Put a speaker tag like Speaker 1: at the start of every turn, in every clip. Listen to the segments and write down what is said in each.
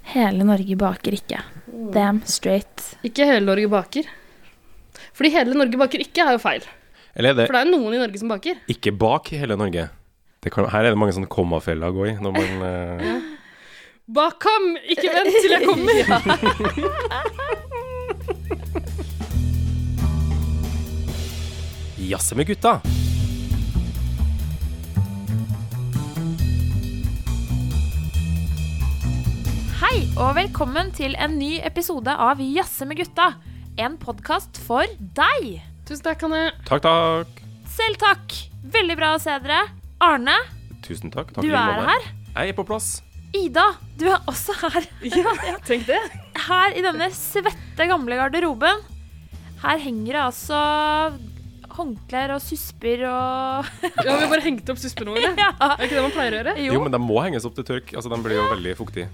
Speaker 1: Hele Norge baker ikke.
Speaker 2: Mm.
Speaker 1: Damn straight.
Speaker 3: Ikke hele Norge baker. Fordi hele Norge baker ikke er jo feil.
Speaker 4: Eller er det
Speaker 3: For det er jo noen i Norge som baker.
Speaker 4: ikke bak i hele Norge? Det kan, her er det mange sånne kommafeller å gå i når man eh,
Speaker 3: Bak ham! Ikke vent til jeg kommer!
Speaker 4: Jazze med gutta!
Speaker 2: Hei, og velkommen til en ny episode av Jazze med gutta. En podkast for deg.
Speaker 3: Tusen takk, Hanne.
Speaker 4: Takk, takk.
Speaker 2: Selv takk. Veldig bra å se dere. Arne,
Speaker 4: Tusen takk. takk
Speaker 2: du
Speaker 4: i like
Speaker 2: er
Speaker 4: måte.
Speaker 2: her.
Speaker 4: Jeg er på plass.
Speaker 2: Ida, du er også her.
Speaker 3: Ja, tenk det.
Speaker 2: Her i denne svette, gamle garderoben. Her henger det altså håndklær og susper og
Speaker 3: Ja, Vi har bare hengt opp suspene våre.
Speaker 2: Ja.
Speaker 3: Er ikke det man pleier å gjøre?
Speaker 4: Jo,
Speaker 2: Jo.
Speaker 4: men de må henges opp til tørk. Altså, De blir jo veldig fuktige.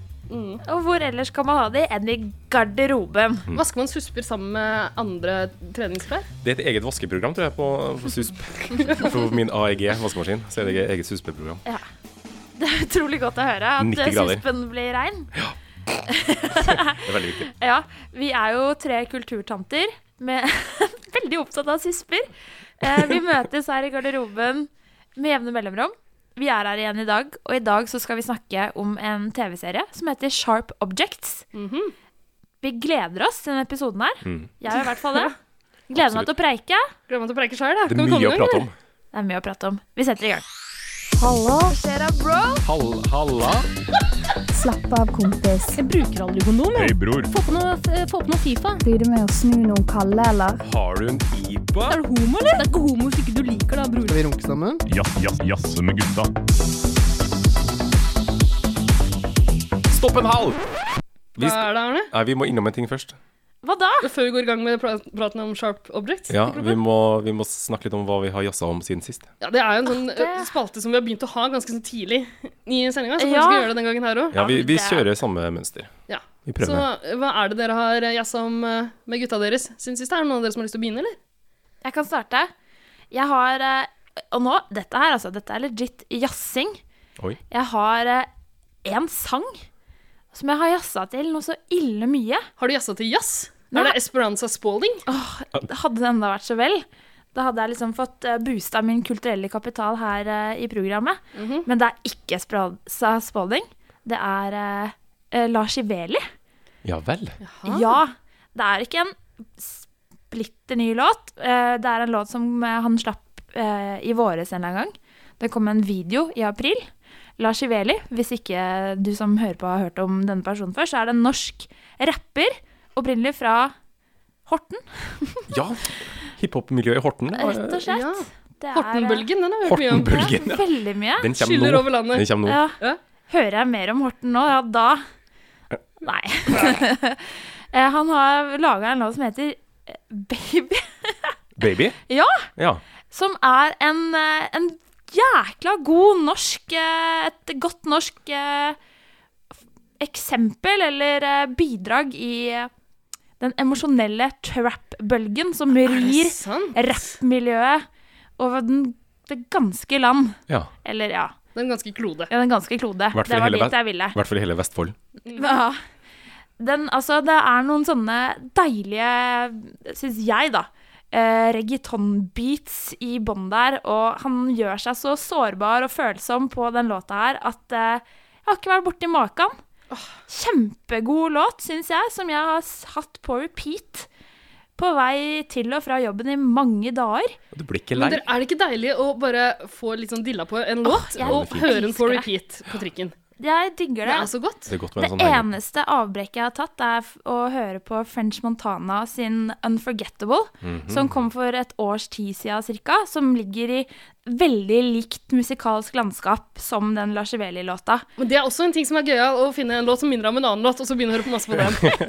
Speaker 2: Og hvor ellers kan man ha det enn i garderoben?
Speaker 4: Mm.
Speaker 3: Vasker man susper sammen med andre treningsklær?
Speaker 4: Det er et eget vaskeprogram, tror jeg, på, på SUSP. På min AEG-vaskemaskin. Så er det et eget SUSP-program.
Speaker 2: Det er utrolig godt å høre at
Speaker 4: 90 grader.
Speaker 2: suspen blir rein.
Speaker 4: Det er veldig viktig.
Speaker 2: Ja, vi er jo tre kulturtanter med veldig opptatt av sysper. Eh, vi møtes her i garderoben med jevne mellomrom. Vi er her igjen i dag, og i dag så skal vi snakke om en TV-serie som heter Sharp Objects. Vi gleder oss til denne episoden her. Jeg gjør i hvert fall det. Gleder meg til å preike.
Speaker 3: Gleder meg til å preike sjøl.
Speaker 4: Det er mye å prate om.
Speaker 2: Det er mye å prate om. Vi setter i gang.
Speaker 4: Hall, halla.
Speaker 5: Slapp av, kompis.
Speaker 6: Jeg bruker aldri kondom. jeg.
Speaker 4: Hei, bror.
Speaker 6: Få på noe, eh, få på noe Fifa.
Speaker 5: Blir det med å snu noen kalde, eller?
Speaker 4: Har du en IBA?
Speaker 6: Er du homo, eller? Det er ikke homo hvis ikke du liker det, da, bror.
Speaker 7: Skal vi runke sammen?
Speaker 8: Jazz, jazz, jazze med gutta.
Speaker 4: Stopp en hal! Vi,
Speaker 3: Hva
Speaker 4: sk-
Speaker 3: er det, Arne?
Speaker 4: nei, vi må innom en ting først.
Speaker 2: Hva da?
Speaker 3: Før vi går i gang med pra- praten om sharp objects?
Speaker 4: Ja,
Speaker 3: ikke
Speaker 4: vi
Speaker 3: sant?
Speaker 4: må, vi må snakke litt om hva vi har jazza om siden sist.
Speaker 3: ja, Det er jo en sånn
Speaker 2: det-
Speaker 3: eh, spalte som vi har begynt å ha ganske sånn tidlig i sendinga. Så kanskje vi
Speaker 2: Ja.
Speaker 3: skal gjøre det den gangen her òg.
Speaker 4: Ja, vi, vi
Speaker 2: det er-
Speaker 4: kjører samme mønster.
Speaker 3: Ja.
Speaker 4: Vi
Speaker 3: Så
Speaker 4: prøver.
Speaker 3: eh, hva er det dere har eh, jazza om eh, med gutta deres siden sist? Er det noen av dere som har lyst til å begynne, eller?
Speaker 2: Jeg kan starte. Jeg har eh, Og nå, dette her, altså. Dette er legit jazzing.
Speaker 4: Oi.
Speaker 2: Jeg har én sang som jeg har jazza til noe så ille mye.
Speaker 3: Har du jazza til jazz?
Speaker 2: Nei.
Speaker 3: Er det Esperanza Spalding?
Speaker 2: Hadde det enda vært så vel. Da hadde jeg liksom fått eh, boosta min kulturelle kapital her eh, i programmet. Men det er ikke Esperanza Spalding. Det er eh, eh, Lars Iveli.
Speaker 4: Ja vel.
Speaker 2: Ja. Det er ikke en splitter ny låt. Eh, Det er en låt som eh, han slapp eh, i våres en eller annen gang. Det kom en video i april. Lars Iveli, hvis ikke du som hører på har hørt om denne personen før, så er det en norsk rapper, opprinnelig fra Horten,
Speaker 4: Ja. Hiphop-miljøet i Horten. det var-
Speaker 2: rett og slett.
Speaker 3: ja.
Speaker 2: Det er, eh,
Speaker 3: Hortenbølgen, den har vi hørt mye om.
Speaker 4: Hortenbølgen. ja.
Speaker 2: Veldig mye.
Speaker 4: Den
Speaker 3: Skyller
Speaker 4: kommer
Speaker 3: over
Speaker 4: nå.
Speaker 3: landet.
Speaker 4: Den kommer nå.
Speaker 2: Ja.
Speaker 3: Ja.
Speaker 2: Hører jeg mer om Horten nå, ja da Nei. Eh, han har laga en låt som heter eh, Baby.
Speaker 4: Baby?
Speaker 2: Ja.
Speaker 4: Ja.
Speaker 2: som er en, eh, en jækla god norsk eh, Et godt norsk eh, f- eksempel eller eh, bidrag i eh, den emosjonelle trap-bølgen som rir
Speaker 3: Sant.
Speaker 2: rapp-miljøet over den, det ganske land.
Speaker 4: ja.
Speaker 2: Eller ja,
Speaker 3: Den ganske klode.
Speaker 2: ja den ganske klode.
Speaker 4: Hvertfall
Speaker 2: Det var
Speaker 4: hele
Speaker 2: dit
Speaker 4: verden.
Speaker 2: jeg ville.
Speaker 4: I hvert fall i hele Vestfold.
Speaker 2: Ja. Den, altså, det er noen sånne deilige, syns jeg, da. Eh, Reggaeton-beats i bånn der, og han gjør seg så sårbar og følsom på den låta her at eh, jeg har ikke vært borti maken. Kjempegod låt, syns jeg, som jeg har s- hatt på repeat på vei til og fra jobben i mange dager.
Speaker 4: Du blir ikke
Speaker 3: Men
Speaker 4: lei.
Speaker 3: dere, er det ikke deilig å bare få litt sånn dilla på en låt,
Speaker 2: jeg
Speaker 3: og høre den på
Speaker 2: elsker det.
Speaker 3: repeat på trikken?
Speaker 2: Jeg digger
Speaker 3: Det
Speaker 2: det.
Speaker 3: er så godt.
Speaker 4: Det er godt med en
Speaker 2: Det
Speaker 4: sånn henger.
Speaker 2: eneste avbrekket jeg har tatt, er f- å høre på French Montana sin 'Unforgettable', som kom for et års tid siden ca., som ligger i veldig likt musikalsk landskap som den Lars Iveli-låta.
Speaker 3: Men det er også en ting som er gøyal, å finne en låt som minner om en annen låt, og så begynne å høre på masse på den.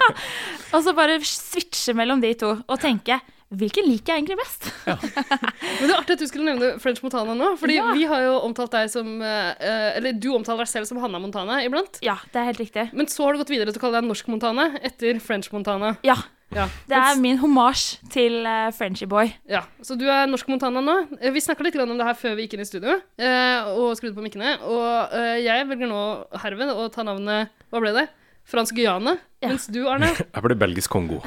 Speaker 2: Og så bare switche mellom de to og tenke hvilken liker jeg egentlig best?
Speaker 3: Men det er artig at du skulle nevne French Montana nå, fordi vi har jo omtalt deg som eh, eh, Eller du omtaler deg selv som Hanna Montana iblant.
Speaker 2: Ja, det er helt riktig.
Speaker 3: Men så har du gått videre til å kalle deg Norsk Montana etter French Montana.
Speaker 2: Ja.
Speaker 3: Ja.
Speaker 2: Det er min hommage til uh, Frenchy Boy.
Speaker 3: Ja, så du er norsk Montana nå. Eh, Vi snakka litt grann om det her før vi gikk inn i studio eh, og skrudde på mikkene. Og eh, jeg velger nå herved å ta navnet Hva ble det? fransk Guyana, mens du, Arne,
Speaker 4: Jeg ble belgisk Kongo.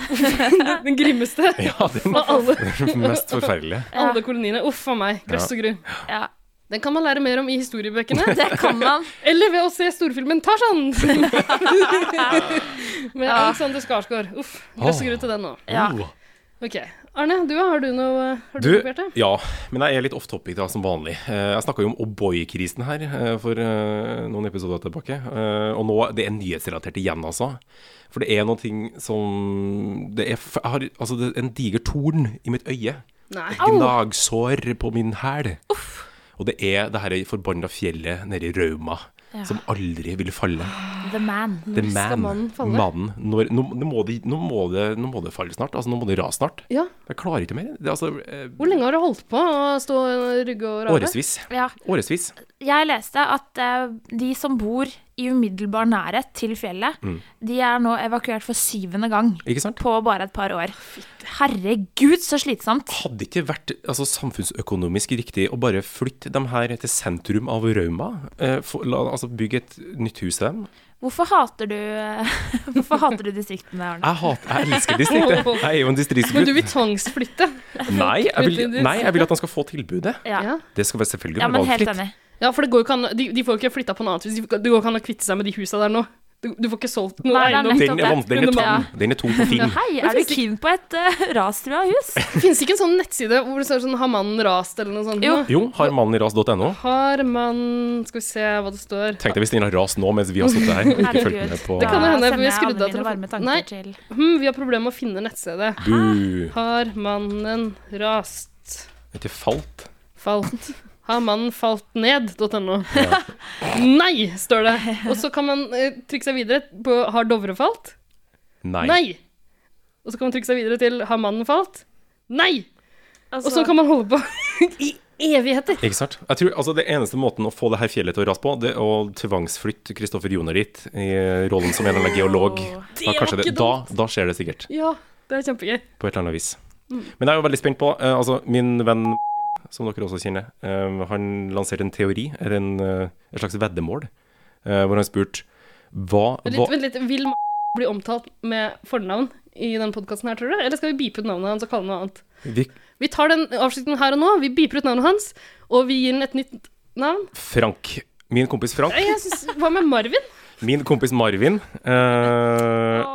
Speaker 3: den grimmeste
Speaker 4: Ja, den
Speaker 3: av alle,
Speaker 4: mest forferdelige.
Speaker 3: alle koloniene. Uff a meg. Gress og gru.
Speaker 2: Ja,
Speaker 3: Den kan man lære mer om i historiebøkene.
Speaker 2: det kan man.
Speaker 3: Eller ved å se storfilmen Tarzan! Med Alexander Skarsgård. Uff. Gress og gru til den nå.
Speaker 2: Ja.
Speaker 3: Ok. Arne, du, har du noe Har du,
Speaker 4: Oh. Du,
Speaker 3: kopiert det?
Speaker 4: ja, men jeg er litt off topic da, som vanlig. Eh, Jeg snakka jo om O'boy-krisen her eh, for eh, noen episoder tilbake. Eh, Og nå det er nyhetsrelatert igjen, altså. For det er noe ting som Det er f- jeg har, altså, det er en diger torn i mitt øye.
Speaker 3: Nei.
Speaker 4: Et gnagsår på min hæl. Og det er det her forbanna fjellet nede i Rauma som aldri vil falle.
Speaker 1: The man.
Speaker 4: The man.
Speaker 3: skal mannen falle?
Speaker 4: Mannen. Når, nå, nå, må det, nå, må det, nå må det falle snart. Altså, nå må det rase snart.
Speaker 3: Ja.
Speaker 4: Jeg klarer ikke mer. Det, er altså, eh,
Speaker 3: Hvor lenge har du holdt på å stå og rygge og rare?
Speaker 4: årevis.
Speaker 2: Ja.
Speaker 4: Årevis.
Speaker 2: Jeg leste at eh, de som bor i umiddelbar nærhet til fjellet,
Speaker 3: Mm.
Speaker 2: de er nå evakuert for syvende gang
Speaker 4: Ikke sant?
Speaker 2: på bare et par år. Herregud, så slitsomt.
Speaker 4: Hadde det ikke vært altså, samfunnsøkonomisk riktig å bare flytte dem her til sentrum av Rauma? Eh, få- la, altså bygge et nytt hus til dem?
Speaker 2: Hvorfor hater du, eh, hvorfor hater du distriktene, Arne?
Speaker 4: Jeg, hat, jeg elsker distriktet. Jeg er jo en
Speaker 3: Men du vil
Speaker 4: distriktsgutt.
Speaker 3: tvangsflytte?
Speaker 4: Nei, jeg vil, nei, jeg vil at han skal få tilbudet.
Speaker 2: Ja.
Speaker 3: Ja.
Speaker 4: Det skal være selvfølgelig
Speaker 2: ja,
Speaker 4: være
Speaker 2: men helt
Speaker 4: valgfritt.
Speaker 2: enig.
Speaker 3: Ja, for det går jo ikke an, de, de får jo ikke flytta på noe annet hvis de, det går ikke an å kvitte seg med de husa der nå. Du, du får ikke solgt noe
Speaker 2: Nei, det er
Speaker 3: eiendom.
Speaker 2: nettopp
Speaker 4: Den er, van- den er
Speaker 3: Ja.
Speaker 4: tom. Den er tom på Finn.
Speaker 2: Hei, er du keen på et uh, rastrua hus?
Speaker 3: Det finnes ikke en sånn nettside hvor det står sånn 'Har mannen rast?' eller noe sånt?
Speaker 2: Jo.
Speaker 4: Jo, har mannen i ras.no.
Speaker 3: Har man Skal vi se hva det står
Speaker 4: Tenk deg hvis den har rast nå mens vi har sittet her. og Ikke fulgt med på
Speaker 3: Det kan jo
Speaker 2: Da
Speaker 3: hende, for vi
Speaker 2: sender jeg
Speaker 3: skrudde av
Speaker 2: alle mine
Speaker 3: telefonen.
Speaker 2: varme tanker
Speaker 3: Nei.
Speaker 2: til
Speaker 3: Hm, vi har problemer med å finne nettstedet.
Speaker 4: Bu.
Speaker 3: Har mannen rast?
Speaker 4: Er ikke falt?
Speaker 3: Falt. Har mannen falt ned.no. Nei, står det. Og så kan man eh, trykke seg videre på Har Dovre falt?
Speaker 4: Nei.
Speaker 3: Nei. Og så kan man trykke seg videre til Har mannen falt? Nei.
Speaker 2: Altså,
Speaker 3: Og så kan man holde på i evigheter.
Speaker 4: Ikke sant? Jeg tror altså Det eneste måten å få det her fjellet til å rase på, det er å tvangsflytte Kristoffer Joner dit, i rollen som en eller annen geolog. Da, kanskje det, da, da skjer det sikkert,
Speaker 3: Ja, det er kjempegøy.
Speaker 4: på et eller annet vis.
Speaker 3: Mm.
Speaker 4: Men jeg er jo veldig spent på eh, Altså, min venn som dere også kjenner, eh, han lanserte en teori, eller en, eh, et slags veddemål, eh, hvor han spurte hva,
Speaker 3: Vent
Speaker 4: hva
Speaker 3: litt, vent litt. Vil Martin bli omtalt med fornavn i denne podkasten her, tror du? Eller skal vi beepe ut navnet hans og kalle det noe annet?
Speaker 4: vi,
Speaker 3: Vi tar den avslutningen her og nå. Vi beeper ut navnet hans, og vi gir den et nytt navn.
Speaker 4: Frank Min kompis Frank.
Speaker 3: Nei, jeg synes, Hva med Marvin?
Speaker 4: Min kompis Marvin eh,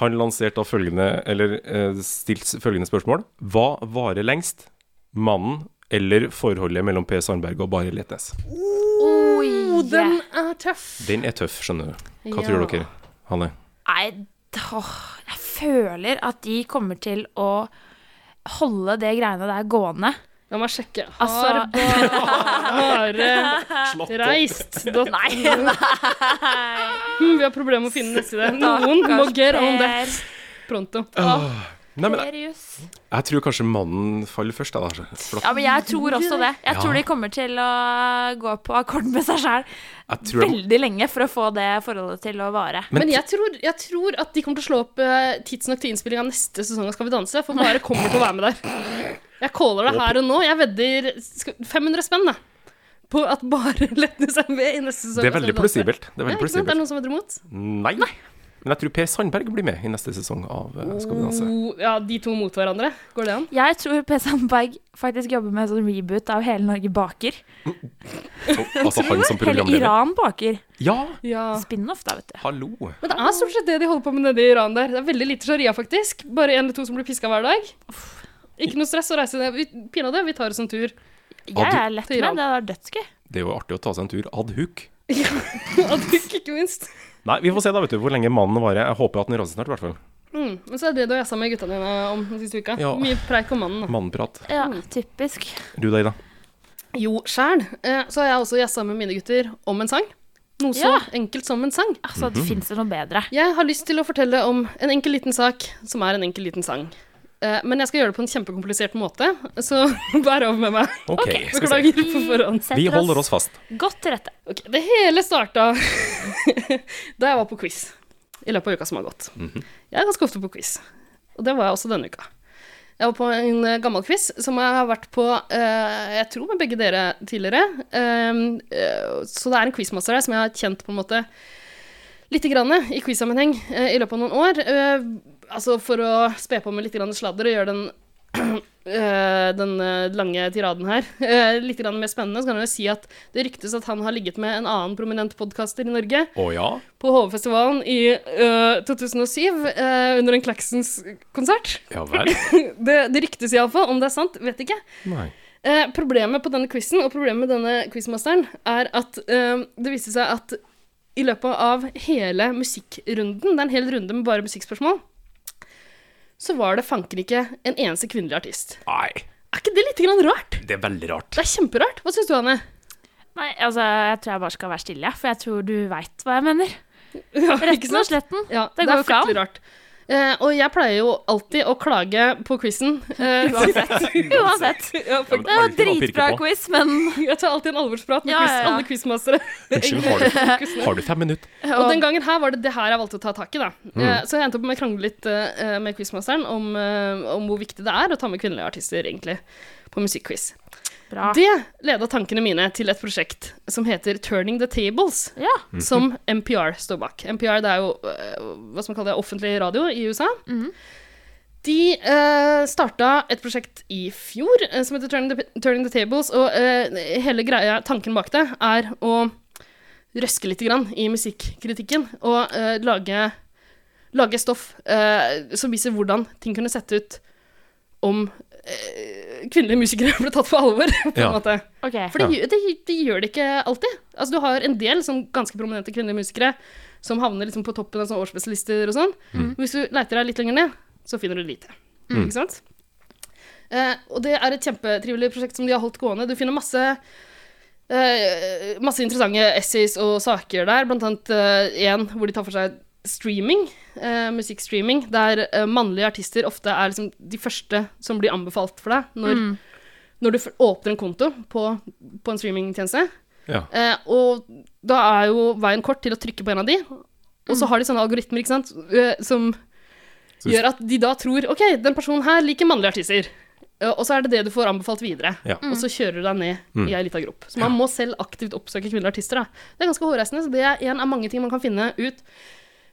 Speaker 4: Han lanserte da følgende Eller eh, stilt følgende spørsmål Hva varer lengst? Mannen eller forholdet mellom P. Sandberg og Bare Letnes?
Speaker 2: Oi.
Speaker 3: Den er tøff.
Speaker 4: Den er tøff, skjønner du Hva
Speaker 3: Ja.
Speaker 4: tror dere, Hanne?
Speaker 2: Nei, åh, jeg føler at de kommer til å holde det greiene der gående.
Speaker 3: La meg sjekke. Har
Speaker 2: Altså-
Speaker 3: bare reist. Dot-
Speaker 2: Nei,
Speaker 3: Hmm, Vi har problemer med å finne nettside. Noen må get on that pronto.
Speaker 4: Nei, men jeg,
Speaker 2: Seriøs.
Speaker 4: jeg tror kanskje mannen faller først da, da. For da-
Speaker 2: Ja, men jeg tror også det. Jeg tror de kommer til å gå på akkord med seg sjæl
Speaker 4: Jeg tror jeg,
Speaker 2: veldig lenge for å få det forholdet til å vare.
Speaker 4: men,
Speaker 3: Men jeg tror, jeg tror at de kommer til å slå opp eh, tidsnok til innspilling av neste sesong av Skal vi danse, for bare kommer til å være med der. Jeg caller det her og nå. Jeg vedder skal- 500 spenn da, på at bare Letnes er med i neste sesong.
Speaker 4: det
Speaker 3: av Skal vi
Speaker 4: er veldig
Speaker 3: danse.
Speaker 4: plausibelt Det er
Speaker 3: Ja,
Speaker 4: veldig
Speaker 3: ikke sant? Er det
Speaker 4: plausibelt
Speaker 3: noen som vedder imot?
Speaker 4: Nei Men jeg tror P. Sandberg blir med i neste sesong av eh, Skal vi danse
Speaker 3: Oh, ja, de to mot hverandre. Går det an?
Speaker 2: Jeg tror P. Sandberg faktisk jobber med en sånn reboot av Hele Norge baker.
Speaker 4: Og- Altså han som
Speaker 2: Hele
Speaker 4: programleder
Speaker 2: Iran baker.
Speaker 4: Ja,
Speaker 3: Ja.
Speaker 2: Spin-off, da, vet du.
Speaker 4: hallo
Speaker 3: Men det er stort sett det de holder på med nede i Iran der. Det er veldig lite sharia, faktisk. Bare en eller to som blir piska hver dag. Ikke noe stress å reise ned. Vi- Pinadø, vi tar oss en tur.
Speaker 2: Jeg er lett
Speaker 3: til Iran.
Speaker 2: med. Det er dødsgøy.
Speaker 4: Det er jo artig å ta seg en tur ad hoc
Speaker 3: Aduk, ikke minst.
Speaker 4: Nei, vi får se da, vet du, hvor lenge mannen varer. Jeg håper at den raser snart, i hvert fall.
Speaker 3: Mm. Men så er det det du har jazza med gutta dine om den siste uka.
Speaker 4: Ja.
Speaker 3: Mye preik om mannen. da.
Speaker 4: Mannprat.
Speaker 2: Ja, typisk.
Speaker 4: Du da, Ida?
Speaker 3: Jo, sjæl eh, så har jeg også jazza med mine gutter om en sang. Noe så
Speaker 2: Ja.
Speaker 3: enkelt som en sang.
Speaker 2: Altså, det fins det noe bedre.
Speaker 3: Jeg har lyst til å fortelle om en enkel liten sak som er en enkel liten sang. Eh, men jeg skal gjøre det på en kjempekomplisert måte, så vær over med meg.
Speaker 4: Ok, skal vi se.
Speaker 3: Beklager på forhånd.
Speaker 2: setter
Speaker 4: Vi holder oss fast.
Speaker 2: godt til rette.
Speaker 3: Ok, Det hele starta da jeg var på quiz i løpet av uka som har gått. Jeg er ganske ofte på quiz, og det var jeg også denne uka. Jeg var på en eh, gammel quiz som jeg har vært på, eh, jeg tror med begge dere Ehm, tidligere. Eh, eh, så det er en quizmaster her som jeg har kjent på en måte lite grann i quiz-sammenheng eh, i løpet av noen år. eh, altså for å spe på med litt grann sladder og gjøre den, eh, den eh, lange tiraden her eh, litt grann mer spennende, så kan jeg jo si at det ryktes at han har ligget med en annen prominent podkaster i Norge
Speaker 4: Å ja?
Speaker 3: på HV-festivalen i eh, 2007 eh, under en Klaxons-konsert.
Speaker 4: Ja vel?
Speaker 3: Det, det ryktes iallfall. Om det er sant, vet ikke.
Speaker 4: Nei.
Speaker 3: Eh, problemet på denne quizen og problemet med denne quizmasteren er at eh, det viste seg at i løpet av hele musikkrunden, det er en hel runde med bare musikkspørsmål, så var det fanken ikke en eneste kvinnelig artist.
Speaker 4: Nei,
Speaker 3: Er ikke det litt grann rart?
Speaker 4: det er veldig rart.
Speaker 3: Det er kjemperart. Hva syns du, Anne?
Speaker 2: Nei, altså, jeg tror jeg bare skal være stille, for jeg tror du veit hva jeg mener.
Speaker 3: Ja, ikke
Speaker 2: Retten og
Speaker 3: sant?
Speaker 2: sletten.
Speaker 3: Ja, det,
Speaker 2: Det går
Speaker 3: er
Speaker 2: jo ikke an.
Speaker 3: fryktelig rart. Eh, og jeg pleier jo alltid å klage på quizen. Eh,
Speaker 2: Uansett. Uansett.
Speaker 3: ja,
Speaker 4: Ja, men alle
Speaker 2: Det var
Speaker 4: kunne ha pirket
Speaker 2: dritbra
Speaker 4: på.
Speaker 2: quiz, men
Speaker 3: jeg tar alltid en alvorsprat med
Speaker 2: Ja,
Speaker 3: quiz,
Speaker 2: ja, ja.
Speaker 3: alle quizmastere.
Speaker 4: Unnskyld, har du, har du fem minutter?
Speaker 3: Og den gangen her var det det her jeg valgte å ta tak i, da. Eh, Så jeg endte opp med å krangle litt eh, med quizmasteren om, eh, om hvor viktig det er å ta med kvinnelige artister, egentlig, på musikkquiz.
Speaker 2: Bra.
Speaker 3: Det leda tankene mine til et prosjekt som heter Turning the Tables,
Speaker 2: Ja.
Speaker 3: som NPR står bak. NPR det er jo eh, hva skal man kalle det, offentlig radio i USA. De eh, starta et prosjekt i fjor eh, som heter Turning the, Turning the Tables, og eh, hele greia, tanken bak det er å røske litt grann i musikkritikken og eh, lage, lage stoff eh, som viser hvordan ting kunne sett ut om eh, kvinnelige musikere ble tatt på alvor, på en
Speaker 4: Ja.
Speaker 3: måte.
Speaker 2: OK.
Speaker 3: For det, gjør- det, det gjør det ikke alltid. Altså, du har en del sånn, ganske prominente kvinnelige musikere som havner liksom på toppen av sånne årsspesialister og sånn. Men Hvis du leiter deg litt lenger ned, så finner du lite. Ikke sant? Eh, og det er et kjempetrivelig prosjekt som de har holdt gående. Du finner masse eh, masse interessante essays og saker der, blant annet én hvor de tar for seg streaming, eh, musikkstreaming, der eh, mannlige artister ofte er liksom de første som blir anbefalt for deg når når du f- åpner en konto på, på en streamingtjeneste.
Speaker 4: Ja.
Speaker 3: Eh, og da er jo veien kort til å trykke på en av de. Og så har de sånne algoritmer ikke sant? eh, som
Speaker 4: Mm. Så-
Speaker 3: gjør at de da tror OK, den personen her liker mannlige artister. Eh, Og så er det det du får anbefalt videre.
Speaker 4: Ja. Mm.
Speaker 3: Og så kjører du deg ned i ei lita grop. Så man må selv aktivt oppsøke kvinnelige artister. Da. Det er ganske hårreisende, så det er en av mange ting man kan finne ut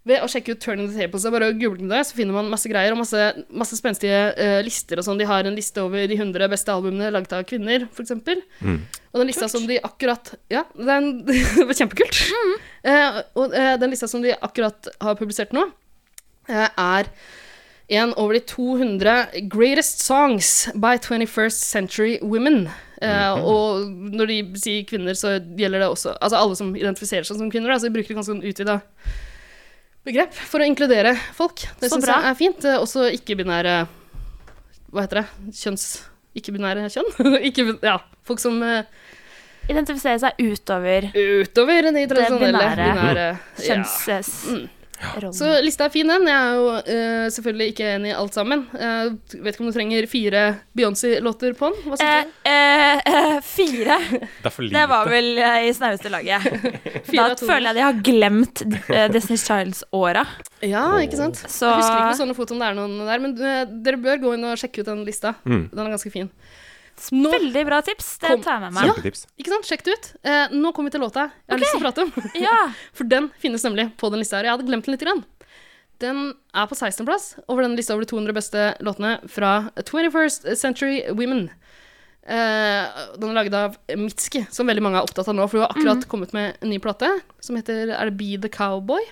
Speaker 3: ved å sjekke ut Turning the Tables. Det er Bare å google det, så finner man masse greier og masse, masse spenstige eh, lister og sånn. De har en liste over de 100 beste albumene laget av kvinner, f.eks. Og den lista som de akkurat Ja, den, det var kjempekult.
Speaker 2: Mm.
Speaker 3: Eh, og eh, den lista som de akkurat har publisert nå, eh, er en over de 200 greatest songs by 21st century women. Eh,
Speaker 2: Mhm.
Speaker 3: Og når de sier kvinner, så gjelder det også Altså alle som identifiserer seg som kvinner. Da, så de bruker et ganske sånn utvida begrep for å inkludere folk. Det
Speaker 2: Så
Speaker 3: syns
Speaker 2: bra.
Speaker 3: jeg er fint. Eh, Også ikke-binære Hva heter det? Kjønns... Ikke-binære kjønn? ikke, ja, folk som eh,
Speaker 2: Identifisere seg utover
Speaker 3: utover de tradisjonelle
Speaker 2: binære. Mm.
Speaker 3: binære ja.
Speaker 4: Mm.
Speaker 2: kjønnsrollen.
Speaker 3: Så lista er fin, den. Jeg er jo eh, selvfølgelig ikke enig i alt sammen. Eh, vet ikke om du trenger fire Beyoncé-låter på den? Hva
Speaker 2: Eh,
Speaker 3: synes
Speaker 2: eh, eh, fire.
Speaker 4: Det er for lite.
Speaker 2: Det var vel eh, i snaueste laget.
Speaker 3: du? Fire
Speaker 2: Eh, Da
Speaker 3: av to.
Speaker 2: føler jeg de har glemt eh, Destiny's Childs-åra.
Speaker 3: Ja, ikke sant?
Speaker 2: Så
Speaker 3: Jeg husker ikke på sånne fotoen det er noen der, men eh, dere bør gå inn og sjekke ut den lista. Den er ganske fin. Nå,
Speaker 2: veldig bra tips. Det
Speaker 3: Kom-
Speaker 2: tar jeg med meg.
Speaker 4: Kjempetips.
Speaker 3: ikke sant? Sjekk det ut. Eh, nå kommer vi til låta jeg har lyst til å prate om.
Speaker 2: Ja.
Speaker 3: For den finnes nemlig på den lista her. Jeg hadde glemt den litt. Grann. Den er på 16.-plass over den lista over de 200 beste låtene fra 21st Century Women. Eh, den er laget av Mitski, som veldig mange er opptatt av nå. For hun har akkurat kommet med en ny plate som heter Er det Be The Cowboy?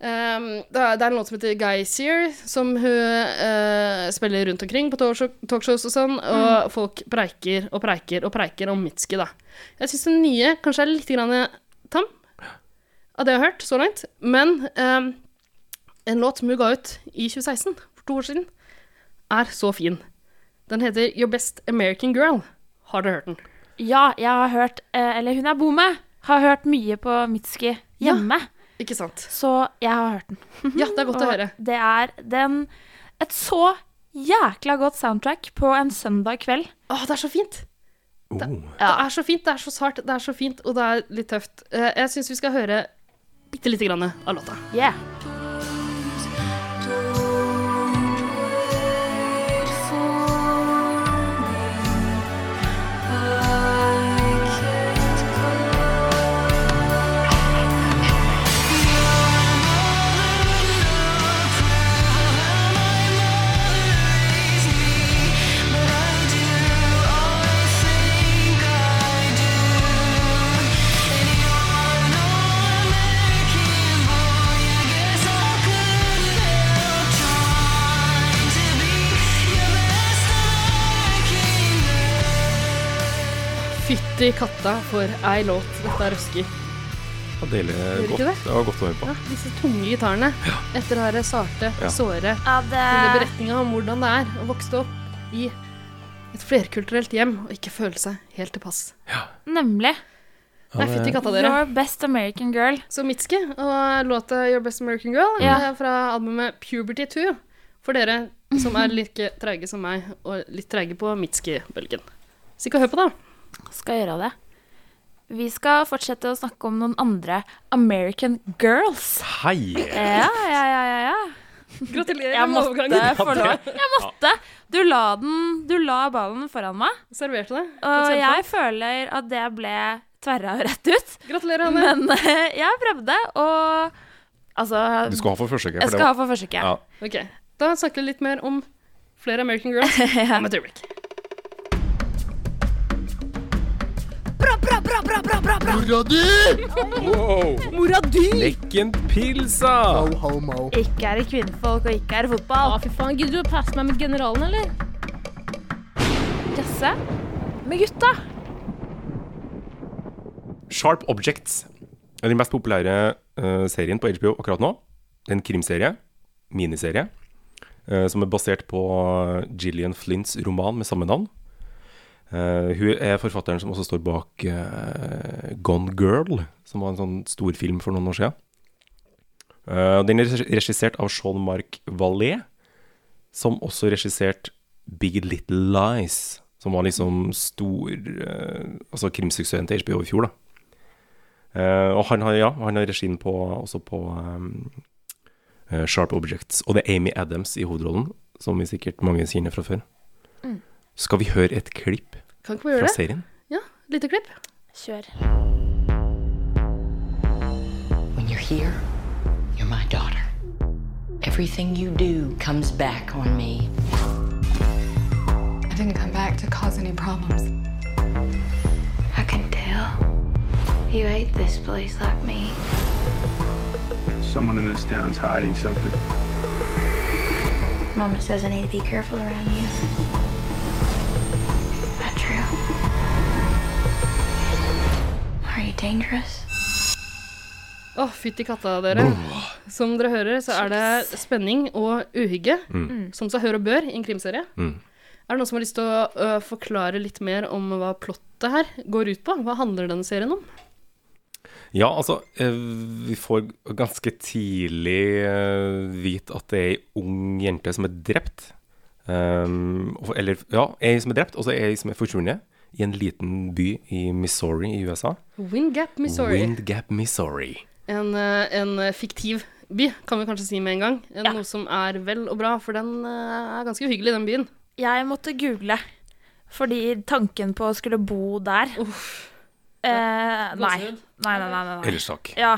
Speaker 3: Eh, det er det er en låt som heter Guy Sear, som hun eh, spiller rundt omkring på talkshow- talkshows og sånn. Og folk preiker og preiker og preiker om Mitski, da. Jeg syns den nye kanskje er litt grann tam av det jeg har hørt så langt. Men eh, en låt som hun ga ut i 2016, for to år siden, er så fin. Den heter Your Best American Girl. Har dere hørt den?
Speaker 2: ja, jeg har hørt eh, Eller hun jeg bor med, har hørt mye på Mitski hjemme.
Speaker 3: Ikke sant? Ah.
Speaker 2: Så jeg har hørt den.
Speaker 3: Ja, det er godt å høre.
Speaker 2: Og det er den et så jækla godt soundtrack på en søndag kveld.
Speaker 3: Å, Ah, det er så fint!
Speaker 4: Oh,
Speaker 3: Det er så fint, det er så sart, det er så fint, og det er litt tøft. Eh, jeg syns vi skal høre bitte lite grann av låta.
Speaker 2: Yeah.
Speaker 7: Your
Speaker 3: fytti katta for ei låt dette er Røski.
Speaker 4: Ja, deilig
Speaker 3: det
Speaker 4: godt.
Speaker 3: ikke det?
Speaker 4: Det var godt å høre på.
Speaker 3: Ja, disse tunge gitarene. Etter det her sarte,
Speaker 4: Ja.
Speaker 3: såre
Speaker 2: Ja,
Speaker 3: Denne
Speaker 2: det
Speaker 3: beretninga om hvordan det er å vokse opp i et flerkulturelt hjem og ikke føle seg helt tilpass.
Speaker 2: Nemlig.
Speaker 3: Nei, fytti katta, dere.
Speaker 2: Your best American girl.
Speaker 3: Så Mitski og låta 'Your Best American Girl'
Speaker 2: Ja.
Speaker 3: er fra albumet 'Puberty 2'. For dere som er like treige som meg, og litt treige på Mitski-bølgen. Stikk og hør på, da.
Speaker 2: Skal gjøre det. Vi skal fortsette å snakke om noen andre American girls.
Speaker 4: Hei!
Speaker 2: Ja, ja, ja, ja, ja.
Speaker 3: Gratulerer med
Speaker 2: Jeg måtte
Speaker 3: overgangen.
Speaker 2: få lov. Jeg måtte. Du la, den, du la ballen foran meg,
Speaker 3: Serverte det.
Speaker 2: og jeg føler at det ble tverra rett ut.
Speaker 3: Gratulerer, Anne.
Speaker 2: Men eh, jeg prøvde, og altså
Speaker 4: Du skal ha for første gang.
Speaker 2: Jeg
Speaker 4: for det
Speaker 2: skal
Speaker 4: var-
Speaker 2: ha for forsøket.
Speaker 4: Ja.
Speaker 3: Ok, Da snakker vi litt mer om flere American Girls om et øyeblikk.
Speaker 4: Wow!
Speaker 6: Mora di!
Speaker 4: Lekken pilsa!
Speaker 2: Ikke er det kvinnefolk, og ikke er det
Speaker 6: Å,
Speaker 2: fotball.
Speaker 6: fy faen. Gidder du å passe meg med generalen, eller?
Speaker 2: Jazze med gutta.
Speaker 4: Sharp Objects er den mest populære eh, serien på HBO akkurat nå. Det er En krimserie, miniserie, eh, som er basert på eh, Gillian Flints roman med samme navn. Eh, hun er forfatteren som også står bak eh, Gone Girl, som var en sånn storfilm for noen år siden. Eh, den er regi- regissert av Jean-Marc Vallée, som også regisserte Big Little Lies, som var liksom stor eh, Altså krimsuksessen til HBO i fjor, da. Eh, og han har, ja, han har regien på, også på ehm, eh, Sharp Objects. Og det er Amy Adams i hovedrollen, som vi sikkert mange kjenner fra før. Skal vi høre et klipp
Speaker 3: Kan ikke Mm. vi
Speaker 4: fra
Speaker 3: gjøre det?
Speaker 4: serien?
Speaker 3: Ja, Lite klipp.
Speaker 2: Kjør.
Speaker 7: When you're here, you're my daughter. Everything you do comes back on me.
Speaker 9: I didn't come back to cause any problems.
Speaker 10: I can tell. You hate this place like me.
Speaker 11: Someone in this town's hiding something.
Speaker 10: Mama says I need to be careful around you. Is that true? Are you dangerous?
Speaker 3: Å, fytti katta, dere. Som dere hører, så er det spenning og uhygge,
Speaker 2: Mm.
Speaker 3: som seg hør og bør i en krimserie.
Speaker 4: Mm.
Speaker 3: Er det noen som har lyst til å ø, forklare litt mer om hva plottet her går ut på? Hva handler denne serien om?
Speaker 4: Ja, altså, eh, vi får ganske tidlig eh, vite at det er ei ung jente som er drept. Ehm, og- eller, ja, ei som er drept, og så ei som er forsvunnet i en liten by i Missouri i USA.
Speaker 3: Wingap, Missouri.
Speaker 4: Wind Gap, Missouri.
Speaker 3: En, ø, en fiktiv by, kan vi kanskje si med en gang. En, Noe som er vel og bra, for den ø, er ganske uhyggelig, den byen.
Speaker 2: Jeg måtte google, fordi tanken på å skulle bo der eh, nei. nei.
Speaker 3: Gåsehud.
Speaker 2: Nei, nei, nei. nei.
Speaker 4: Ellers takk.
Speaker 2: Ja.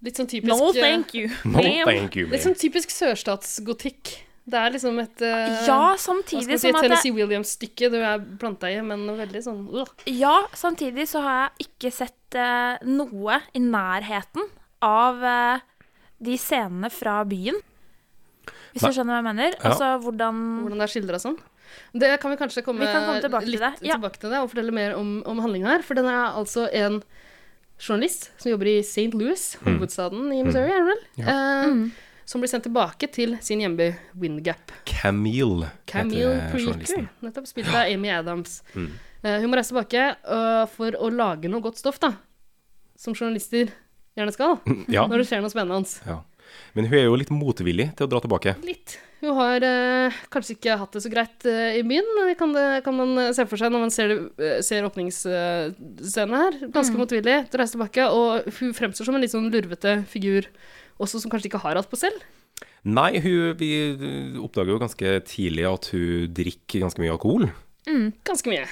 Speaker 3: Litt sånn typisk
Speaker 2: No,
Speaker 3: ø,
Speaker 2: thank you.
Speaker 4: No,
Speaker 2: ma'am.
Speaker 4: thank you,
Speaker 3: Litt
Speaker 4: ma'am.
Speaker 3: sånn typisk sørstatsgotikk. Det er liksom et ø,
Speaker 2: Ja,
Speaker 3: hva skal
Speaker 2: samtidig
Speaker 3: man si,
Speaker 2: som
Speaker 3: et
Speaker 2: at jeg,
Speaker 3: Tennessee Williams-stykke du er planta i, men veldig sånn øh.
Speaker 2: Ja, samtidig så har jeg ikke sett eh, noe i nærheten av eh, de scenene fra byen. Hvis
Speaker 4: Nei.
Speaker 2: du skjønner hva jeg mener?
Speaker 4: Ja.
Speaker 2: Altså hvordan
Speaker 3: hvordan det er skildra sånn. Det kan vi kanskje komme,
Speaker 2: Vi kan komme tilbake til
Speaker 3: litt
Speaker 2: det, ja.
Speaker 3: tilbake til det og fortelle mer om, om handlinga her. For den er altså en journalist som jobber i St. Louis, hovedstaden i Missouri, er det vel? Eh,
Speaker 2: Mm.
Speaker 3: Som blir sendt tilbake til sin hjemby Windgap.
Speaker 4: Camille
Speaker 3: Camille
Speaker 4: heter eh,
Speaker 3: Preaker,
Speaker 4: journalisten.
Speaker 3: nettopp spilt av Amy Adams. Eh, hun må reise tilbake øh, for å lage noe godt stoff, da. Som journalister gjerne skal.
Speaker 4: Ja.
Speaker 3: Når det skjer noe spennende.
Speaker 4: ja. Men hun er jo litt motvillig til å dra tilbake.
Speaker 3: Litt. Hun har eh, kanskje ikke hatt det så greit eh, i byen, men det kan, det, kan man eh, se for seg når man ser, det, eh, ser åpningsscenen her. Ganske motvillig til å reise tilbake, og hun fremstår som en litt sånn lurvete figur, også som kanskje ikke har hatt på selv.
Speaker 4: Nei, hun, vi eh, oppdager jo ganske tidlig at hun drikker ganske mye alkohol.
Speaker 3: Ganske mye.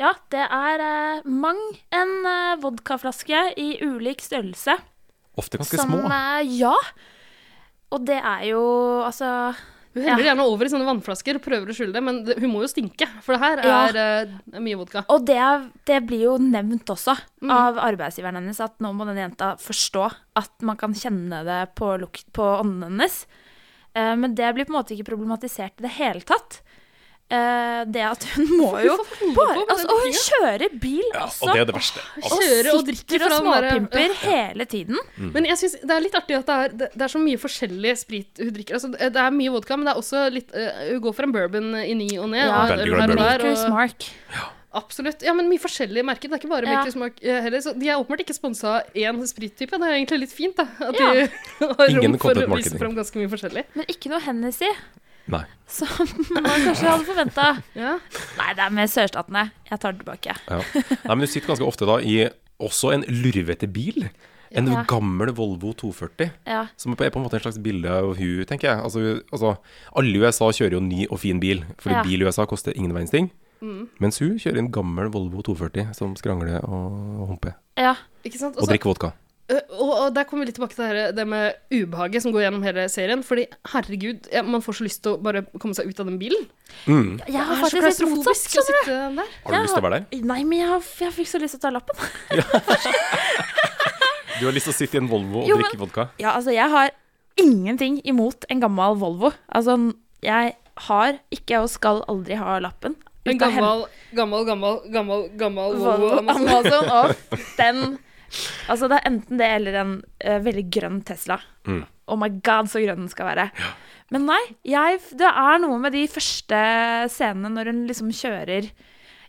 Speaker 2: Ja, det er eh, mang en eh, vodkaflaske i ulik størrelse.
Speaker 4: Ofte ganske små.
Speaker 2: eh, ja. Og det er jo altså
Speaker 3: Hun heller gjerne over i sånne vannflasker, prøver å skjule det, men det, hun må jo stinke, for det her
Speaker 2: Ja.
Speaker 3: er eh, mye vodka.
Speaker 2: Og det, er- det blir jo nevnt også
Speaker 3: Mm.
Speaker 2: av arbeidsgiveren hennes at nå må denne jenta forstå at man kan kjenne det på, lukt, på ånden hennes. Eh, men det blir på en måte ikke problematisert i det hele tatt. Eh, eh, det at hun må jo bare,
Speaker 3: på med
Speaker 2: altså,
Speaker 3: den
Speaker 2: Og hun
Speaker 3: drikkingen?
Speaker 2: kjører bil
Speaker 4: Ja, og
Speaker 2: også.
Speaker 4: det er det verste. Altså,
Speaker 3: Kjører og
Speaker 2: sitter
Speaker 3: drikker
Speaker 2: og
Speaker 3: fra den derre-
Speaker 2: småpimper hele tiden.
Speaker 4: Mm.
Speaker 3: Men jeg synes det er litt artig at det er, det, det er så mye forskjellig sprit hun drikker. Altså, det det er mye vodka, men det er også litt eh, Hun går for en bourbon i ny og ne.
Speaker 2: Ja.
Speaker 3: og en
Speaker 4: Veldig
Speaker 3: øl
Speaker 4: glad i
Speaker 3: her og
Speaker 4: bourbon.
Speaker 3: der, og-
Speaker 2: Maker's Mark.
Speaker 3: Absolutt. Ja, men mye forskjellige merker. Det er ikke bare
Speaker 2: Ja.
Speaker 3: Maker's Mark eh, heller. Så de er åpenbart ikke sponsa av én sprittype. Det er egentlig litt fint, da. At
Speaker 2: Ja.
Speaker 3: de har
Speaker 4: Ingen
Speaker 3: rom for å
Speaker 4: content marketing.
Speaker 3: vise fram ganske mye forskjellig.
Speaker 2: Men ikke noe Hennessy,
Speaker 4: Nei.
Speaker 2: som man kanskje hadde forventa.
Speaker 3: Ja.
Speaker 2: Nei, det er med sørstatene. Jeg tar det tilbake.
Speaker 4: Ja. Nei, men du sitter ganske ofte da i også en lurvete bil. En
Speaker 2: Ja.
Speaker 4: gammel Volvo 240,
Speaker 2: Ja.
Speaker 4: som er på en måte en slags bilde av hun, tenker jeg. Altså, hun- altså, alle i USA kjører jo ny og fin bil, for
Speaker 2: Ja. Mm.
Speaker 4: bil i USA koster ingen verdens ting. Mens hun kjører en gammel Volvo 240 som skrangler og humper.
Speaker 2: ja.
Speaker 3: Ikke sant?
Speaker 4: Og
Speaker 3: Også-
Speaker 4: drikker vodka.
Speaker 3: Eh, og, og der kommer vi litt tilbake til det, her, det med ubehaget som går gjennom hele serien. Fordi herregud, ja, man får så lyst til å bare komme seg ut av den bilen.
Speaker 2: Jeg har
Speaker 3: Det er så
Speaker 2: faktisk litt motsatt.
Speaker 3: klaustrofobisk altså. å
Speaker 2: skjønner du.
Speaker 3: sitte der.
Speaker 4: Har du lyst til å være der?
Speaker 2: Nei, men jeg, har- jeg fikk så lyst til å ta lappen.
Speaker 4: Du har lyst til å sitte i en Volvo og
Speaker 2: Jo, men-
Speaker 4: drikke vodka?
Speaker 2: Ja, altså, jeg har ingenting imot en gammel Volvo. Altså, jeg har ikke og skal aldri ha lappen.
Speaker 3: En
Speaker 2: Ut av hen-
Speaker 3: gammel, gammel, gammel, gammel, gammel
Speaker 2: Volvo
Speaker 3: Volvo Amazon.
Speaker 2: Amazon og den Altså, det er enten det eller en eh, veldig grønn Tesla.
Speaker 4: Mm.
Speaker 2: Oh my god, så grønn den skal være. Men nei, jeg, det er noe med de første scenene når hun liksom kjører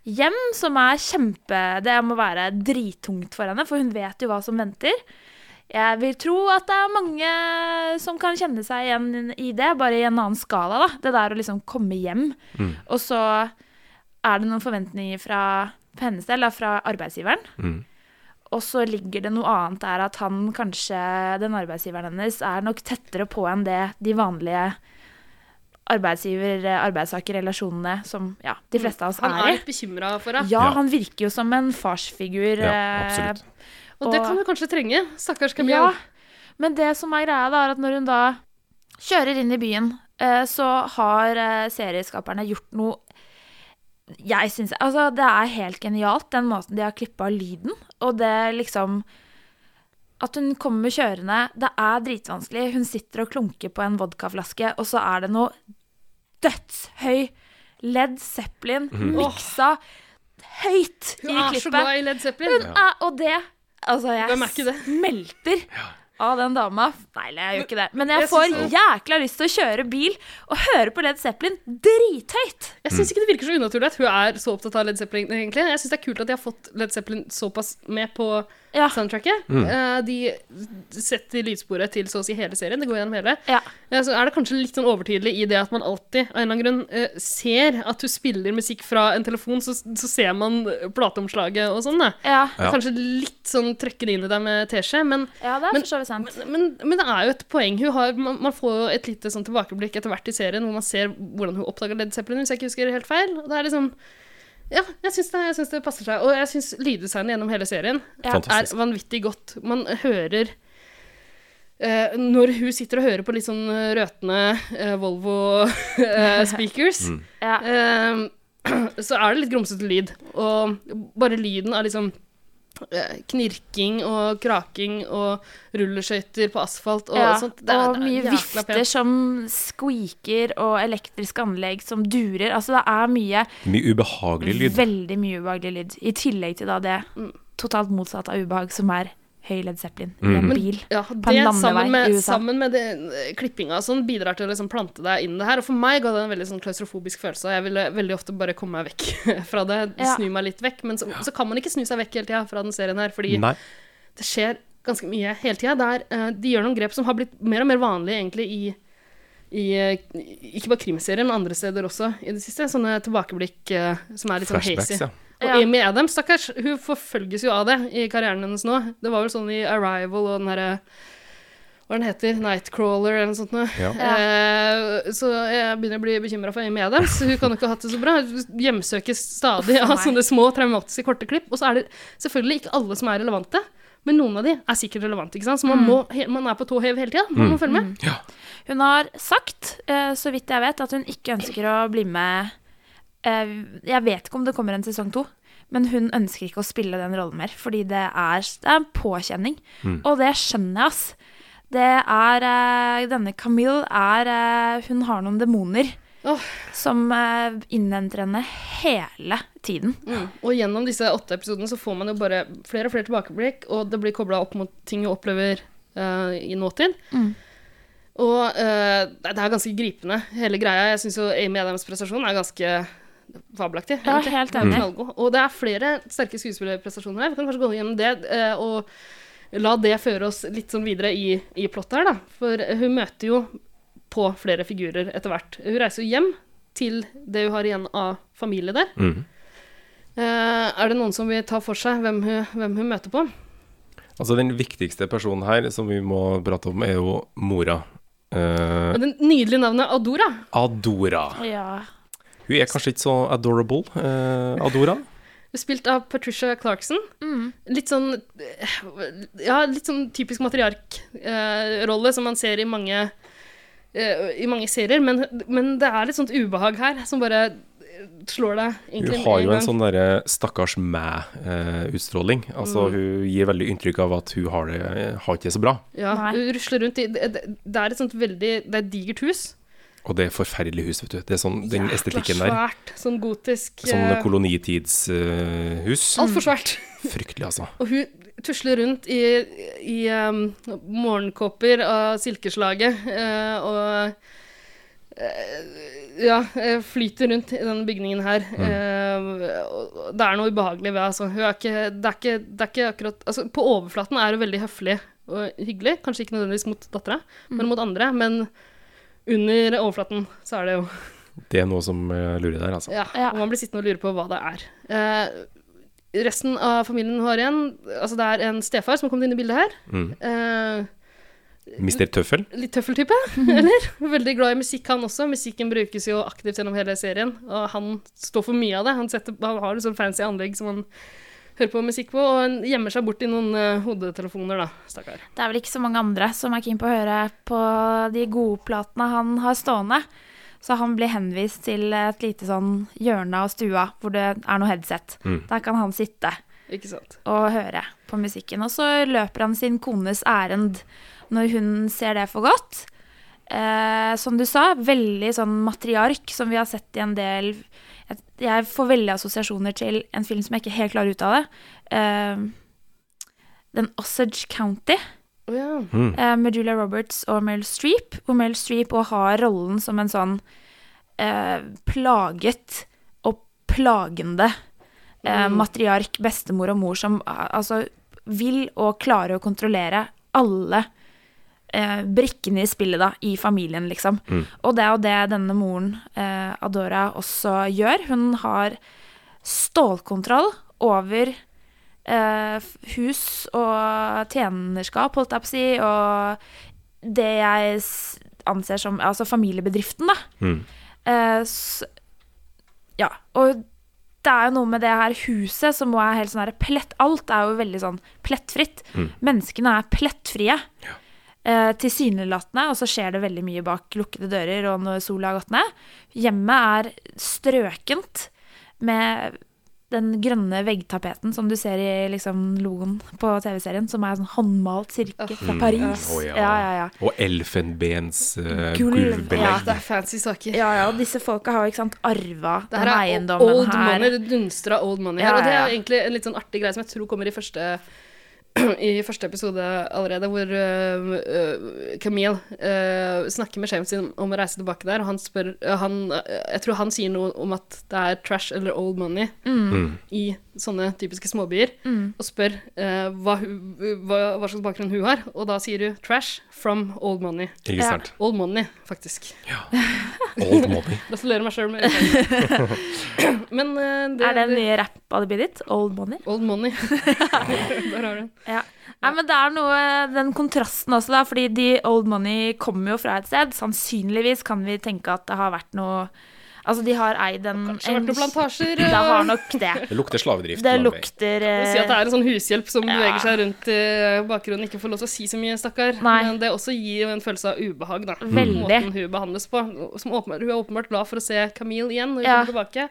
Speaker 2: hjem, som er kjempe Det må være drittungt for henne, for hun vet jo hva som venter. Jeg vil tro at det er mange som kan kjenne seg igjen i det, bare i en annen skala, da. Det der å liksom komme hjem,
Speaker 4: Mm.
Speaker 2: og så er det noen forventninger fra, på hennes del, da, fra arbeidsgiveren.
Speaker 4: Mm.
Speaker 2: Og så ligger det noe annet der at han kanskje, den arbeidsgiveren hennes, er nok tettere på enn det de vanlige arbeidsgiver-arbeidstaker-relasjonene som ja, de fleste av oss
Speaker 3: Han er
Speaker 2: er i.
Speaker 3: litt bekymra for henne.
Speaker 2: Ja,
Speaker 4: Ja.
Speaker 2: han virker jo som en farsfigur.
Speaker 4: Ja,
Speaker 2: eh,
Speaker 4: absolutt.
Speaker 3: Og det
Speaker 2: og-
Speaker 3: kan vi kanskje trenge. Stakkars
Speaker 2: ja,
Speaker 3: Camille.
Speaker 2: men det som er greia, da, er at når hun da kjører inn i byen, eh, så har eh, serieskaperne gjort noe jeg syns Altså, det er helt genialt, den måten de har klippa lyden, og det liksom at hun kommer kjørende, det er dritvanskelig. Hun sitter og klunker på en vodkaflaske, og så er det noe dødshøy Led Zeppelin miksa høyt i
Speaker 3: Hun er så
Speaker 2: klippet.
Speaker 3: glad i Led Zeppelin.
Speaker 2: Hun er, og det Altså, jeg
Speaker 3: Hvem er ikke det?
Speaker 2: smelter av den dama. Nei, jeg gjør ikke det. Men jeg,
Speaker 3: Jeg
Speaker 2: får
Speaker 3: synes det-
Speaker 2: jækla lyst til å kjøre bil og høre på Led Zeppelin drithøyt.
Speaker 3: Jeg syns ikke det virker så unaturlig at hun er så opptatt av Led Zeppelin, egentlig. Jeg syns det er kult at de har fått Led Zeppelin såpass med på
Speaker 2: Ja.
Speaker 3: soundtracket. Eh, de setter lydsporet til så å si hele serien. Det går gjennom hele.
Speaker 2: Ja.
Speaker 3: Ja, så er det kanskje litt sånn overtydelig i det at man alltid av en eller annen grunn eh, ser at du spiller musikk fra en telefon, så, så ser man plateomslaget og sånn. Da.
Speaker 2: Ja,
Speaker 4: Ja.
Speaker 3: Kanskje litt sånn trøkker det inn i deg med teskje, men,
Speaker 2: ja det er
Speaker 3: Men-
Speaker 2: for så vidt sant.
Speaker 3: men, men det er jo et poeng hun har. Man, man får jo et lite sånn tilbakeblikk etter hvert i serien hvor man ser hvordan hun oppdager Led Zeppelin, hvis jeg ikke husker helt feil. Og det er liksom ja, jeg syns det, jeg synes det passer seg. Og jeg syns lyddesignet gjennom hele serien
Speaker 2: Ja.
Speaker 4: Fantastisk.
Speaker 3: er vanvittig godt. Man hører eh, Når hun sitter og hører på litt sånn eh, røtne eh, Volvo-speakers,
Speaker 2: Ja.
Speaker 3: Ehm, så er det litt grumsete lyd. Og bare lyden av liksom eh, knirking og kraking og rulleskøyter på asfalt og
Speaker 2: Ja,
Speaker 3: sånt.
Speaker 2: og mye
Speaker 3: jækla
Speaker 2: vifter
Speaker 3: pent.
Speaker 2: som squeaker, og elektriske anlegg som durer. Altså, det er mye
Speaker 4: Mye ubehagelig lyd.
Speaker 2: veldig mye ubehagelig lyd. I tillegg til da det
Speaker 3: Mm.
Speaker 2: totalt motsatte av ubehag, som er høy Led Zeppelin i en bil
Speaker 3: Ja,
Speaker 2: på en
Speaker 3: det
Speaker 2: landevei
Speaker 3: sammen med,
Speaker 2: i USA.
Speaker 3: sammen med det, eh, klippinga og sånn bidrar til å liksom plante deg inn i det her. Og for meg ga det en veldig sånn klaustrofobisk følelse. og Jeg ville veldig ofte bare komme meg vekk fra det,
Speaker 2: Ja.
Speaker 3: snu meg litt vekk. Men så, så kan man ikke snu seg vekk hele tida fra den serien her, fordi
Speaker 4: Nei.
Speaker 3: det skjer ganske mye hele tida. Der eh, de gjør noen grep som har blitt mer og mer vanlige egentlig i, i eh, ikke bare krimserier, men andre steder også i det siste. Sånne tilbakeblikk eh, som er litt sånn
Speaker 4: Flashbacks,
Speaker 3: hazy.
Speaker 4: ja.
Speaker 3: Og
Speaker 2: Ja.
Speaker 3: Amy Adams, stakkars, hun forfølges jo av det i karrieren hennes nå. Det var vel sånn i Arrival og den herre Hva den heter Nightcrawler eller noe sånt noe.
Speaker 4: Ja.
Speaker 3: Eh, så jeg begynner å bli bekymra for Amy Adams. Hun kan jo ikke ha hatt det så bra. Hun hjemsøkes stadig av
Speaker 2: nei.
Speaker 3: sånne små traumatiske korte klipp. Og så er det selvfølgelig ikke alle som er relevante. Men noen av de er sikkert relevante, ikke sant? så man,
Speaker 2: Mm.
Speaker 3: må, he- man er på tå hev hele tida. Man må følge med.
Speaker 2: Hun har sagt, eh, så vidt jeg vet, at hun ikke ønsker å bli med eh, Jeg vet ikke om det kommer en sesong to, men hun ønsker ikke å spille den rollen mer. Fordi det er, det er en påkjenning. Og det skjønner jeg, ass. Det er eh, Denne Camille er eh, Hun har noen demoner som eh, innhenter henne hele tiden.
Speaker 3: Mm. Og gjennom disse åtte episodene så får man jo bare flere og flere tilbakeblikk, og det blir kobla opp mot ting vi opplever eh, i nåtid.
Speaker 2: Mm.
Speaker 3: Og eh, det er ganske gripende, hele greia. Jeg syns jo Amy Adams' prestasjon er ganske fabelaktig.
Speaker 2: Ja,
Speaker 3: egentlig.
Speaker 2: helt enig.
Speaker 3: Knallgod. Og det er flere sterke skuespillerprestasjoner her. Vi kan kanskje gå gjennom det, eh, og la det føre oss litt sånn videre i, i plottet her, da. For hun møter jo på flere figurer etter hvert. Hun reiser jo hjem til det hun har igjen av familie der.
Speaker 4: Mhm.
Speaker 3: Eh, er det noen som vil ta for seg hvem hun, hvem hun møter på?
Speaker 4: Altså, den viktigste personen her som vi må prate om, er jo mora. Eh,
Speaker 3: Og Det nydelige navnet Adora.
Speaker 4: Adora.
Speaker 2: Ja.
Speaker 4: Hun er kanskje ikke så adorable, eh, Adora.
Speaker 3: Spilt av Patricia Clarkson.
Speaker 2: Mm.
Speaker 3: Litt sånn eh, Ja, litt sånn typisk matriarkrolle som man ser i mange eh, I mange serier, men, men det er litt sånt ubehag her som bare eh, slår deg egentlig
Speaker 4: Hun
Speaker 3: med
Speaker 4: har jo
Speaker 3: gang.
Speaker 4: en sånn derre stakkars meg-utstråling. altså, hun gir veldig inntrykk av at hun har det har ikke det så bra.
Speaker 3: Ja,
Speaker 2: Nei.
Speaker 3: hun rusler rundt i det, det- det er et sånt veldig Det er et digert hus.
Speaker 4: Og det er forferdelig hus, vet du. Det er sånn, den estetikken der.
Speaker 3: Svært, sånn gotisk
Speaker 4: Sånn
Speaker 3: eh,
Speaker 4: kolonitidshus.
Speaker 3: Altfor svært.
Speaker 4: Fryktelig, altså.
Speaker 3: Og hun tusler rundt i, i um, morgenkåper av silkeslaget eh, og eh, ja, eh, flyter rundt i denne bygningen her. Eh, og- og det er noe ubehagelig ved altså. hun. Er ikke, det, er ikke, det er ikke akkurat altså, På overflaten er hun veldig høflig og hyggelig, kanskje ikke nødvendigvis mot dattera, men mot andre. Men under overflaten så er det jo
Speaker 4: Det er noe som eh, lurer der, altså.
Speaker 3: ja,
Speaker 2: Ja.
Speaker 3: og man blir sittende og lure på hva det er. Eh, resten av familien hun har igjen, altså det er en stefar som har kommet inn i bildet her.
Speaker 4: Mm.
Speaker 3: Eh,
Speaker 4: Mr. Tøffel.
Speaker 3: litt tøffeltype, eller? Veldig glad i musikk, han også. Musikken brukes jo aktivt gjennom hele serien, og han står for mye av det. Han, setter, han har et sånt fancy anlegg som han hører på musikk på, og han gjemmer seg bort i noen eh, hodetelefoner, da, stakkar.
Speaker 2: Det er vel ikke så mange andre som er keen på å høre på de gode platene han har stående. Så han blir henvist til et lite sånn hjørne av stua hvor det er noe headset. Der kan han sitte
Speaker 3: Ikke sant.
Speaker 2: og høre på musikken. Og så løper han sin kones ærend når hun ser det for godt. Eh, som du sa, veldig sånn matriark som vi har sett i en del Jeg, jeg får veldig assosiasjoner til en film som jeg ikke helt klarer ut av det. Eh, den Osage County
Speaker 3: Å ja.
Speaker 2: eh, med Julia Roberts og Meryl Streep, hvor Meryl Streep også har rollen som en sånn eh, plaget og plagende eh, matriark, bestemor og mor, som eh, altså vil og klarer å kontrollere alle eh, brikkene i spillet da, i familien, liksom. Og det er jo det denne moren, eh, Adora, også gjør. Hun har stålkontroll over eh, f- hus og tjenerskap, holdt jeg på å si, og det jeg s- anser som altså familiebedriften, da.
Speaker 4: Mm.
Speaker 2: Eh, s- ja, og det er jo noe med det her huset som må er helt sånn her plett Alt er jo veldig sånn plettfritt.
Speaker 4: Mm.
Speaker 2: Menneskene er plettfrie. Eh, Tilsynelatende, og så skjer det veldig mye bak lukkede dører og når sola har gått ned. Hjemmet er strøkent med den grønne veggtapeten som du ser i liksom, logoen på TV-serien, som er sånn håndmalt sirke fra Paris.
Speaker 4: Mm. Å, ja.
Speaker 2: ja, ja, ja.
Speaker 4: Og eh, elfenbensgulvbelegg.
Speaker 2: Ja.
Speaker 3: Det er fancy saker.
Speaker 2: Ja, ja, og disse folka har jo ikke sant arva
Speaker 3: Det
Speaker 2: den
Speaker 3: her er
Speaker 2: eiendommen
Speaker 3: old
Speaker 2: her.
Speaker 3: money, det dunstrer av old money her.
Speaker 2: Ja,
Speaker 3: Og det
Speaker 2: ja,
Speaker 3: er
Speaker 2: ja.
Speaker 3: jo egentlig en litt sånn artig greie som jeg tror kommer i første, i første episode allerede, hvor øh, øh, Camille øh, snakker med sjefen sin om å reise tilbake der, og han spør øh, han, øh, Jeg tror han sier noe om at det er trash eller old money
Speaker 2: Mm.
Speaker 3: i sånne typiske småbyer, og spør øh, hva, hun- hva, hva slags bakgrunn hun har, og da sier hun trash from old money.
Speaker 4: Ikke sant.
Speaker 3: Old money, faktisk.
Speaker 4: Old money.
Speaker 3: Gratulerer meg sjøl med det. Men øh, det
Speaker 2: Er det en ny rapp-alibi ditt? Old money?
Speaker 3: Old money. Der har du den.
Speaker 2: Nei, men det er noe, den kontrasten også, da, fordi de old money kommer jo fra et sted. Sannsynligvis kan vi tenke at det har vært noe Altså, de har eid en
Speaker 3: Kanskje vært noen plantasjer.
Speaker 2: Det
Speaker 3: og-
Speaker 2: har nok det.
Speaker 4: Det lukter slavedrift.
Speaker 2: Det
Speaker 4: langt vei.
Speaker 2: lukter
Speaker 3: Jeg vil Si at det
Speaker 2: eh,
Speaker 3: er en sånn hushjelp som
Speaker 2: Ja.
Speaker 3: beveger seg rundt i bakgrunnen, ikke får lov til å si så mye, stakkar.
Speaker 2: Nei. Mm.
Speaker 3: Men det også gir jo en følelse av ubehag, da.
Speaker 2: Veldig.
Speaker 3: Måten hun behandles på. Som åpenbart, hun er åpenbart glad for å se Camille igjen når hun
Speaker 2: Ja.
Speaker 3: kommer tilbake.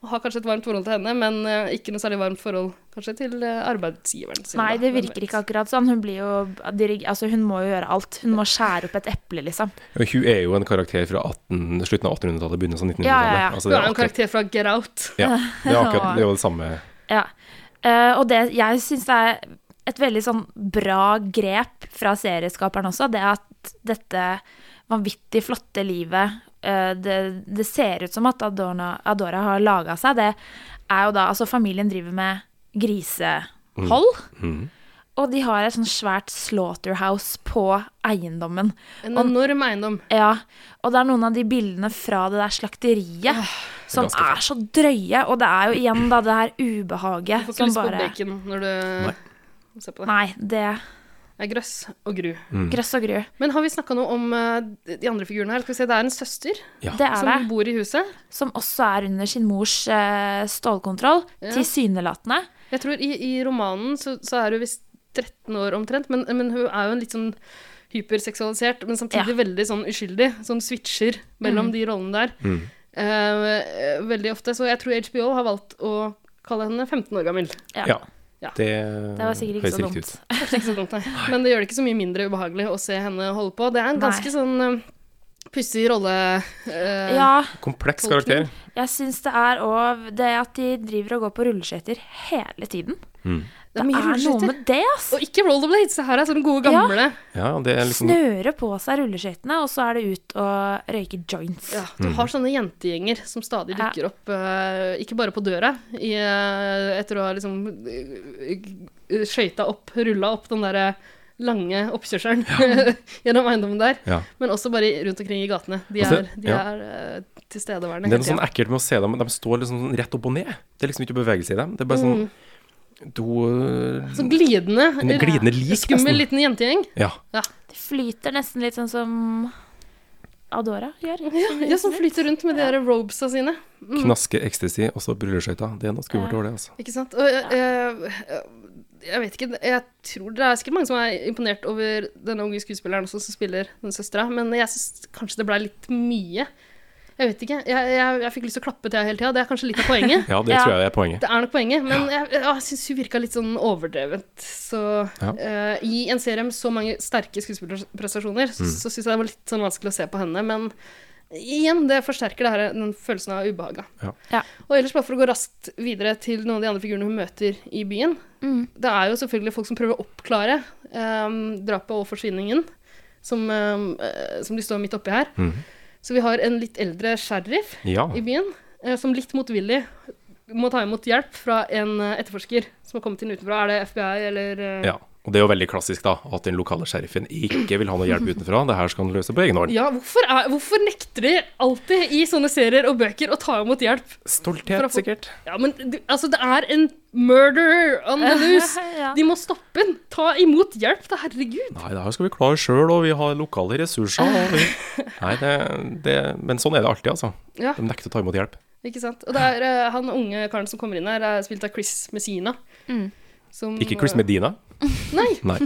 Speaker 3: og har kanskje et varmt forhold til henne, men eh, ikke noe særlig varmt forhold kanskje til eh, arbeidsgiveren sin.
Speaker 2: Nei,
Speaker 3: da.
Speaker 2: det
Speaker 3: Hvem vet.
Speaker 2: virker ikke akkurat sånn. Hun blir jo dirige- Altså, hun må jo gjøre alt. Hun må skjære opp et eple, liksom.
Speaker 4: Hun er jo en karakter fra 18, slutten av 1800-tallet, begynnelsen av 1900-tallet.
Speaker 2: Ja, ja, ja.
Speaker 4: Altså,
Speaker 3: Hun
Speaker 4: det
Speaker 3: er
Speaker 4: er
Speaker 3: jo en
Speaker 4: akkurat,
Speaker 3: karakter fra Get Out.
Speaker 4: ja, det er akkurat det, er jo det samme.
Speaker 2: Ja. Eh, og det jeg syns er et veldig sånn bra grep fra serieskaperen også, det er at dette vanvittig flotte livet eh, det, det ser ut som at Adorna, Adora har laga seg. Det er jo da Altså, familien driver med grisehold. Og de har et sånn svært slaughterhouse på eiendommen.
Speaker 3: En enorm eiendom.
Speaker 2: Ja, og det er noen av de bildene fra det der slakteriet som
Speaker 4: ganske
Speaker 2: er så drøye. Og det er jo igjen da det her ubehaget
Speaker 3: Du får ikke
Speaker 2: som
Speaker 3: lyst på
Speaker 2: bare
Speaker 3: bacon når du ser på det.
Speaker 2: Nei, det
Speaker 3: Det er grøss og gru.
Speaker 4: Mm.
Speaker 2: Grøss og gru.
Speaker 3: Men har vi snakka noe om eh, de andre figurene her? Skal vi se, Det er en søster
Speaker 4: Ja.
Speaker 2: Det er
Speaker 3: som
Speaker 2: det.
Speaker 3: bor i huset.
Speaker 2: Som også er under sin mors eh, stålkontroll, tilsynelatende.
Speaker 3: Jeg tror i, i romanen så, så er hun visst 13 år omtrent, men, men hun er jo en litt sånn hyperseksualisert, men samtidig veldig sånn uskyldig. Sånn switcher
Speaker 2: Mm.
Speaker 3: mellom de rollene der. Eh, eh, veldig ofte. Så jeg tror HBO har valgt å kalle henne 15 år gammel.
Speaker 2: Ja.
Speaker 4: Ja.
Speaker 3: Ja.
Speaker 4: Det,
Speaker 2: Det var sikkert ikke
Speaker 4: høres
Speaker 2: så
Speaker 4: riktig
Speaker 2: dumt.
Speaker 4: ut.
Speaker 3: Kanskje ikke så dumt, nei. Men det gjør det ikke så mye mindre ubehagelig å se henne holde på. Det er en
Speaker 2: Nei.
Speaker 3: ganske sånn eh, pussig rolle eh,
Speaker 2: Ja,
Speaker 4: Kompleks karakter.
Speaker 2: jeg syns det er òg det at de driver og går på rulleskøyter hele tiden.
Speaker 3: Det
Speaker 2: Det
Speaker 3: er
Speaker 2: er,
Speaker 3: mye
Speaker 2: noe
Speaker 3: rulleskøyter.
Speaker 2: med det, ass.
Speaker 3: Og ikke rollerblades. Det her er sånne gode gamle.
Speaker 4: Ja, det er liksom
Speaker 2: Snøre på seg rulleskøytene, og så er det ut og røyke joints.
Speaker 3: Ja, du
Speaker 4: Mhm.
Speaker 3: har sånne jentegjenger som stadig
Speaker 2: Ja.
Speaker 3: dukker opp, eh, ikke bare på døra, i, eh, etter å ha liksom eh, skøyta opp, rulla opp den derre lange oppkjørselen gjennom eiendommen der,
Speaker 4: Ja.
Speaker 3: men også bare i- rundt omkring i gatene. De
Speaker 4: Altså,
Speaker 3: er, de
Speaker 4: ja.
Speaker 3: er eh, tilstedeværende.
Speaker 4: Det er
Speaker 3: hele
Speaker 4: noe sånn
Speaker 3: tiden.
Speaker 4: ekkelt med å se dem. De står liksom sånn rett opp og ned. Det er liksom ikke bevegelse i dem. Det er bare sånn do...
Speaker 3: sånn glidende, eh,
Speaker 4: En glidende lik,
Speaker 3: skummel
Speaker 4: nesten.
Speaker 3: liten jentegjeng.
Speaker 4: Ja.
Speaker 2: De flyter nesten litt sånn som Adora gjør.
Speaker 3: Ja, ja, som flyter rundt med de der robesa sine.
Speaker 4: Knaske, ecstasy og så brulleskøyta. Det er noe skummelt over det, altså.
Speaker 3: Ikke sant? Og eh, eh, jeg vet ikke, jeg tror det er sikkert mange som er imponert over denne unge skuespilleren også, som spiller den søstera, men jeg syns kanskje det ble litt mye. Jeg vet ikke. Jeg, jeg, jeg fikk lyst til å klappe til henne hele tida. Det er kanskje litt av poenget.
Speaker 4: Ja, det
Speaker 2: Ja.
Speaker 4: tror jeg er poenget.
Speaker 3: Det er nok poenget, men jeg, jeg syns hun virka litt sånn overdrevet. Så
Speaker 4: Ja.
Speaker 3: eh, i en serie med så mange sterke skuespillerprestasjoner,
Speaker 4: Mm.
Speaker 3: så, så syns jeg det var litt sånn vanskelig å se på henne. Men igjen, det forsterker det her, den følelsen av ubehaga.
Speaker 4: Ja.
Speaker 2: Ja.
Speaker 3: Og ellers, bare for å gå raskt videre til noen av de andre figurene hun møter i byen. Det er jo selvfølgelig folk som prøver å oppklare eh, drapet og forsvinningen, som, eh, eh, som de står midt oppi her.
Speaker 4: Mm.
Speaker 3: Så vi har en litt eldre sheriff
Speaker 4: Ja.
Speaker 3: i byen, eh, som litt motvillig må ta imot hjelp fra en eh, etterforsker som har kommet inn utenfra. Er det FBI eller eh,
Speaker 4: ja. Og det er jo veldig klassisk, da, at den lokale sheriffen ikke vil ha noe hjelp utenfra. Det her skal han løse på egen hånd.
Speaker 3: Ja, hvorfor, er, hvorfor nekter de alltid i sånne serier og bøker å ta imot hjelp?
Speaker 4: Stolthet,
Speaker 3: For å få-
Speaker 4: sikkert.
Speaker 3: Ja, men du- altså, det er en murder on the loose.
Speaker 2: Ja.
Speaker 3: De må stoppe den. Ta imot hjelp, da, herregud.
Speaker 4: Nei, det her skal vi klare sjøl, og vi har lokale ressurser. Og vi... Nei, det, det... Men sånn er det alltid, altså.
Speaker 3: Ja.
Speaker 4: De nekter å ta imot hjelp.
Speaker 3: Ikke sant? Og det er eh, han unge karen som kommer inn her, er spilt av Chris Messina. Som,
Speaker 4: Ikke Chris
Speaker 3: eh,
Speaker 4: Medina.
Speaker 3: Nei,
Speaker 4: Nei.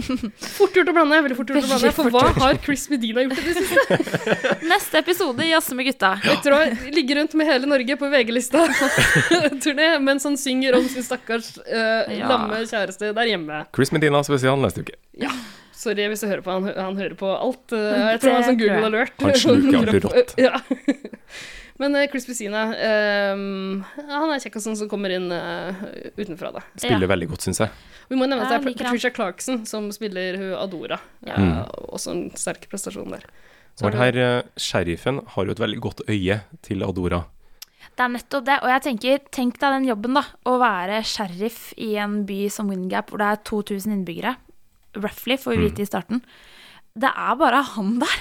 Speaker 3: fort gjort å blande. Veldig fort gjort å
Speaker 2: Veldig
Speaker 3: blande. For hva har Chris Medina gjort i det siste?
Speaker 2: Neste episode i Jazze med gutta.
Speaker 3: Etter å ligge rundt med hele Norge på VG-lista turné mens han synger om sin stakkars eh,
Speaker 2: Ja.
Speaker 3: lamme kjæreste der hjemme.
Speaker 4: Chris Medina spesial neste uke.
Speaker 3: Sorry hvis du hører på. Han, han hører på alt. eh, Jeg
Speaker 2: Det
Speaker 3: tror han har sånn
Speaker 2: tror jeg.
Speaker 3: Google alert.
Speaker 4: Han sluker alt rått.
Speaker 3: Ja. Men eh, Chris Pessina, ehm, han er kjekk og sånn som kommer inn eh, utenfra, da.
Speaker 4: Spiller veldig godt, syns jeg.
Speaker 3: Vi må nevne at det
Speaker 2: Ja,
Speaker 3: er
Speaker 2: liker han.
Speaker 3: Patricia Clarkson som spiller hun Adora. Eh,
Speaker 4: Mm.
Speaker 3: Også en sterk prestasjon der. Så
Speaker 4: Og den
Speaker 3: har
Speaker 4: her eh, sheriffen har jo et veldig godt øye til Adora.
Speaker 2: Det er nettopp det. Og jeg tenker, tenk deg den jobben, da. Å være sheriff i en by som Windgap, hvor det er 2000 innbyggere. Roughly, får vi vite i starten. Det er bare han der.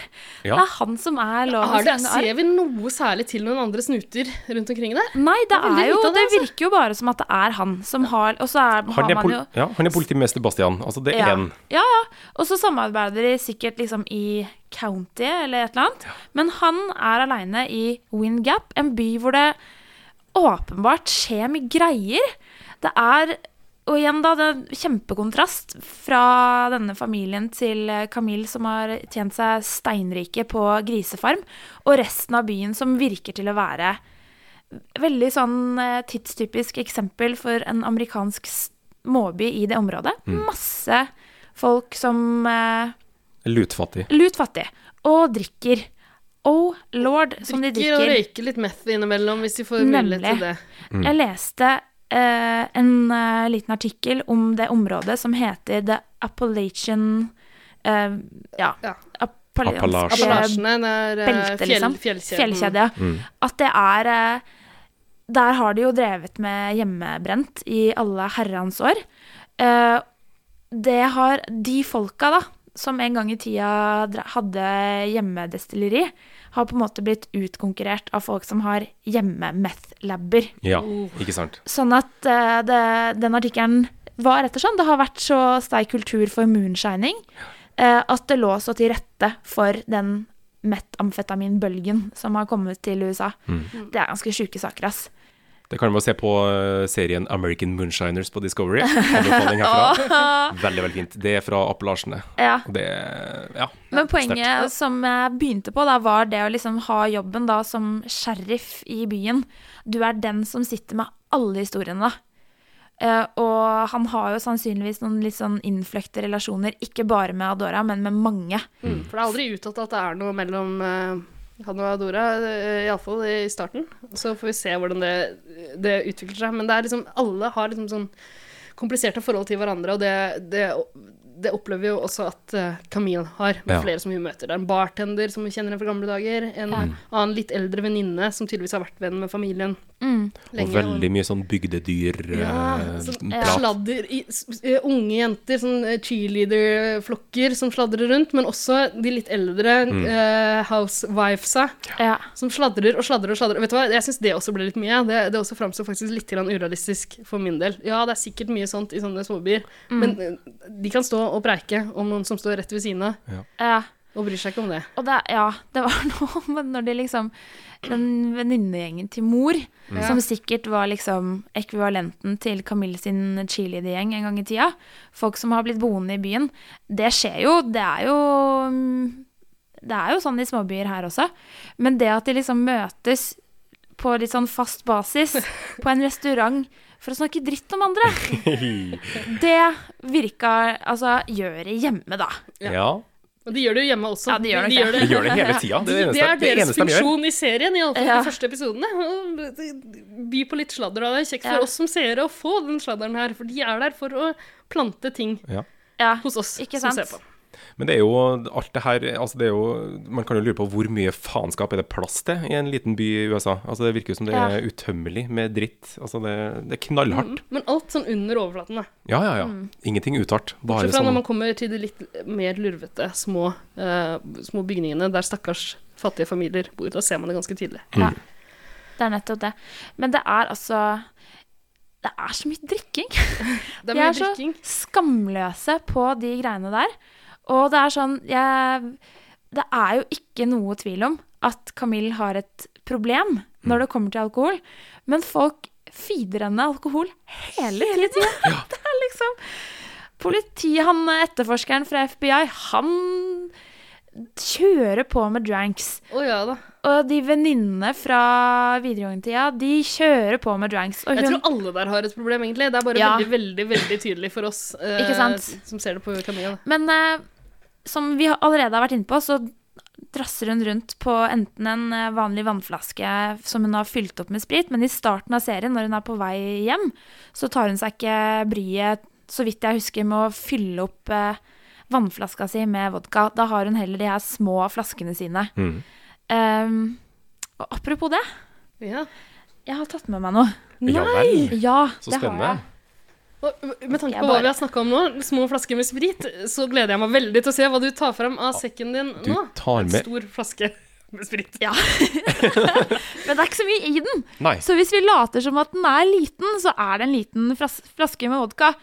Speaker 4: Ja.
Speaker 2: Det er han som er
Speaker 3: du- Har
Speaker 2: lovens
Speaker 3: det,
Speaker 2: lange arm.
Speaker 3: ser vi noe særlig til noen andre snuter rundt omkring der?
Speaker 2: Nei, det,
Speaker 3: veldig
Speaker 2: er jo,
Speaker 3: lite av
Speaker 2: det
Speaker 3: det, altså.
Speaker 2: virker jo bare som at det er han som har Og så er, har
Speaker 4: Han er,
Speaker 2: man
Speaker 4: pol
Speaker 2: jo
Speaker 4: ja, han er politimester Bastian. Altså, det er
Speaker 2: ja.
Speaker 4: en
Speaker 2: ja, ja. Og så samarbeider de sikkert liksom i county eller et eller annet. Men han er aleine i Windgap, en by hvor det åpenbart skjer mye greier. Det er og igjen da, det er en kjempekontrast fra denne familien til eh, Camille, som har tjent seg steinrike på grisefarm, og resten av byen som virker til å være veldig sånn eh, tidstypisk eksempel for en amerikansk småby i det området.
Speaker 4: Mm.
Speaker 2: Masse folk som eh,
Speaker 4: Lutfattig.
Speaker 2: lut fattig og drikker. Oh lord, som de
Speaker 3: Drikker og
Speaker 2: drikker.
Speaker 3: røyker litt meth innimellom hvis de får mulighet
Speaker 2: Nemlig.
Speaker 3: til det.
Speaker 4: Mm.
Speaker 2: Jeg leste eh, en eh, liten artikkel om det området som heter The Appalachian eh, Ja,
Speaker 3: Ja.
Speaker 2: Appalachian-
Speaker 4: Appalachian.
Speaker 3: Appalachene, det er eh,
Speaker 2: belte,
Speaker 3: fjell,
Speaker 2: liksom.
Speaker 3: fjellkjeden.
Speaker 2: Fjellkjede, ja.
Speaker 4: Mm.
Speaker 2: At det er eh, Der har de jo drevet med hjemmebrent i alle herrens år. Eh, Det har de folka, da, som en gang i tida dra- hadde hjemmedestilleri, har på en måte blitt utkonkurrert av folk som har hjemme-meth-labber.
Speaker 4: Ja, ikke sant.
Speaker 2: Sånn at eh, det, den artikkelen var rett og slett Det har vært så sterk kultur for moonshining eh, at det lå så til rette for den metamfetaminbølgen som har kommet til USA.
Speaker 4: Mm.
Speaker 2: Det er ganske sjuke saker, ass.
Speaker 4: Det kan man se på eh, serien American Moonshiners på Discovery. Anbefaling herfra. Veldig, veldig fint. Det er fra Appellasjene.
Speaker 2: Ja.
Speaker 4: Og Det Ja.
Speaker 2: Men
Speaker 4: sterkt.
Speaker 2: poenget som jeg begynte på, da, var det å liksom ha jobben da som sheriff i byen. Du er den som sitter med alle historiene, da. Eh, og han har jo sannsynligvis noen litt sånn innfløkte relasjoner, ikke bare med Adora, men med mange.
Speaker 3: Mm. For det er aldri uttalt at det er noe mellom eh, han og Adora, eh, iallfall i starten. Så får vi se hvordan det, det utvikler seg. Men det er liksom, alle har liksom sånn kompliserte forhold til hverandre, og det, det, det opplever vi jo også at eh, Camille har, med
Speaker 4: Ja.
Speaker 3: flere som hun møter. Det er en bartender som hun kjenner fra gamle dager, en
Speaker 4: Mm.
Speaker 3: annen litt eldre venninne som tydeligvis har vært venn med familien
Speaker 2: Mm.
Speaker 4: Og
Speaker 3: lenge.
Speaker 4: veldig mye sånn
Speaker 2: Eh,
Speaker 3: Ja,
Speaker 4: bygdedyr-prat.
Speaker 3: sånn sladder i, s- s- eh, Unge jenter, sånn eh, cheerleader-flokker som sladrer rundt, men også de litt eldre eh, housewivesa
Speaker 2: Ja.
Speaker 3: som sladrer og sladrer og sladrer. Vet du hva, jeg syns det også ble litt mye. Det, det også framstår faktisk litt grann urealistisk for min del. Ja, det er sikkert mye sånt i sånne småbyer,
Speaker 2: Mm.
Speaker 3: men eh, de kan stå og preike om noen som står rett ved siden av,
Speaker 2: ja.
Speaker 3: og bryr seg ikke om det.
Speaker 2: Og det, ja, det var noe med når de liksom Den venninnegjengen til mor, som sikkert var liksom ekvivalenten til Camille sin cheerleadergjeng en gang i tida. Folk som har blitt boende i byen. Det skjer jo. Det er jo mm, Det er jo sånn i småbyer her også. Men det at de liksom møtes på litt sånn fast basis på en restaurant for å snakke dritt om andre, det virka Altså, gjør det hjemme, da.
Speaker 4: Ja.
Speaker 3: Men de gjør det jo hjemme også.
Speaker 2: Ja, de gjør nok
Speaker 3: de,
Speaker 2: det.
Speaker 3: gjør
Speaker 4: De gjør det hele tida. Det er det
Speaker 3: Det er
Speaker 4: eneste, det
Speaker 3: deres
Speaker 4: eneste de gjør.
Speaker 3: funksjon i serien, iallfall
Speaker 2: Ja.
Speaker 3: de første episodene. By på litt sladder, og det er kjekt
Speaker 2: Ja.
Speaker 3: for oss som seere å få den sladderen her, for de er der for å plante ting
Speaker 2: Ja.
Speaker 3: hos oss
Speaker 2: Ikke
Speaker 3: som
Speaker 2: sant?
Speaker 3: ser på.
Speaker 4: Men det er jo alt det her altså det er jo, Man kan jo lure på hvor mye faenskap er det plass til i en liten by i USA. Altså Det virker jo som det er utømmelig med dritt. Altså Det, det er knallhardt.
Speaker 3: Men alt sånn under overflaten, da.
Speaker 4: Ja, ja, ja. Ingenting utart. Bare
Speaker 3: Mm. Bortsett fra når
Speaker 4: sånn
Speaker 3: man kommer til de litt mer lurvete, små, eh, små bygningene der stakkars fattige familier bor. Da ser man det ganske tidlig.
Speaker 2: Det er nettopp det. Men det er altså Det er så mye drikking.
Speaker 3: Det er
Speaker 2: De
Speaker 3: mye
Speaker 2: er så
Speaker 3: drikking.
Speaker 2: skamløse på de greiene der. Og det er sånn jeg, Det er jo ikke noe tvil om at Camille har et problem når det kommer til alkohol. Men folk feeder henne alkohol hele, hele tida. Det er liksom Politi, han etterforskeren fra FBI, han kjører på med dranks.
Speaker 3: Å ja da.
Speaker 2: Og de venninnene fra videregående-tida, de kjører på med dranks. Og
Speaker 3: Jeg
Speaker 2: hun,
Speaker 3: tror alle der har et problem, egentlig. Det er bare
Speaker 2: Ja.
Speaker 3: veldig, veldig veldig tydelig for oss eh,
Speaker 2: Ikke sant?
Speaker 3: som ser det på Camilla.
Speaker 2: Men eh, som vi har- allerede har vært inne på, så drasser hun rundt på enten en eh, vanlig vannflaske som hun har fylt opp med sprit, men i starten av serien, når hun er på vei hjem, så tar hun seg ikke bryet, så vidt jeg husker, med å fylle opp eh, vannflaska si med vodka. Da har hun heller de her små flaskene sine.
Speaker 4: Mhm.
Speaker 2: Eh, og apropos det,
Speaker 3: Ja.
Speaker 2: jeg har tatt med meg noe.
Speaker 4: Ja vel.
Speaker 2: Ja,
Speaker 4: Så
Speaker 2: det har
Speaker 4: spennende.
Speaker 2: jeg.
Speaker 3: Og med tanke
Speaker 2: Jeg
Speaker 3: på hva
Speaker 2: bare-
Speaker 3: vi har snakka om nå, små flasker med sprit, så gleder jeg meg veldig til å se hva du tar fram av sekken din
Speaker 4: Du
Speaker 3: nå.
Speaker 4: tar
Speaker 3: En
Speaker 4: med
Speaker 3: stor flaske med sprit.
Speaker 2: Ja. Men det er ikke så mye i den.
Speaker 4: Nei.
Speaker 2: Så hvis vi later som at den er liten, så er det en liten flas flaske med vodka.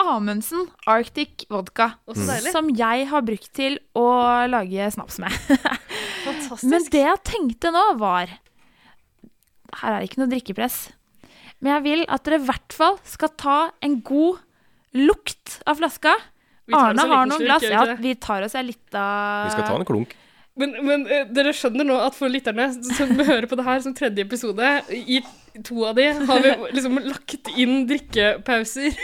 Speaker 2: Amundsen Arctic Vodka,
Speaker 3: Å, så deilig.
Speaker 2: som jeg har brukt til å lage snaps med.
Speaker 3: Fantastisk.
Speaker 2: Men det jeg tenkte nå, var Her er det ikke noe drikkepress. Men jeg vil at dere i hvert fall skal ta en god lukt av flaska.
Speaker 3: Vi tar oss en
Speaker 2: Arne har
Speaker 3: liten
Speaker 2: noen
Speaker 3: slurk,
Speaker 2: glass.
Speaker 3: gjør vi
Speaker 2: Ja,
Speaker 3: ikke det?
Speaker 2: vi tar oss en lita
Speaker 4: Vi skal ta en klunk.
Speaker 3: Men, men eh, dere skjønner nå at for lytterne som hører på det her som tredje episode, i to av de har vi liksom lagt inn drikkepauser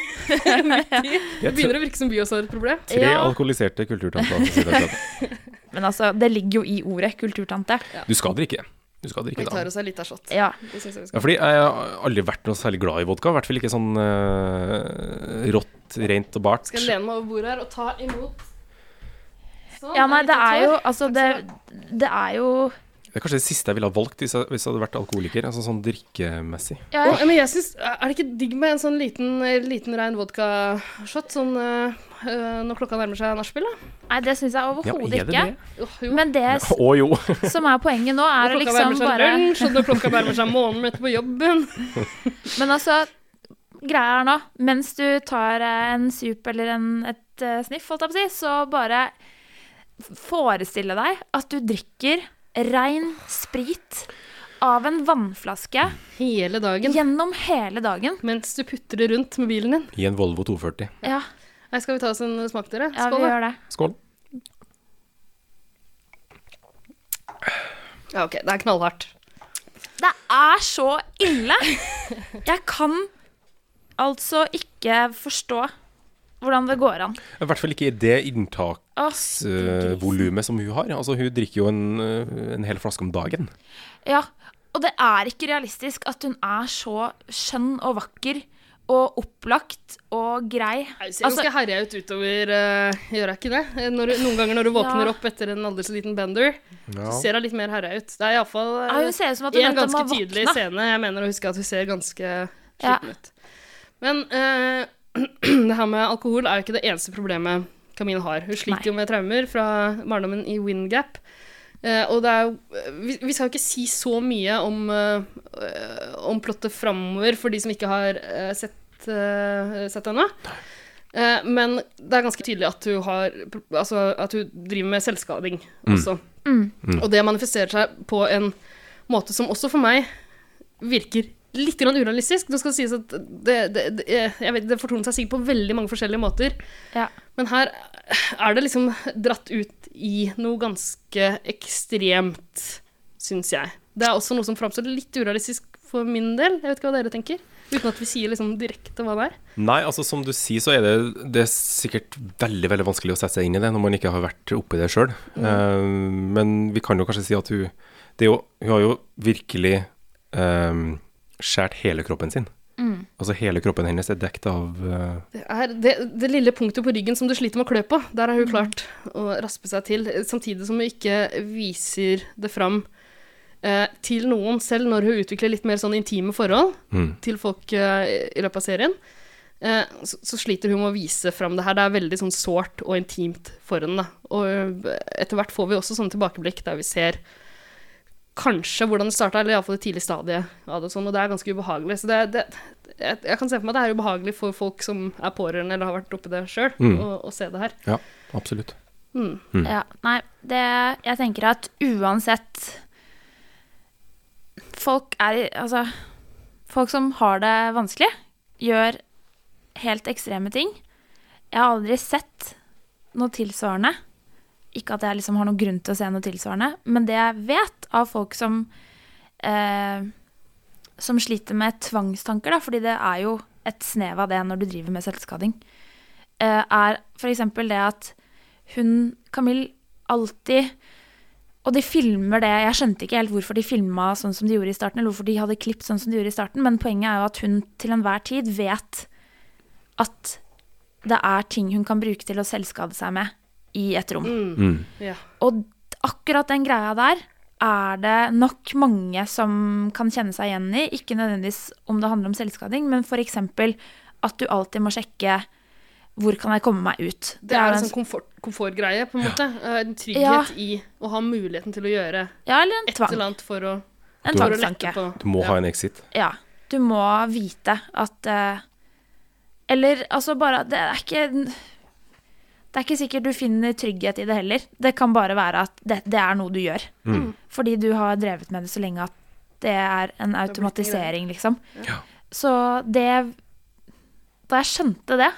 Speaker 3: midt i. Det begynner å virke som vi også har et problem.
Speaker 4: Tre alkoholiserte kulturtanter. som sitter akkurat.
Speaker 2: Men altså, det ligger jo i ordet kulturtante.
Speaker 4: Du skal drikke. Du skal drikke
Speaker 3: Vi
Speaker 4: da.
Speaker 3: tar oss en liten shot.
Speaker 2: Ja.
Speaker 3: Det synes jeg vi
Speaker 4: Ja,
Speaker 3: skal.
Speaker 4: fordi jeg har aldri vært noe særlig glad i vodka. I hvert fall ikke sånn eh, rått, rent og bart.
Speaker 3: Skal jeg lene meg over bordet her og ta imot. Sånn,
Speaker 2: ja, nei,
Speaker 3: litt
Speaker 2: det er jo
Speaker 3: tørr.
Speaker 2: Altså, det, det er jo
Speaker 4: Det er kanskje det siste jeg ville ha valgt hvis jeg, hvis jeg hadde vært alkoholiker. Altså sånn drikkemessig.
Speaker 2: ja,
Speaker 3: Å, men jeg synes, Er det ikke digg med en sånn liten, liten rein vodka-shot sånn, eh, eh, når klokka nærmer seg nachspiel? da?
Speaker 2: Nei, det syns jeg
Speaker 4: Ja,
Speaker 2: overhodet
Speaker 4: er det
Speaker 2: ikke.
Speaker 4: det?
Speaker 3: Jo, jo.
Speaker 2: Men det s-
Speaker 4: Å jo.
Speaker 2: som er poenget nå, er å
Speaker 3: Når klokka
Speaker 2: liksom
Speaker 3: nærmer seg
Speaker 2: bare
Speaker 3: lunsj, og når klokka nærmer seg morgenen etter på jobben.
Speaker 2: Men altså, greia er nå Mens du tar eh, en sup eller en, et eh, sniff, holdt jeg på å si, så bare f- forestille deg at du drikker rein sprit av en vannflaske
Speaker 3: Hele dagen.
Speaker 2: gjennom hele dagen.
Speaker 3: Mens du putter det rundt med bilen din.
Speaker 4: I en Volvo 240.
Speaker 2: Ja,
Speaker 3: Nei, skal vi ta oss en smak, dere?
Speaker 2: ja vi gjør det.
Speaker 4: Skål.
Speaker 3: Ja, ok, det er knallhardt.
Speaker 2: Det er så ille! Jeg kan altså ikke forstå hvordan det går an.
Speaker 4: I hvert fall ikke i det
Speaker 2: Åh,
Speaker 4: inntaksvolumet som hun har. Altså, hun drikker jo en, eh, en hel flaske om dagen.
Speaker 2: Ja, og det er ikke realistisk at hun er så skjønn og vakker og opplagt og grei.
Speaker 3: Nei, Hun ser ganske
Speaker 2: Altså-
Speaker 3: herja ut utover, eh, gjør hun ikke det? Eh, Når, du- noen ganger når du våkner
Speaker 2: Ja.
Speaker 3: opp etter en aldri så liten bender, så ser hun litt mer herja ut. Det er iallfall eh,
Speaker 2: Ja, hun ser ut som at hun
Speaker 3: en
Speaker 2: nettopp
Speaker 3: ganske
Speaker 2: har
Speaker 3: tydelig
Speaker 2: våkna.
Speaker 3: scene. Jeg mener å huske at hun ser ganske
Speaker 2: Ja.
Speaker 3: sliten ut. Men eh, det her med alkohol er jo ikke det eneste problemet Camille har. Hun sliter
Speaker 2: Nei.
Speaker 3: jo med traumer fra barndommen i Windgap. Eh, og det er jo vi, vi skal jo ikke si så mye om, eh, eh, om plottet framover for de som ikke har eh, sett, eh, sett ennå. Eh, men det er ganske tydelig at hun, har, altså, at hun driver med selvskading
Speaker 2: Mm.
Speaker 3: også. Og det manifesterer seg på en måte som også for meg virker litt grann urealistisk. Det skal sies at det, det, det, jeg vet, det fortoner seg sikkert på veldig mange forskjellige måter.
Speaker 2: Ja.
Speaker 3: Men her er det liksom dratt ut i noe ganske ekstremt, syns jeg. Det er også noe som framstår litt urealistisk for min del. Jeg vet ikke hva dere tenker. Uten at vi sier liksom direkte hva det er.
Speaker 4: Nei, altså som du sier, så er det, det er sikkert veldig veldig vanskelig å sette seg inn i det når man ikke har vært oppi det sjøl. men vi kan jo kanskje si at hun det er jo, Hun har jo virkelig um, skåret hele kroppen sin.
Speaker 3: Mm.
Speaker 4: Altså hele kroppen hennes er dekt av eh,
Speaker 3: Det, er det, det lille punktet på ryggen som du sliter med å klø på, der har hun klart å raspe seg til, samtidig som hun ikke viser det fram eh, til noen, selv når hun utvikler litt mer sånn intime forhold
Speaker 4: Mm.
Speaker 3: til folk eh, i løpet av serien. Eh, så, så sliter hun med å vise fram det her. Det er veldig sånn sårt og intimt for henne. Da. Og eh, etter hvert får vi også sånne tilbakeblikk der vi ser kanskje hvordan det starta, eller iallfall det tidlige stadiet av det, og sånn, og det er ganske ubehagelig. Så det, det, jeg, jeg kan se for meg at det er ubehagelig for folk som er pårørende eller har vært oppi det sjøl,
Speaker 4: Mm.
Speaker 3: å, å se det her.
Speaker 4: Ja, absolutt.
Speaker 3: Mm.
Speaker 2: Ja, nei, det, jeg tenker at uansett Folk er i- Altså, folk som har det vanskelig, gjør helt ekstreme ting. Jeg har aldri sett noe tilsvarende. Ikke at jeg liksom har noen grunn til å se noe tilsvarende, men det jeg vet av folk som eh, Som sliter med tvangstanker, da, fordi det er jo et snev av det når du driver med selvskading, eh, er f.eks. det at hun, Camille, alltid Og de filmer det Jeg skjønte ikke helt hvorfor de filma sånn som de gjorde i starten, eller hvorfor de hadde klipp sånn som de gjorde i starten, men poenget er jo at hun til enhver tid vet at det er ting hun kan bruke til å selvskade seg med i et rom.
Speaker 3: Mm. Ja.
Speaker 2: Og d- akkurat den greia der er det nok mange som kan kjenne seg igjen i. Ikke nødvendigvis om det handler om selvskading, men f.eks. at du alltid må sjekke hvor kan jeg komme meg ut.
Speaker 3: Det er en
Speaker 2: en
Speaker 3: sånn komfort, komfortgreie, på en måte. Eh, En
Speaker 2: Ja.
Speaker 3: trygghet i å ha muligheten til å gjøre
Speaker 2: Ja, eller en
Speaker 3: et
Speaker 2: tvang.
Speaker 3: eller annet for å,
Speaker 2: En
Speaker 3: for å lette
Speaker 2: tvangstanke.
Speaker 3: på
Speaker 4: Du må
Speaker 3: Ja.
Speaker 4: ha en exit.
Speaker 2: Ja. Du må vite at eh, Eller altså bare Det er ikke Det er ikke sikkert du finner trygghet i det heller. Det kan bare være at det, det er noe du gjør. Fordi du har drevet med det så lenge at det er en automatisering, liksom.
Speaker 4: Ja.
Speaker 2: Så det Da jeg skjønte det,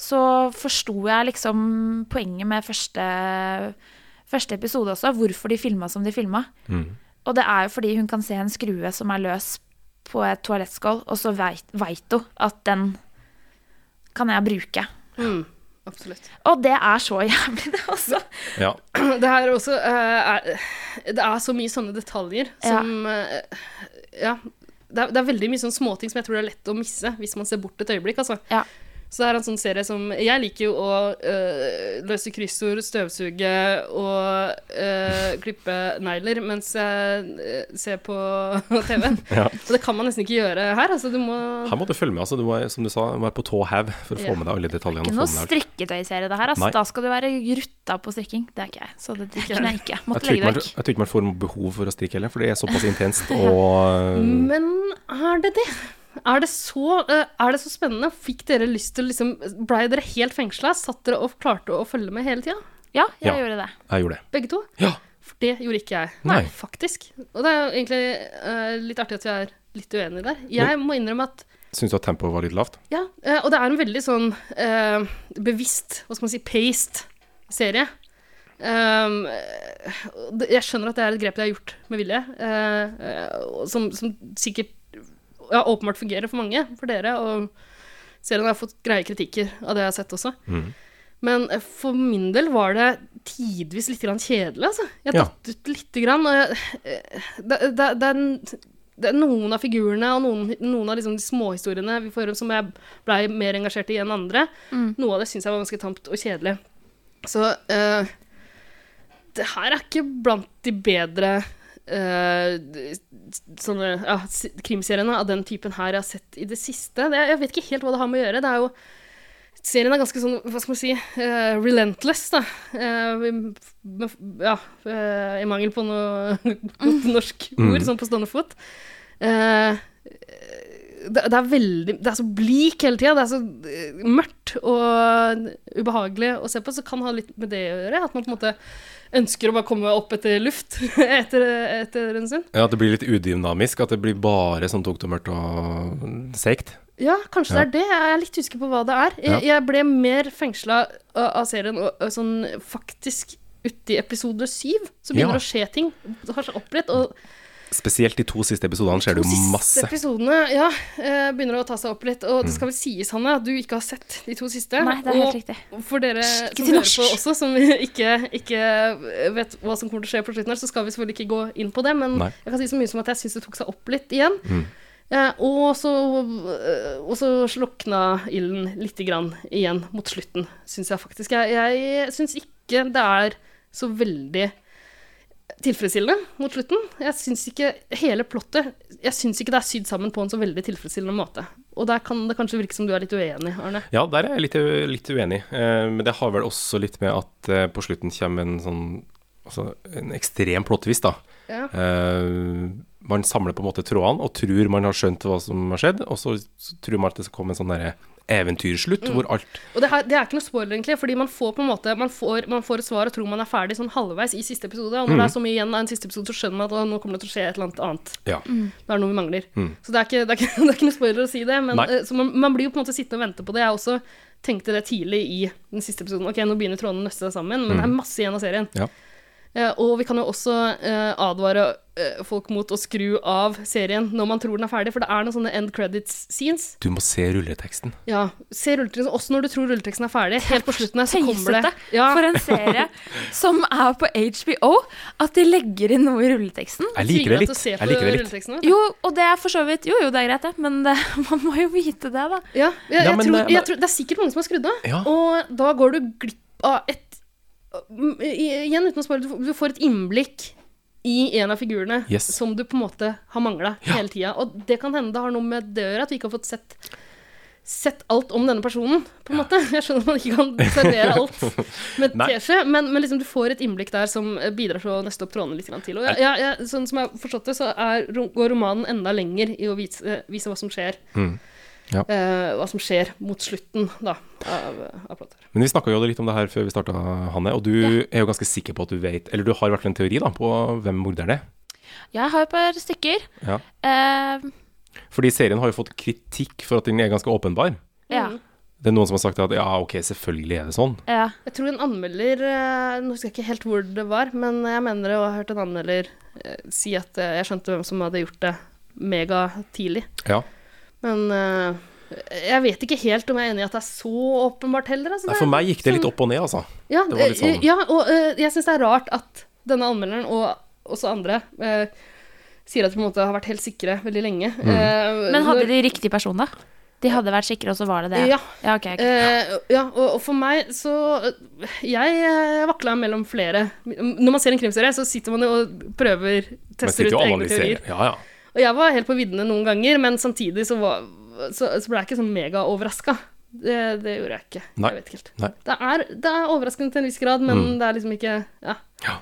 Speaker 2: så forsto jeg liksom poenget med første første episode også, hvorfor de filma som de filma.
Speaker 4: Mm.
Speaker 2: Og det er jo fordi hun kan se en skrue som er løs på et toalettskål, og så veit hun at den kan jeg bruke.
Speaker 3: Mm, absolutt.
Speaker 2: Og det er så jævlig, det også.
Speaker 4: Ja.
Speaker 3: Det her er også eh, er, Det er så mye sånne detaljer som eh, Ja. Det er, det er veldig mye sånne småting som jeg tror det er lett å misse hvis man ser bort et øyeblikk, altså.
Speaker 2: Ja.
Speaker 3: Så det her er en sånn serie som Jeg liker jo å eh, løse kryssord, støvsuge og eh, klippe negler mens jeg eh, ser på TV.
Speaker 4: Ja.
Speaker 3: Og det kan man nesten ikke gjøre her. Altså, du må
Speaker 4: Her må du følge med, altså. Du må, som du sa, være på tå hev for å
Speaker 3: Ja.
Speaker 4: få med deg alle detaljene.
Speaker 2: Ikke
Speaker 4: og
Speaker 2: noe
Speaker 4: få med deg alt.
Speaker 2: strikketøyserie, det
Speaker 4: Nei.
Speaker 2: her. Altså, da skal du være rutta på strikking. Det er ikke jeg. Så det, det kunne jeg ikke.
Speaker 4: Jeg
Speaker 2: Måtte
Speaker 4: tror ikke
Speaker 2: legge det
Speaker 4: man-
Speaker 2: vekk.
Speaker 4: jeg tror ikke man får behov for å strikke heller, for det er såpass intenst og øh,
Speaker 3: Men er det det? Er det, så, eh, er det så spennende? Fikk dere lyst til å liksom Blei dere helt fengsla? Satt dere og klarte å følge med hele tida?
Speaker 2: Ja, jeg
Speaker 4: Ja.
Speaker 2: gjorde det.
Speaker 4: Jeg gjorde det.
Speaker 3: Begge to?
Speaker 4: Ja.
Speaker 3: For det gjorde ikke jeg.
Speaker 4: Nei.
Speaker 3: Faktisk. Og det er jo egentlig eh, litt artig at vi er litt uenige der. Jeg må innrømme at
Speaker 4: Syns du at tempoet var litt lavt?
Speaker 3: Ja, eh, og det er en veldig sånn eh, bevisst, hva skal man si, paced serie. Um, eh, og det- jeg skjønner at det er et grep de har gjort med vilje, eh, eh, og som, som sikkert ja, åpenbart fungerer for mange, for dere, og serien har fått greie kritikker av det jeg har sett også.
Speaker 4: Mhm.
Speaker 3: Men eh, for min del var det tidvis litt grann kjedelig, altså. Jeg
Speaker 4: Ja.
Speaker 3: datt ut lite grann, og jeg, eh, det, det, det, er en- det er noen av figurene og noen, noen av liksom de småhistoriene vi får, som jeg blei mer engasjert i enn andre. Noe av det syns jeg var ganske tamt og kjedelig. Så eh, det her er ikke blant de bedre eh, d- sånne ja, s- krimseriene av den typen her jeg har sett i det siste. Det, jeg vet ikke helt hva det har med å gjøre. Det er jo Serien er ganske sånn, hva skal man si, eh, relentless, da. Eh, vi- med, ja, eh, i mangel på noe godt norsk ord,
Speaker 4: Mm.
Speaker 3: sånn på stående fot. Eh, det, det er veldig Det er så bleak hele tida. Det er så eh, mørkt og ubehagelig å se på. Så kan ha litt med det å gjøre. At man på en måte ønsker å bare komme opp etter luft etter, etter en stund.
Speaker 4: Ja, At det blir litt udynamisk? At det blir bare sånn tungt og mørkt og seigt?
Speaker 3: Ja, kanskje det er det. Jeg er litt usikker på hva det er. Jeg, jeg ble mer fengsla av av serien og, og sånn faktisk uti episode syv, så begynner
Speaker 4: Ja.
Speaker 3: det å skje ting. Det har seg oppbrett. Og
Speaker 4: Spesielt de to siste episodene skjer det
Speaker 3: De
Speaker 4: jo
Speaker 3: siste
Speaker 4: masse. Mm.
Speaker 3: episodene ja, eh, begynner å ta seg opp litt. Og det skal vel sies, Hanne, at du ikke har sett de to siste.
Speaker 2: Nei, det er
Speaker 3: og
Speaker 2: helt riktig.
Speaker 3: For dere som
Speaker 2: til
Speaker 3: hører
Speaker 2: norsk.
Speaker 3: på også, som ikke, ikke vet hva som kommer til å skje på slutten her, så skal vi selvfølgelig ikke gå inn på det, men
Speaker 4: Nei.
Speaker 3: jeg kan si så mye som at jeg syns det tok seg opp litt igjen.
Speaker 4: Mm.
Speaker 3: Eh, og, så, eh, og så slokna ilden lite grann igjen mot slutten, syns jeg faktisk. Jeg, jeg syns ikke det er så veldig tilfredsstillende mot slutten. Jeg syns ikke hele plottet Jeg syns ikke det er sydd sammen på en så veldig tilfredsstillende måte. Og der kan det kanskje virke som du er litt uenig, Arne.
Speaker 4: Ja, der er jeg litt, litt uenig. Eh, men det har vel også litt med at eh, på slutten kommer en sånn altså, en ekstrem plottvist, da.
Speaker 3: Ja.
Speaker 4: Eh, man samler på en måte trådene og tror man har skjønt hva som har skjedd, og så, så tror man at det skal komme en sånn derre eventyrslutt
Speaker 3: Mm.
Speaker 4: hvor alt
Speaker 3: Og det, her, det er ikke noe spoiler, egentlig, fordi man får på en måte Man får, man får et svar og tror man er ferdig sånn halvveis i siste episode, og når
Speaker 4: Mm.
Speaker 3: det er så mye igjen av en siste episode, så skjønner man at å, nå kommer det til å skje et eller annet annet.
Speaker 4: Ja.
Speaker 3: Det er noe vi mangler.
Speaker 4: Mm.
Speaker 3: Så det er, ikke, det, er ikke, det er ikke noe spoiler å si det, men
Speaker 4: Nei.
Speaker 3: eh, så man, man blir jo på en måte sittende og vente på det. Jeg også tenkte det tidlig i den siste episoden. Ok, nå begynner trådene å nøste seg sammen, men det er masse igjen av serien.
Speaker 4: Mm. Ja.
Speaker 3: Eh, og vi kan jo også eh, advare eh, folk mot å skru av serien når man tror den er ferdig, for det er noen sånne end credits scenes.
Speaker 4: Du må se rulleteksten.
Speaker 3: Ja, se rulleteksten også når du tror rulleteksten er ferdig. Helt på slutten her så kommer det
Speaker 2: Tøysete for en serie som er på HBO, at de legger inn noe i rulleteksten.
Speaker 4: Jeg liker det litt. Jeg liker det litt.
Speaker 2: Jo, og det er for så vidt Jo, jo, det er greit, det, men det, man må jo vite det, da.
Speaker 3: Ja, jeg,
Speaker 4: Ja,
Speaker 3: jeg,
Speaker 4: men eh,
Speaker 3: tror,
Speaker 4: det-
Speaker 3: jeg tror, det er sikkert mange som har skrudd av.
Speaker 4: Ja.
Speaker 3: Og da går du glipp av et m- i- Igjen uten å spørre, du får- du får et innblikk i en av figurene
Speaker 4: Yes.
Speaker 3: som du på en måte har mangla
Speaker 4: Ja.
Speaker 3: hele tida. Og det kan hende det har noe med det å gjøre, at vi ikke har fått sett Sett alt om denne personen, på en måte. Jeg skjønner at man ikke kan servere alt med
Speaker 4: Nei.
Speaker 3: teskje, men, men liksom du får et innblikk der som eh, bidrar til å nøste opp trådene litt grann til. Og jeg, jeg, jeg, sånn som jeg har forstått det, så er, går romanen enda lenger i å vise, vise hva som skjer
Speaker 4: Mm.
Speaker 3: eh, hva som skjer mot slutten da, av, av plottet. her.
Speaker 4: Men vi snakka jo litt om det her før vi starta, Hanne, og du er jo ganske sikker på at du vet Eller du har i hvert fall en teori da, på hvem morderen er.
Speaker 2: Jeg har et par stykker.
Speaker 4: Ja.
Speaker 2: Eh,
Speaker 4: Fordi serien har jo fått kritikk for at den er ganske åpenbar.
Speaker 2: ja.
Speaker 4: Det er noen som har sagt at ja, ok, selvfølgelig er det sånn.
Speaker 2: Ja.
Speaker 3: Jeg tror en anmelder eh, Nå husker jeg ikke helt hvor det var, men jeg mener å ha hørt en anmelder eh, si at eh, jeg skjønte hvem som hadde gjort det mega tidlig.
Speaker 4: Ja.
Speaker 3: Men eh, jeg vet ikke helt om jeg er enig i at det er så åpenbart heller. Altså, det
Speaker 4: Nei,
Speaker 3: er
Speaker 4: for meg gikk det litt
Speaker 3: sånn-
Speaker 4: opp og ned, altså.
Speaker 3: Ja,
Speaker 4: Det var litt sånn-
Speaker 3: eh, ja og eh, jeg syns det er rart at denne anmelderen, og også andre, eh, sier at de på en måte har vært helt sikre veldig lenge.
Speaker 4: Mm.
Speaker 3: Eh,
Speaker 2: Men hadde
Speaker 3: når-
Speaker 2: de riktig person, da? De hadde vært sikre, og så var det det?
Speaker 3: Ja.
Speaker 2: ja ok, ok.
Speaker 3: Eh, ja, og, og for meg så Jeg eh, vakla mellom flere. Når man ser en krimserie, så sitter man jo og prøver,
Speaker 4: Men
Speaker 3: tester
Speaker 4: sitter
Speaker 3: ut
Speaker 4: jo og
Speaker 3: egne teorier.
Speaker 4: analyserer. Ja, ja.
Speaker 3: Og jeg var helt på viddene noen ganger, men samtidig så, var, så, så ble jeg ikke sånn megaoverraska. Det, det gjorde jeg ikke.
Speaker 4: Nei.
Speaker 3: Jeg vet ikke helt.
Speaker 4: Nei.
Speaker 3: Det, er, det er overraskende til en viss grad, men
Speaker 4: Mm.
Speaker 3: det er liksom ikke Ja.
Speaker 4: Ja.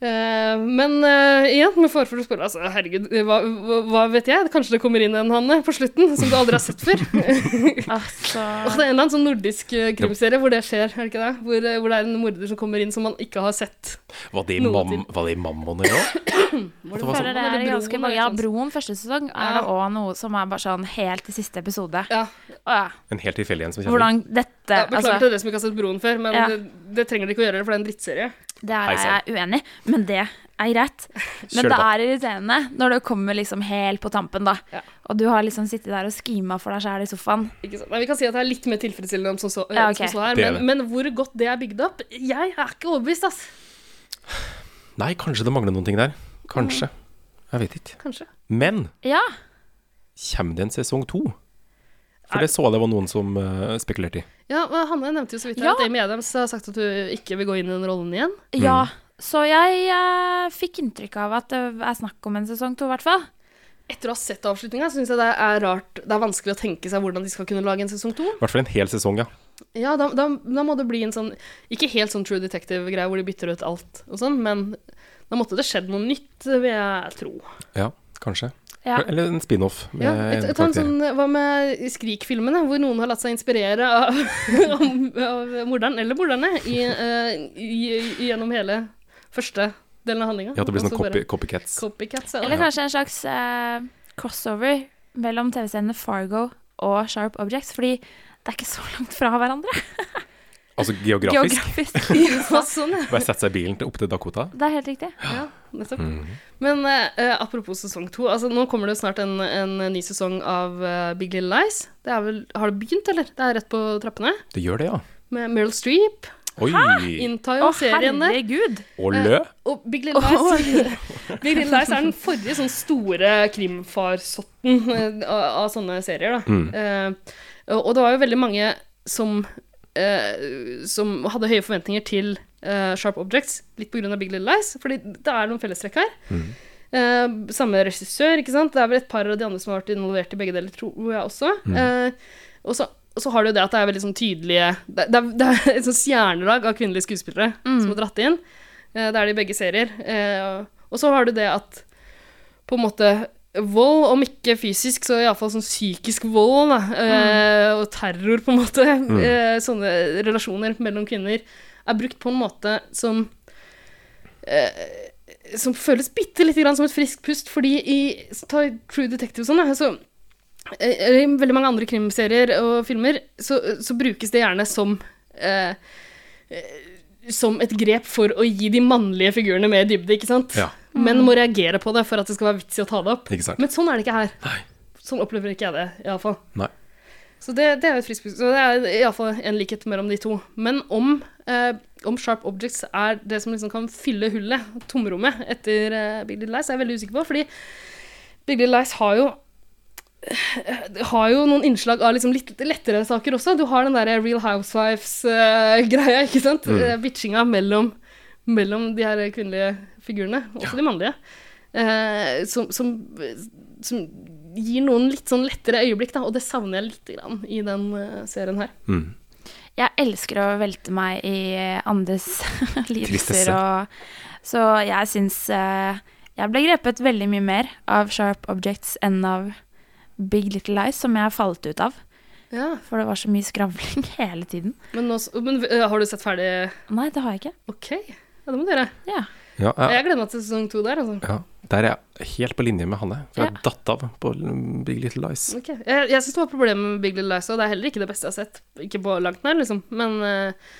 Speaker 3: Eh, men eh, igjen, med forfall å spørre, altså, herregud, hva, hva, hva vet jeg? Kanskje det kommer inn en Hanne på slutten som du aldri har sett før?
Speaker 2: Altså
Speaker 3: Åh, det er en eller annen sånn nordisk eh, krimserie hvor det skjer, er det ikke det? Hvor, eh, hvor det er en morder som kommer inn som man ikke har sett.
Speaker 4: Var det,
Speaker 3: Noen
Speaker 4: mam
Speaker 3: til.
Speaker 4: var det i Mammon eller noe?
Speaker 3: Hvor
Speaker 4: det var
Speaker 2: Føler
Speaker 3: Eller
Speaker 2: det er
Speaker 3: Broen,
Speaker 2: ganske
Speaker 3: eller
Speaker 2: mange. Ja,
Speaker 3: noe sånt.
Speaker 2: Broen første sesong er det òg noe som er bare sånn helt i siste episode.
Speaker 3: Ja.
Speaker 2: Å ja.
Speaker 4: En helt tilfeldig en som kjenner
Speaker 2: Hvordan dette
Speaker 3: Ja, beklager
Speaker 2: Altså,
Speaker 3: til dere som ikke har sett Broen før, men
Speaker 2: Ja.
Speaker 3: det, det trenger dere ikke å gjøre, for det er en drittserie.
Speaker 2: det er
Speaker 4: Hei sann.
Speaker 2: jeg uenig i, men det er greit.
Speaker 4: Kjør
Speaker 2: Men det
Speaker 4: på.
Speaker 2: er irriterende når det kommer liksom helt på tampen, da.
Speaker 3: Ja.
Speaker 2: Og du har liksom sittet der og skima for deg sjæl i sofaen.
Speaker 3: Ikke sant? Nei, vi kan si at det er litt mer tilfredsstillende om som så, eh,
Speaker 2: Ja, ok.
Speaker 3: som så her,
Speaker 4: Det er
Speaker 3: men, men hvor godt det er bygd opp Jeg er ikke overbevist, ass.
Speaker 4: Nei, kanskje det mangler noen ting der. Kanskje. Jeg vet ikke.
Speaker 3: Mm. Kanskje.
Speaker 4: Men
Speaker 2: Ja.
Speaker 4: kommer det en sesong to? For det så jeg det var noen som eh, spekulerte i.
Speaker 3: Ja, og Hanne nevnte jo så vidt her
Speaker 2: Ja.
Speaker 3: at Amy Adams har sagt at du ikke vil gå inn i den rollen igjen.
Speaker 2: ja. Så jeg eh, fikk inntrykk av at det er snakk om en sesong to, i hvert fall.
Speaker 3: Etter å ha sett avslutninga syns jeg det er rart Det er vanskelig å tenke seg hvordan de skal kunne lage en sesong to.
Speaker 4: I hvert fall en hel sesong, ja.
Speaker 3: Ja, da, da, da må det bli en sånn Ikke helt sånn True Detective-greie hvor de bytter ut alt og sånn, men da måtte det skjedd noe nytt, vil jeg tro.
Speaker 4: Ja, kanskje.
Speaker 2: Ja.
Speaker 4: Eller en spin-off. med
Speaker 3: Ja, et,
Speaker 4: en
Speaker 3: et, ta en
Speaker 4: karakter.
Speaker 3: sånn, hva med Skrik-filmene, hvor noen har latt seg inspirere av, av, av morderen, eller morderne, i, eh, i, gjennom hele første delen av handlinga.
Speaker 4: Ja, det blir sånn
Speaker 3: Og så bare
Speaker 4: copy, copycats.
Speaker 3: Copycats, ja.
Speaker 2: Eller kanskje en slags eh, crossover mellom TV-seriene Fargo og Sharp Objects, fordi det er ikke så langt fra hverandre.
Speaker 4: altså geografisk.
Speaker 2: Geografisk.
Speaker 3: Ja, sånn, ja.
Speaker 4: Bare sette seg i bilen til, opp til Dakota.
Speaker 2: Det er helt riktig.
Speaker 3: ja. Nettopp. Men eh, apropos sesong to. Altså, nå kommer det jo snart en, en ny sesong av eh, Big Little Lies. Det er vel, har det begynt, eller? Det er rett på trappene.
Speaker 4: Det gjør det, ja.
Speaker 3: Med Meryl Streep.
Speaker 4: Oi!
Speaker 3: Inntar
Speaker 2: Å,
Speaker 3: jo serien der.
Speaker 2: herregud!
Speaker 4: Og lø.
Speaker 3: Og Big Little Lies, Big Little Lies er den forrige sånn store krimfarsotten eh, av, av sånne serier. Da. Eh, og det var jo veldig mange som, eh, som hadde høye forventninger til eh, Sharp Objects, litt pga. Big Little Lies, fordi det er noen fellestrekk her. Eh, samme regissør, ikke sant. Det er vel et par av de andre som har vært involvert i begge deler, tror jeg også. Eh, og så og så har du det at det er veldig sånn tydelige Det, det, er- det er et sånn stjernelag av kvinnelige skuespillere som er dratt inn. Eh, Det er det i begge serier. Eh, Og så har du det at på en måte vold, om ikke fysisk, så iallfall sånn psykisk vold, da, eh, og terror, på en måte, eh, sånne relasjoner mellom kvinner, er brukt på en måte som eh, som føles bitte lite grann som et friskt pust, fordi i ta True Detective og sånn, da, så eh, I veldig mange andre krimserier og filmer så, så brukes det gjerne som eh, eh, Som et grep for å gi de mannlige figurene mer dybde, ikke sant?
Speaker 4: Ja.
Speaker 3: Menn må reagere på det for at det skal være vits i å ta det opp.
Speaker 4: Ikke sant.
Speaker 3: Men sånn er det ikke her.
Speaker 4: Nei.
Speaker 3: Sånn opplever ikke jeg det, iallfall.
Speaker 4: Nei.
Speaker 3: Så det, det er jo et friskt Så det er iallfall en likhet mellom de to. Men om, eh, om Sharp Objects er det som liksom kan fylle hullet, tomrommet, etter eh, Big Little Lies, er jeg veldig usikker på. Fordi Big Little Lies har jo eh, har jo noen innslag av liksom litt lettere saker også. Du har den der Real Housewives-greia, ikke sant? Eh, Bitchinga mellom, mellom de her kvinnelige figurene, også de mannlige. Eh, som, som, som gir noen litt sånn lettere øyeblikk, da, og det savner jeg lite grann i den eh, serien her.
Speaker 2: Jeg elsker å velte meg i andres lidelser
Speaker 4: Tristesse.
Speaker 2: og Så jeg syns eh, jeg ble grepet veldig mye mer av Sharp Objects enn av Big Little Lies, som jeg falt ut av.
Speaker 3: Ja,
Speaker 2: For det var så mye skravling hele tiden.
Speaker 3: Men, nå, s- men eh, har du sett ferdig
Speaker 2: Nei, det har jeg ikke.
Speaker 3: OK, ja, det må du gjøre.
Speaker 2: Ja.
Speaker 4: Ja, jeg,
Speaker 3: Jeg gleder meg til sesong to der, altså.
Speaker 4: ja. Der er jeg helt på linje med Hanne. For jeg
Speaker 3: Ja.
Speaker 4: datt av på Big Little Lies.
Speaker 3: Ok. Jeg, jeg syns det var problemer med Big Little Lies, og det er heller ikke det beste jeg har sett. Ikke på langt nær, liksom. Men eh,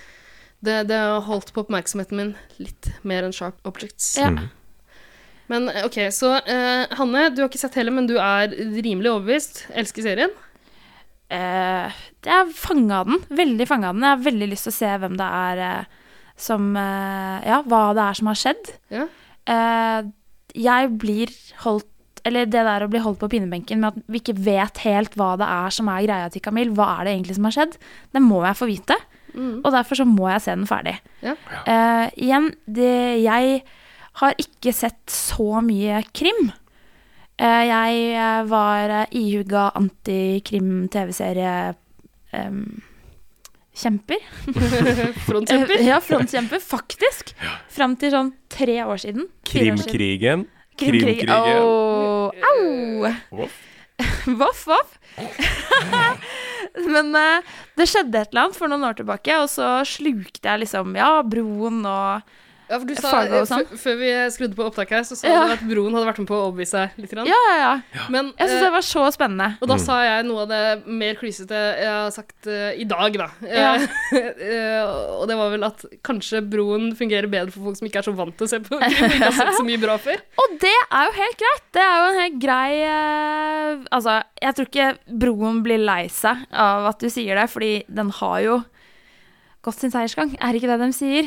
Speaker 3: det, det holdt på oppmerksomheten min litt mer enn Sharp Objects.
Speaker 2: Ja.
Speaker 4: Mhm.
Speaker 3: Men eh, ok, så eh, Hanne, du har ikke sett heller, men du er rimelig overbevist. Elsker serien.
Speaker 2: Eh, jeg er fanga av den. Veldig fanga av den. Jeg har veldig lyst til å se hvem det er eh, som eh, Ja, hva det er som har skjedd.
Speaker 3: Ja.
Speaker 2: Eh, jeg blir holdt Eller det der å bli holdt på pinebenken med at vi ikke vet helt hva det er som er greia til Camille, hva er det egentlig som har skjedd, det må jeg få vite. Og derfor så må jeg se den ferdig.
Speaker 3: Ja.
Speaker 2: Eh, igjen, det, jeg har ikke sett så mye krim. Eh, jeg eh, var eh, ihuga antikrim-TV-serie em, Kjemper.
Speaker 3: Frontkjemper.
Speaker 2: Eh, ja, frontkjemper, faktisk. Fram til sånn tre år siden. fire år siden.
Speaker 4: Krimkrigen.
Speaker 2: Krimkrig. Åh, au!
Speaker 4: Voff.
Speaker 2: Voff, voff. Men eh, det skjedde et eller annet for noen år tilbake, og så slukte jeg liksom Ja, broen og
Speaker 3: Ja, for du sa,
Speaker 2: Fargo og
Speaker 3: eh,
Speaker 2: sånn.
Speaker 3: f- Før vi skrudd på opptaket her, så sa
Speaker 2: Ja.
Speaker 3: du at Broen hadde vært med på å overbevise deg litt. Grann.
Speaker 2: Ja, ja, ja.
Speaker 3: Men,
Speaker 2: Jeg syns
Speaker 3: eh,
Speaker 2: det var så spennende.
Speaker 3: Og da sa jeg noe av det mer klysete jeg har sagt eh, i dag, da.
Speaker 2: Ja.
Speaker 3: Eh, og det var vel at kanskje broen fungerer bedre for folk som ikke er så vant til å se på krim, og ikke har sett så mye bra før.
Speaker 2: Og det er jo helt greit. Det er jo en helt grei eh, Altså, jeg tror ikke broen blir lei seg av at du sier det, fordi den har jo gått sin seiersgang. Er ikke det de sier?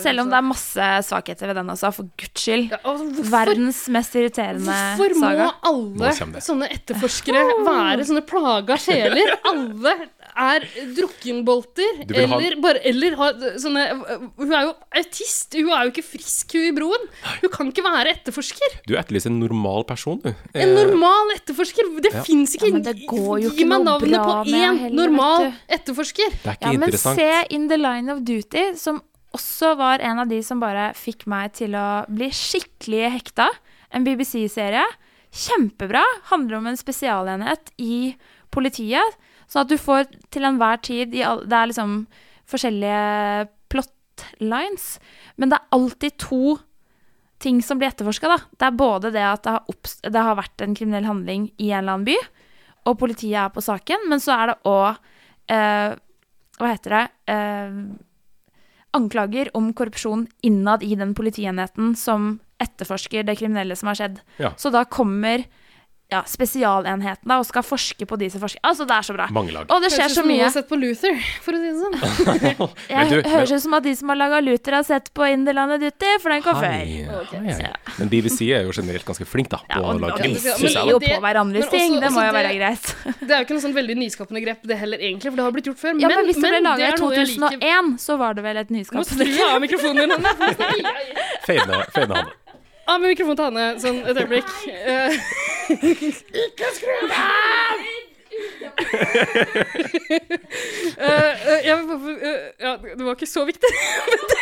Speaker 2: Selv om det er masse svakheter ved den også, for guds skyld.
Speaker 3: ja, altså, hvorfor,
Speaker 2: Verdens mest irriterende
Speaker 3: hvorfor må
Speaker 2: saga.
Speaker 3: alle
Speaker 4: Nå kommer det.
Speaker 3: sånne etterforskere være sånne plaga sjeler? Alle er drukkenbolter,
Speaker 4: Du vil ha-
Speaker 3: eller, bare, eller har sånne Hun er jo autist, hun er jo ikke frisk, hun i broen. Hun kan ikke være etterforsker.
Speaker 4: Du etterlyser en normal person, du. Eh,
Speaker 3: En normal etterforsker! Det
Speaker 4: Ja.
Speaker 3: finnes fins ikke!
Speaker 2: Ja, men det går jo
Speaker 3: Gi
Speaker 2: ikke
Speaker 3: meg
Speaker 2: noe
Speaker 3: navnet
Speaker 2: bra
Speaker 3: på
Speaker 2: med
Speaker 3: én
Speaker 2: heller,
Speaker 3: normal
Speaker 2: vet
Speaker 3: etterforsker!
Speaker 4: Det er ikke
Speaker 2: Ja, men
Speaker 4: interessant.
Speaker 2: se In the Line of Duty, som også var en av de som bare fikk meg til å bli skikkelig hekta. En BBC-serie. Kjempebra. Handler om en spesialenhet i politiet. Sånn at du får til enhver tid i all, Det er liksom forskjellige plotlines, men det er alltid to ting som blir etterforska, da. Det er både det at det har, opps det har vært en kriminell handling i en eller annen by, og politiet er på saken, men så er det òg eh, Hva heter det? Eh, anklager om korrupsjon innad i den politienheten som etterforsker det kriminelle som har skjedd.
Speaker 4: Ja.
Speaker 2: Så da kommer ja, spesialenheten da, og skal forske på de som forsker. Altså, det er så bra.
Speaker 4: Mange lag.
Speaker 2: Og det skjer
Speaker 3: Høres ut som
Speaker 2: så
Speaker 3: noen
Speaker 2: mye.
Speaker 3: har sett på Luther, for å si det sånn.
Speaker 2: Jeg
Speaker 4: Men du,
Speaker 2: høres ut som at de som har laga Luther, har sett på Inderlandet Duty, for den kom før.
Speaker 4: Hei, hei. Men BBC er jo generelt ganske flink da, på å
Speaker 2: Ja, og
Speaker 4: lage
Speaker 2: da
Speaker 3: krim,
Speaker 4: krim.
Speaker 3: det-
Speaker 2: viser
Speaker 4: synes
Speaker 2: vi
Speaker 4: jeg,
Speaker 3: men-
Speaker 4: da.
Speaker 2: jo
Speaker 3: det-
Speaker 2: på hverandres
Speaker 3: men
Speaker 2: ting,
Speaker 3: også-
Speaker 2: det må
Speaker 3: også
Speaker 2: jo være
Speaker 3: det-
Speaker 2: greit.
Speaker 3: Det er jo ikke noe sånn veldig nyskapende grep, det heller, egentlig, for det har blitt gjort før.
Speaker 2: Ja, men hvis det ble laga i
Speaker 3: er noe jeg liker.
Speaker 2: 2001, så var det vel et
Speaker 3: Nå
Speaker 2: nyskap.
Speaker 3: skrur jeg av mikrofonen din, Hanne. Nå snakker jeg.
Speaker 4: Feine, feine han.
Speaker 3: Av med Ah, mikrofonen til Hanne, sånn et øyeblikk. Eh, eh, eh, jeg vil bare eh, Ja, det var ikke så viktig. Men det,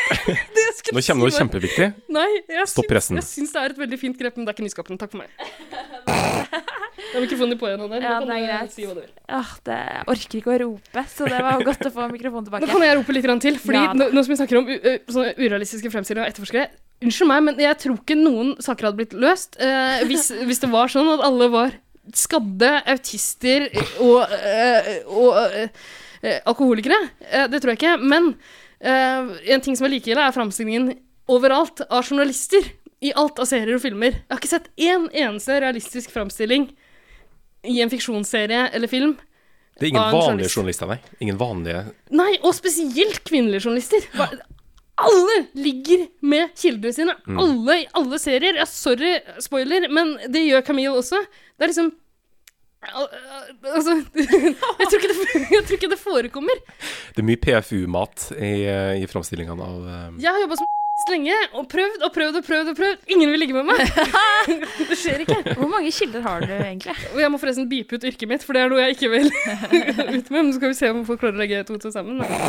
Speaker 3: det jeg skulle
Speaker 4: Nå kommer noe
Speaker 3: si var-
Speaker 4: kjempeviktig.
Speaker 3: Nei, jeg
Speaker 4: Stopp
Speaker 3: syns-
Speaker 4: pressen.
Speaker 3: Jeg syns det er et veldig fint grep, men det er ikke nyskapende. Takk for meg. Det er mikrofonen din på igjen, Hanne.
Speaker 2: Ja,
Speaker 3: Nå kan
Speaker 2: det er
Speaker 3: du
Speaker 2: greit.
Speaker 3: Si hva du vil.
Speaker 2: Åh, det, jeg orker ikke å rope, så det var godt å få mikrofonen
Speaker 3: Da kan
Speaker 2: tilbake.
Speaker 3: jeg rope litt grann til, fordi
Speaker 2: Ja, da.
Speaker 3: nå, nå som vi snakker om u- ø, sånne urealistiske fremstillinger av etterforskere Unnskyld meg, men jeg tror ikke noen saker hadde blitt løst eh, hvis, hvis det var sånn at alle var skadde, autister og, eh, og eh, eh, alkoholikere. Eh, det tror jeg ikke. Men eh, en ting som er like ille, er framstillingen overalt av journalister. I alt av serier og filmer. Jeg har ikke sett én eneste realistisk framstilling i en fiksjonsserie eller film
Speaker 4: Det er ingen
Speaker 3: Av en
Speaker 4: vanlige
Speaker 3: journalist.
Speaker 4: journalister, nei. Ingen vanlige
Speaker 3: Nei, og spesielt kvinnelige journalister. Hva- Alle ligger med kildene sine. Alle i alle serier. Ja, sorry, spoiler, men det gjør Camille også. Det er liksom Al- al- Altså jeg tror, ikke det, jeg tror ikke det forekommer.
Speaker 4: Det er mye PFU-mat i, i framstillingene av eh,
Speaker 3: Jeg har jobba som lenge og prøvd og prøvd og prøvd. og prøvd Ingen vil ligge med meg. Det skjer ikke.
Speaker 2: Hvor mange kilder har du egentlig?
Speaker 3: Og jeg må forresten beepe ut yrket mitt, for det er noe jeg ikke vil ut med. Men så skal vi se om folk klarer å legge to og to sammen. Da.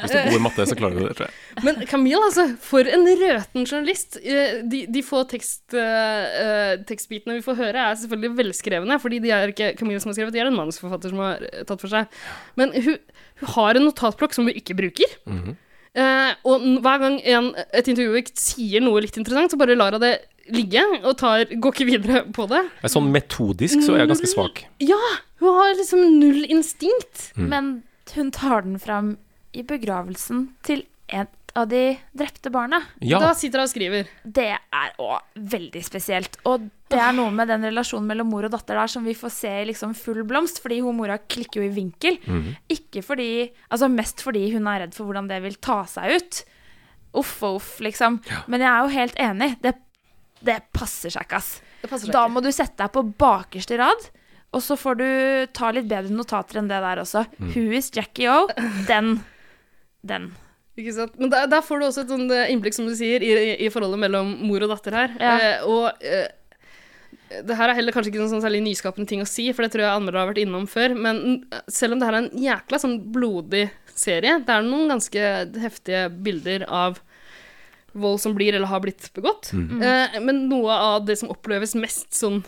Speaker 4: Hvis du er god i matte, så klarer du det, tror jeg.
Speaker 3: Men Camille, altså, for en røten journalist. Eh, De, de få tekst, eh, eh, tekstbitene vi får høre, er selvfølgelig velskrevne, fordi de er ikke Camille som har skrevet, de er en manusforfatter som har eh, tatt for seg. Men hun, hun har en notatblokk som hun ikke bruker.
Speaker 4: Mhm.
Speaker 3: Eh, og n- hver gang en, et intervjuobjekt sier noe litt interessant, så bare lar hun det ligge, og tar, går ikke videre på det.
Speaker 4: Sånn metodisk så er jeg ganske svak.
Speaker 2: Mm.
Speaker 3: Ja, hun har liksom null instinkt.
Speaker 4: Mm.
Speaker 2: Men hun tar den fram i begravelsen til et av de drepte barna.
Speaker 3: Da
Speaker 4: Ja,
Speaker 3: sitter hun og skriver.
Speaker 2: Det er òg veldig spesielt. Og det er noe med den relasjonen mellom mor og datter der som vi får se i liksom full blomst, fordi hun mora klikker jo i vinkel. Ikke fordi Altså mest fordi hun er redd for hvordan det vil ta seg ut. Uff og uff, liksom. Men jeg er jo helt enig. Det, det passer seg ikke, ass.
Speaker 3: Det passer seg
Speaker 2: Da
Speaker 3: ikke.
Speaker 2: må du sette deg på bakerste rad, og så får du ta litt bedre notater enn det der også. Who is Jackie O? Den. Den.
Speaker 3: Ikke sant? Men der, der får du også et sånt eh, innblikk, som du sier, i, i- i forholdet mellom mor og datter her.
Speaker 2: Ja.
Speaker 3: Eh, og eh, det her er heller kanskje ikke noen sånn særlig nyskapende ting å si, for det tror jeg anmeldere har vært innom før, men eh, selv om det her er en jækla sånn blodig serie, det er noen ganske heftige bilder av vold som blir eller har blitt begått. Eh, men noe av det som oppleves mest sånn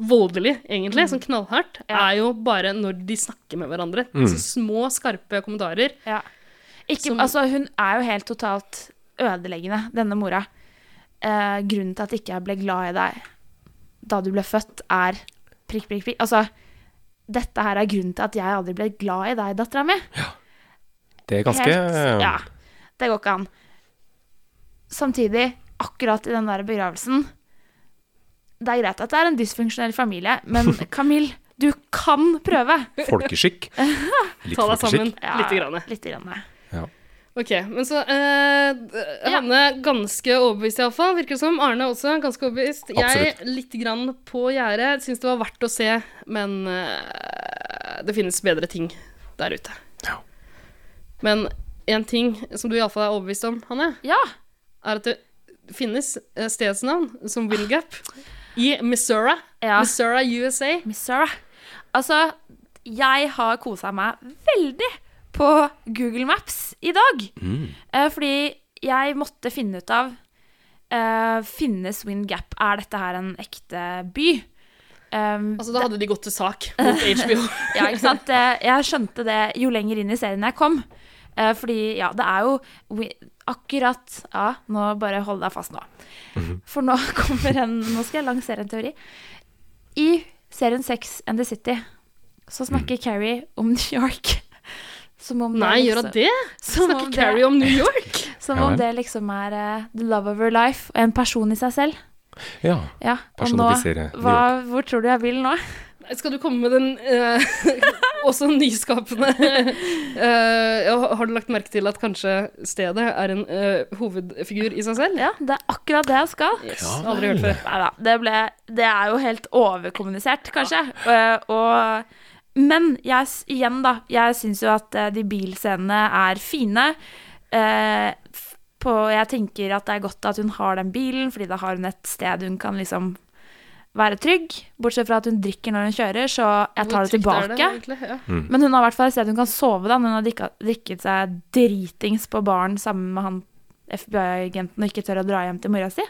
Speaker 3: voldelig, egentlig, sånn knallhardt, er jo bare når de snakker med hverandre. Så små, skarpe kommentarer.
Speaker 2: Ja. Ikke,
Speaker 3: Som-
Speaker 2: altså, hun er jo helt totalt ødeleggende, denne mora. Eh, grunnen til at ikke jeg ble glad i deg da du ble født, er prikk, prikk, prikk. Altså, dette her er grunnen til at jeg aldri ble glad i deg, dattera mi.
Speaker 4: det er ganske
Speaker 2: Helt, ja, det går ikke an. Samtidig, akkurat i den der begravelsen Det er greit at det er en dysfunksjonell familie, men Camille, du kan prøve!
Speaker 4: eh, folkeskikk. Litt
Speaker 3: Ta deg sammen
Speaker 4: folkeskikk.
Speaker 2: Ja,
Speaker 3: lite grann.
Speaker 2: Litt grann.
Speaker 3: Ok, men så eh, d- Hanne ganske overbevist iallfall, virker det som. Arne også ganske overbevist.
Speaker 4: Absolutt.
Speaker 3: Jeg litt grann på gjerdet. Syns det var verdt å se, men eh, det finnes bedre ting der ute.
Speaker 4: Ja.
Speaker 3: Men én ting som du iallfall er overbevist om, Hanne,
Speaker 2: Ja,
Speaker 3: er at det finnes eh, stedsnavn som Wingap i Missouri.
Speaker 2: Ja.
Speaker 3: Missouri, USA.
Speaker 2: Miss Sarah. Altså, jeg har kosa meg veldig på Google Maps i dag. Eh, fordi jeg måtte finne ut av eh, Finnes Wind Gap? Er dette her en ekte by? Um,
Speaker 3: Altså, da hadde de gått til sak mot HBO.
Speaker 2: ja, ikke sant? Eh, Jeg skjønte det jo lenger inn i serien jeg kom. Eh, Fordi, ja, det er jo wi- akkurat Ja, nå bare hold deg fast nå.
Speaker 4: Mhm.
Speaker 2: For nå kommer en Nå skal jeg lansere en teori. I serien Sex and the City så
Speaker 4: Mhm.
Speaker 2: snakker Carrie om New York. Som om
Speaker 3: Nei,
Speaker 2: liksom-
Speaker 3: gjør hun det?
Speaker 2: Som om
Speaker 3: Snakker
Speaker 2: det-
Speaker 3: Carrie om New York?
Speaker 2: Som
Speaker 4: Ja
Speaker 2: om
Speaker 4: vel.
Speaker 2: det liksom er eh, the love of her life og en person i seg selv.
Speaker 4: Ja.
Speaker 2: Ja, og nå
Speaker 4: Personalisere New
Speaker 2: hva, Hvor tror du jeg vil nå?
Speaker 3: Skal du komme med den eh, også nyskapende eh, ja, Har du lagt merke til at kanskje stedet er en eh, hovedfigur i seg selv?
Speaker 2: Ja, det er akkurat det jeg skal.
Speaker 3: Yes, aldri hørt før.
Speaker 2: Nei da. Det, ble, det er jo helt overkommunisert, kanskje. Eh, og, men jeg, s- igjen, da. Jeg syns jo at eh, de bilscenene er fine. Eh, f- på, jeg tenker at det er godt at hun har den bilen, fordi da har hun et sted hun kan liksom være trygg. Bortsett fra at hun drikker når hun kjører, så jeg tar det
Speaker 3: Hvor trygt er
Speaker 2: tilbake.
Speaker 3: egentlig? ja.
Speaker 2: Men hun har i hvert fall et sted hun kan sove, da. når Hun har drikka, drikket seg dritings på baren sammen med han FBI-agenten og ikke tør å dra hjem til mora si.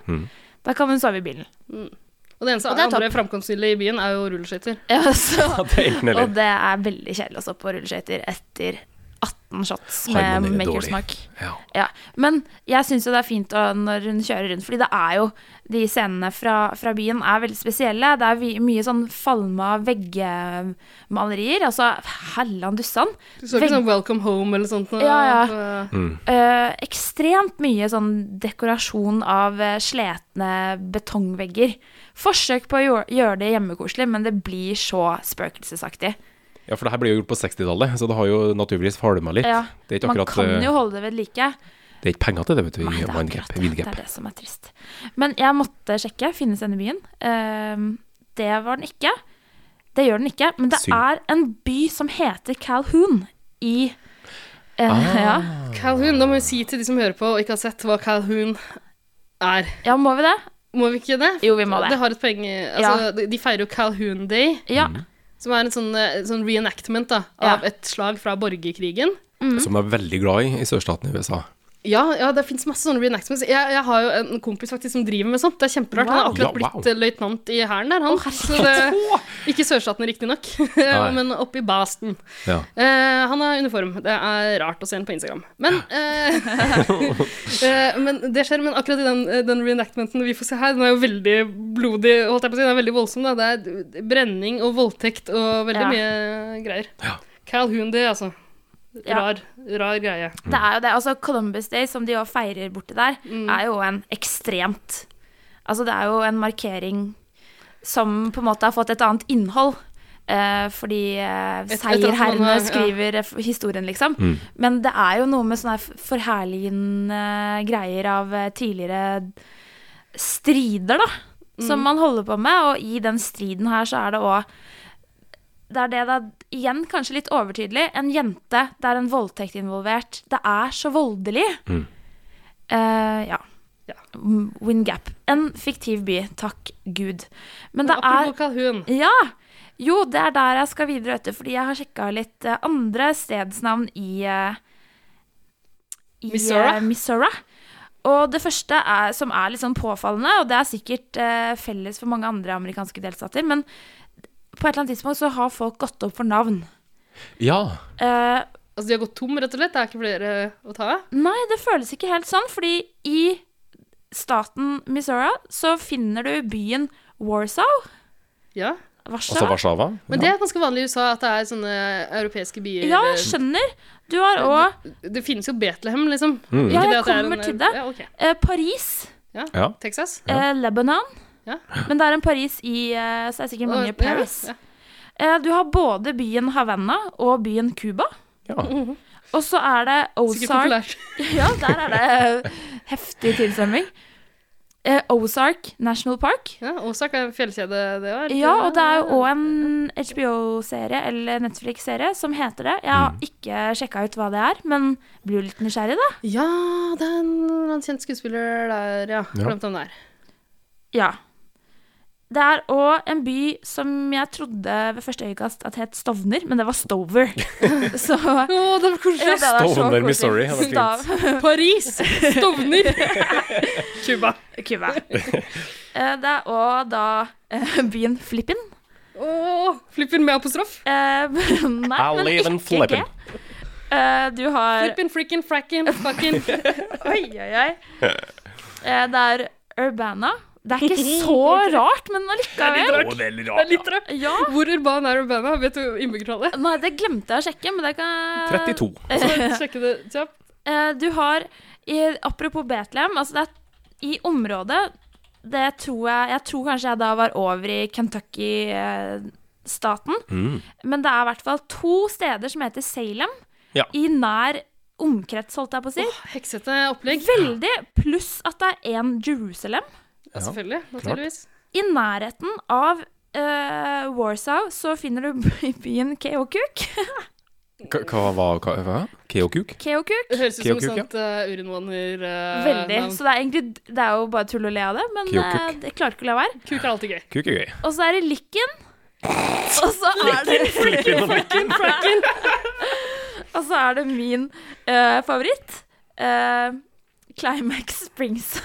Speaker 2: Da kan hun sove i bilen.
Speaker 3: Og det eneste
Speaker 2: Og det er
Speaker 3: andre framkomstmiddelet i byen er jo rulleskøyter.
Speaker 2: Ja, så,
Speaker 4: Ja, det er enten eller.
Speaker 2: og det er veldig kjedelig å stå på rulleskøyter etter 18 shots med
Speaker 4: Harmonerer dårlig.
Speaker 2: makersmak.
Speaker 4: Ja.
Speaker 2: Ja, men jeg syns jo det er fint å, når hun kjører rundt, fordi det er jo De scenene fra, fra byen er veldig spesielle. Det er vi, mye sånn falma veggmalerier. Altså, hellan dussan.
Speaker 3: Du så ikke
Speaker 2: Vegg-
Speaker 3: sånn Welcome Home eller sånt? nå,
Speaker 2: Ja, ja.
Speaker 3: på-
Speaker 2: Eh, ekstremt mye sånn dekorasjon av eh, sletne betongvegger. Forsøk på å gjøre, gjøre det hjemmekoselig, men det blir så spøkelsesaktig.
Speaker 4: ja, for det her ble jo gjort på 60-tallet, så det har jo naturligvis falma litt.
Speaker 2: Ja,
Speaker 4: Det er ikke
Speaker 2: Man
Speaker 4: akkurat
Speaker 2: kan
Speaker 4: eh,
Speaker 2: jo holde det ved like.
Speaker 4: Det er ikke penger til det, vet du.
Speaker 2: Nei,
Speaker 4: i
Speaker 2: det er
Speaker 4: Mindgap.
Speaker 2: akkurat det. Det
Speaker 4: Windgap.
Speaker 2: er det som er trist. Men jeg måtte sjekke. Finnes denne byen? Ehm, det var den ikke. Det gjør den ikke. Men det
Speaker 4: Synd.
Speaker 2: er en by som heter Calhoun i eh,
Speaker 4: Ah.
Speaker 2: ja.
Speaker 3: Calhoun. Da må vi si til de som hører på og ikke har sett hva Calhoun er.
Speaker 2: ja, må vi det?
Speaker 3: Må vi ikke det?
Speaker 2: Jo, vi må det.
Speaker 3: Det har et poeng i- altså, de- De feirer jo Calhoun Day.
Speaker 2: Ja.
Speaker 4: Mm.
Speaker 3: Som er en sånn, eh, sånn reenactment da, av
Speaker 2: Ja.
Speaker 3: et slag fra borgerkrigen.
Speaker 2: Mm.
Speaker 4: Som de er veldig glad i i sørstaten i USA.
Speaker 3: Ja, ja det fins masse sånne reenactments. Jeg, jeg har jo en kompis faktisk som driver med sånt. Det er kjemperart. Han har
Speaker 4: Wow.
Speaker 3: akkurat
Speaker 4: Ja, wow.
Speaker 3: blitt eh, løytnant i hæren der, han. så det, ikke sørstaten riktignok, men oppe i Baston.
Speaker 4: Ja.
Speaker 3: Eh, han har uniform. Det er rart å se han på Instagram. Men, eh, eh, men det skjer. Men akkurat i den, eh, den reenactmenten vi får se her, den er jo veldig blodig, holdt jeg på å si. Den er veldig voldsom, da. Det er brenning og voldtekt og veldig
Speaker 2: Ja.
Speaker 3: mye greier. Calhoun, det, altså.
Speaker 2: Ja.
Speaker 3: Rar, rar greie.
Speaker 2: Det er jo det. Altså, Columbus Day, som de jo feirer borti der,
Speaker 3: Mm.
Speaker 2: er jo en ekstremt Altså, det er jo en markering som på en måte har fått et annet innhold. eh, fordi eh,
Speaker 3: Et- etter at man
Speaker 2: seierherrene
Speaker 3: har- ja. Mm.
Speaker 2: skriver eh, f- historien, liksom. Men det er jo noe med sånne f- forherligende greier av eh, tidligere strider, da. Som man holder på med. Og i den striden her så er det òg det er det da, igjen kanskje litt overtydelig, en jente, det er en voldtekt involvert. Det er så voldelig. Eh, ja.
Speaker 3: Ja.
Speaker 2: M- Windgap. En fiktiv by, takk Gud. Men det er
Speaker 3: Apropos Calhoun.
Speaker 2: Ja! Jo, det er der jeg skal videre, vet du, fordi jeg har sjekka litt eh, andre stedsnavn i eh, i
Speaker 3: Missouri?
Speaker 2: eh, Missouri. Og det første er, som er litt sånn påfallende, og det er sikkert eh, felles for mange andre amerikanske delstater, men på et eller annet tidspunkt så har folk gått opp for navn.
Speaker 4: ja.
Speaker 2: Eh,
Speaker 3: Altså, de har gått tom, rett og slett. Det er ikke flere å ta av.
Speaker 2: nei, det føles ikke helt sånn, fordi i staten Missouri så finner du byen Warsaw.
Speaker 3: Ja.
Speaker 4: Altså
Speaker 2: Warszawa.
Speaker 4: Warszawa.
Speaker 3: Men det er ganske vanlig i USA at det er sånne europeiske byer.
Speaker 2: Ja,
Speaker 3: eller-
Speaker 2: jeg skjønner. Du har òg
Speaker 3: det finnes jo Betlehem, liksom. Ikke
Speaker 2: Ja, jeg
Speaker 3: det at det er
Speaker 2: kommer
Speaker 3: en-
Speaker 2: til det.
Speaker 3: Ja, ok.
Speaker 2: eh, Paris.
Speaker 4: Ja.
Speaker 3: Texas?
Speaker 2: eh, Lebanon.
Speaker 3: Ja.
Speaker 2: Men det er en Paris i eh, Så er det sikkert mange i
Speaker 3: Og-
Speaker 2: Paris.
Speaker 3: Ja,
Speaker 2: Eh, du har både byen Havanna og byen Cuba.
Speaker 4: Ja.
Speaker 2: Mm. Og så er det
Speaker 3: ja. Sikkert
Speaker 2: Ozark
Speaker 3: populært.
Speaker 2: Ja, der er det heftig tilstrømming. Eh, Ozark National Park.
Speaker 3: Ja, Ozark er en fjellkjede, det var.
Speaker 2: Ja, og det er jo òg en HBO-serie eller Netflix-serie som heter det. Jeg har ikke sjekka ut hva det er, men blir jo litt nysgjerrig, da.
Speaker 3: Ja, det er en, en kjent skuespiller der, ja. Glemt hvem det er.
Speaker 2: Ja. Det er òg en by som jeg trodde ved første øyekast at het Stovner, men det var Stover. Så
Speaker 3: Å, det var koselig!
Speaker 2: Ja, det er så
Speaker 4: Stovner,
Speaker 2: koselig.
Speaker 4: Missouri, ja, det er fint.
Speaker 2: Stav-
Speaker 3: Paris! Stovner! Cuba.
Speaker 2: Cuba. Eh, Det er òg da eh, byen Flippin.
Speaker 3: Å, Flippin med apostrof.
Speaker 2: Eh, Nei,
Speaker 4: I'll
Speaker 2: men
Speaker 4: leave and
Speaker 2: ikke
Speaker 4: flippin'.
Speaker 2: G. Eh, Du har
Speaker 3: Flippin, frickin, frackin, fucking
Speaker 2: Oi, oi, oi. Eh, Det er Urbana. Det er ikke så rart, men allikevel.
Speaker 4: Å, det er litt
Speaker 3: Det er
Speaker 4: rart.
Speaker 3: litt rart.
Speaker 2: Ja.
Speaker 3: Hvor urban er Urbana? Vet du innbyggertallet?
Speaker 2: Nei, det glemte jeg å sjekke, men det kan
Speaker 4: 32.
Speaker 3: Så sjekke det kjapt.
Speaker 2: Eh, Du har i, Apropos Betlehem, altså det er i området det tror jeg, jeg tror kanskje jeg da var over i Kentucky-staten.
Speaker 4: Mm.
Speaker 2: Men det er i hvert fall to steder som heter Salem,
Speaker 4: Ja.
Speaker 2: i nær omkrets, holdt jeg på å si.
Speaker 3: Heksete opplegg.
Speaker 2: Veldig. Pluss at det er én Jerusalem.
Speaker 3: Ja, selvfølgelig. Naturligvis.
Speaker 2: I nærheten av eh, Warsaw så finner du byen Keokuk.
Speaker 4: Hva hva var hva- hva? Keokuk?
Speaker 2: Keokuk.
Speaker 3: Det høres ut som et
Speaker 4: Keokuk, ja.
Speaker 3: sånt uh, urinvåner... eh,
Speaker 2: Veldig.
Speaker 3: navn.
Speaker 2: Så det er egentlig Det er jo bare tull og le av det, men eh,
Speaker 4: Keokuk.
Speaker 2: det klarer ikke å la være.
Speaker 3: Kuk er alltid gøy.
Speaker 4: Kuk er gøy.
Speaker 2: Og så er det Likken. Og så er det Og så er det min eh, favoritt. eh, Climax Springs.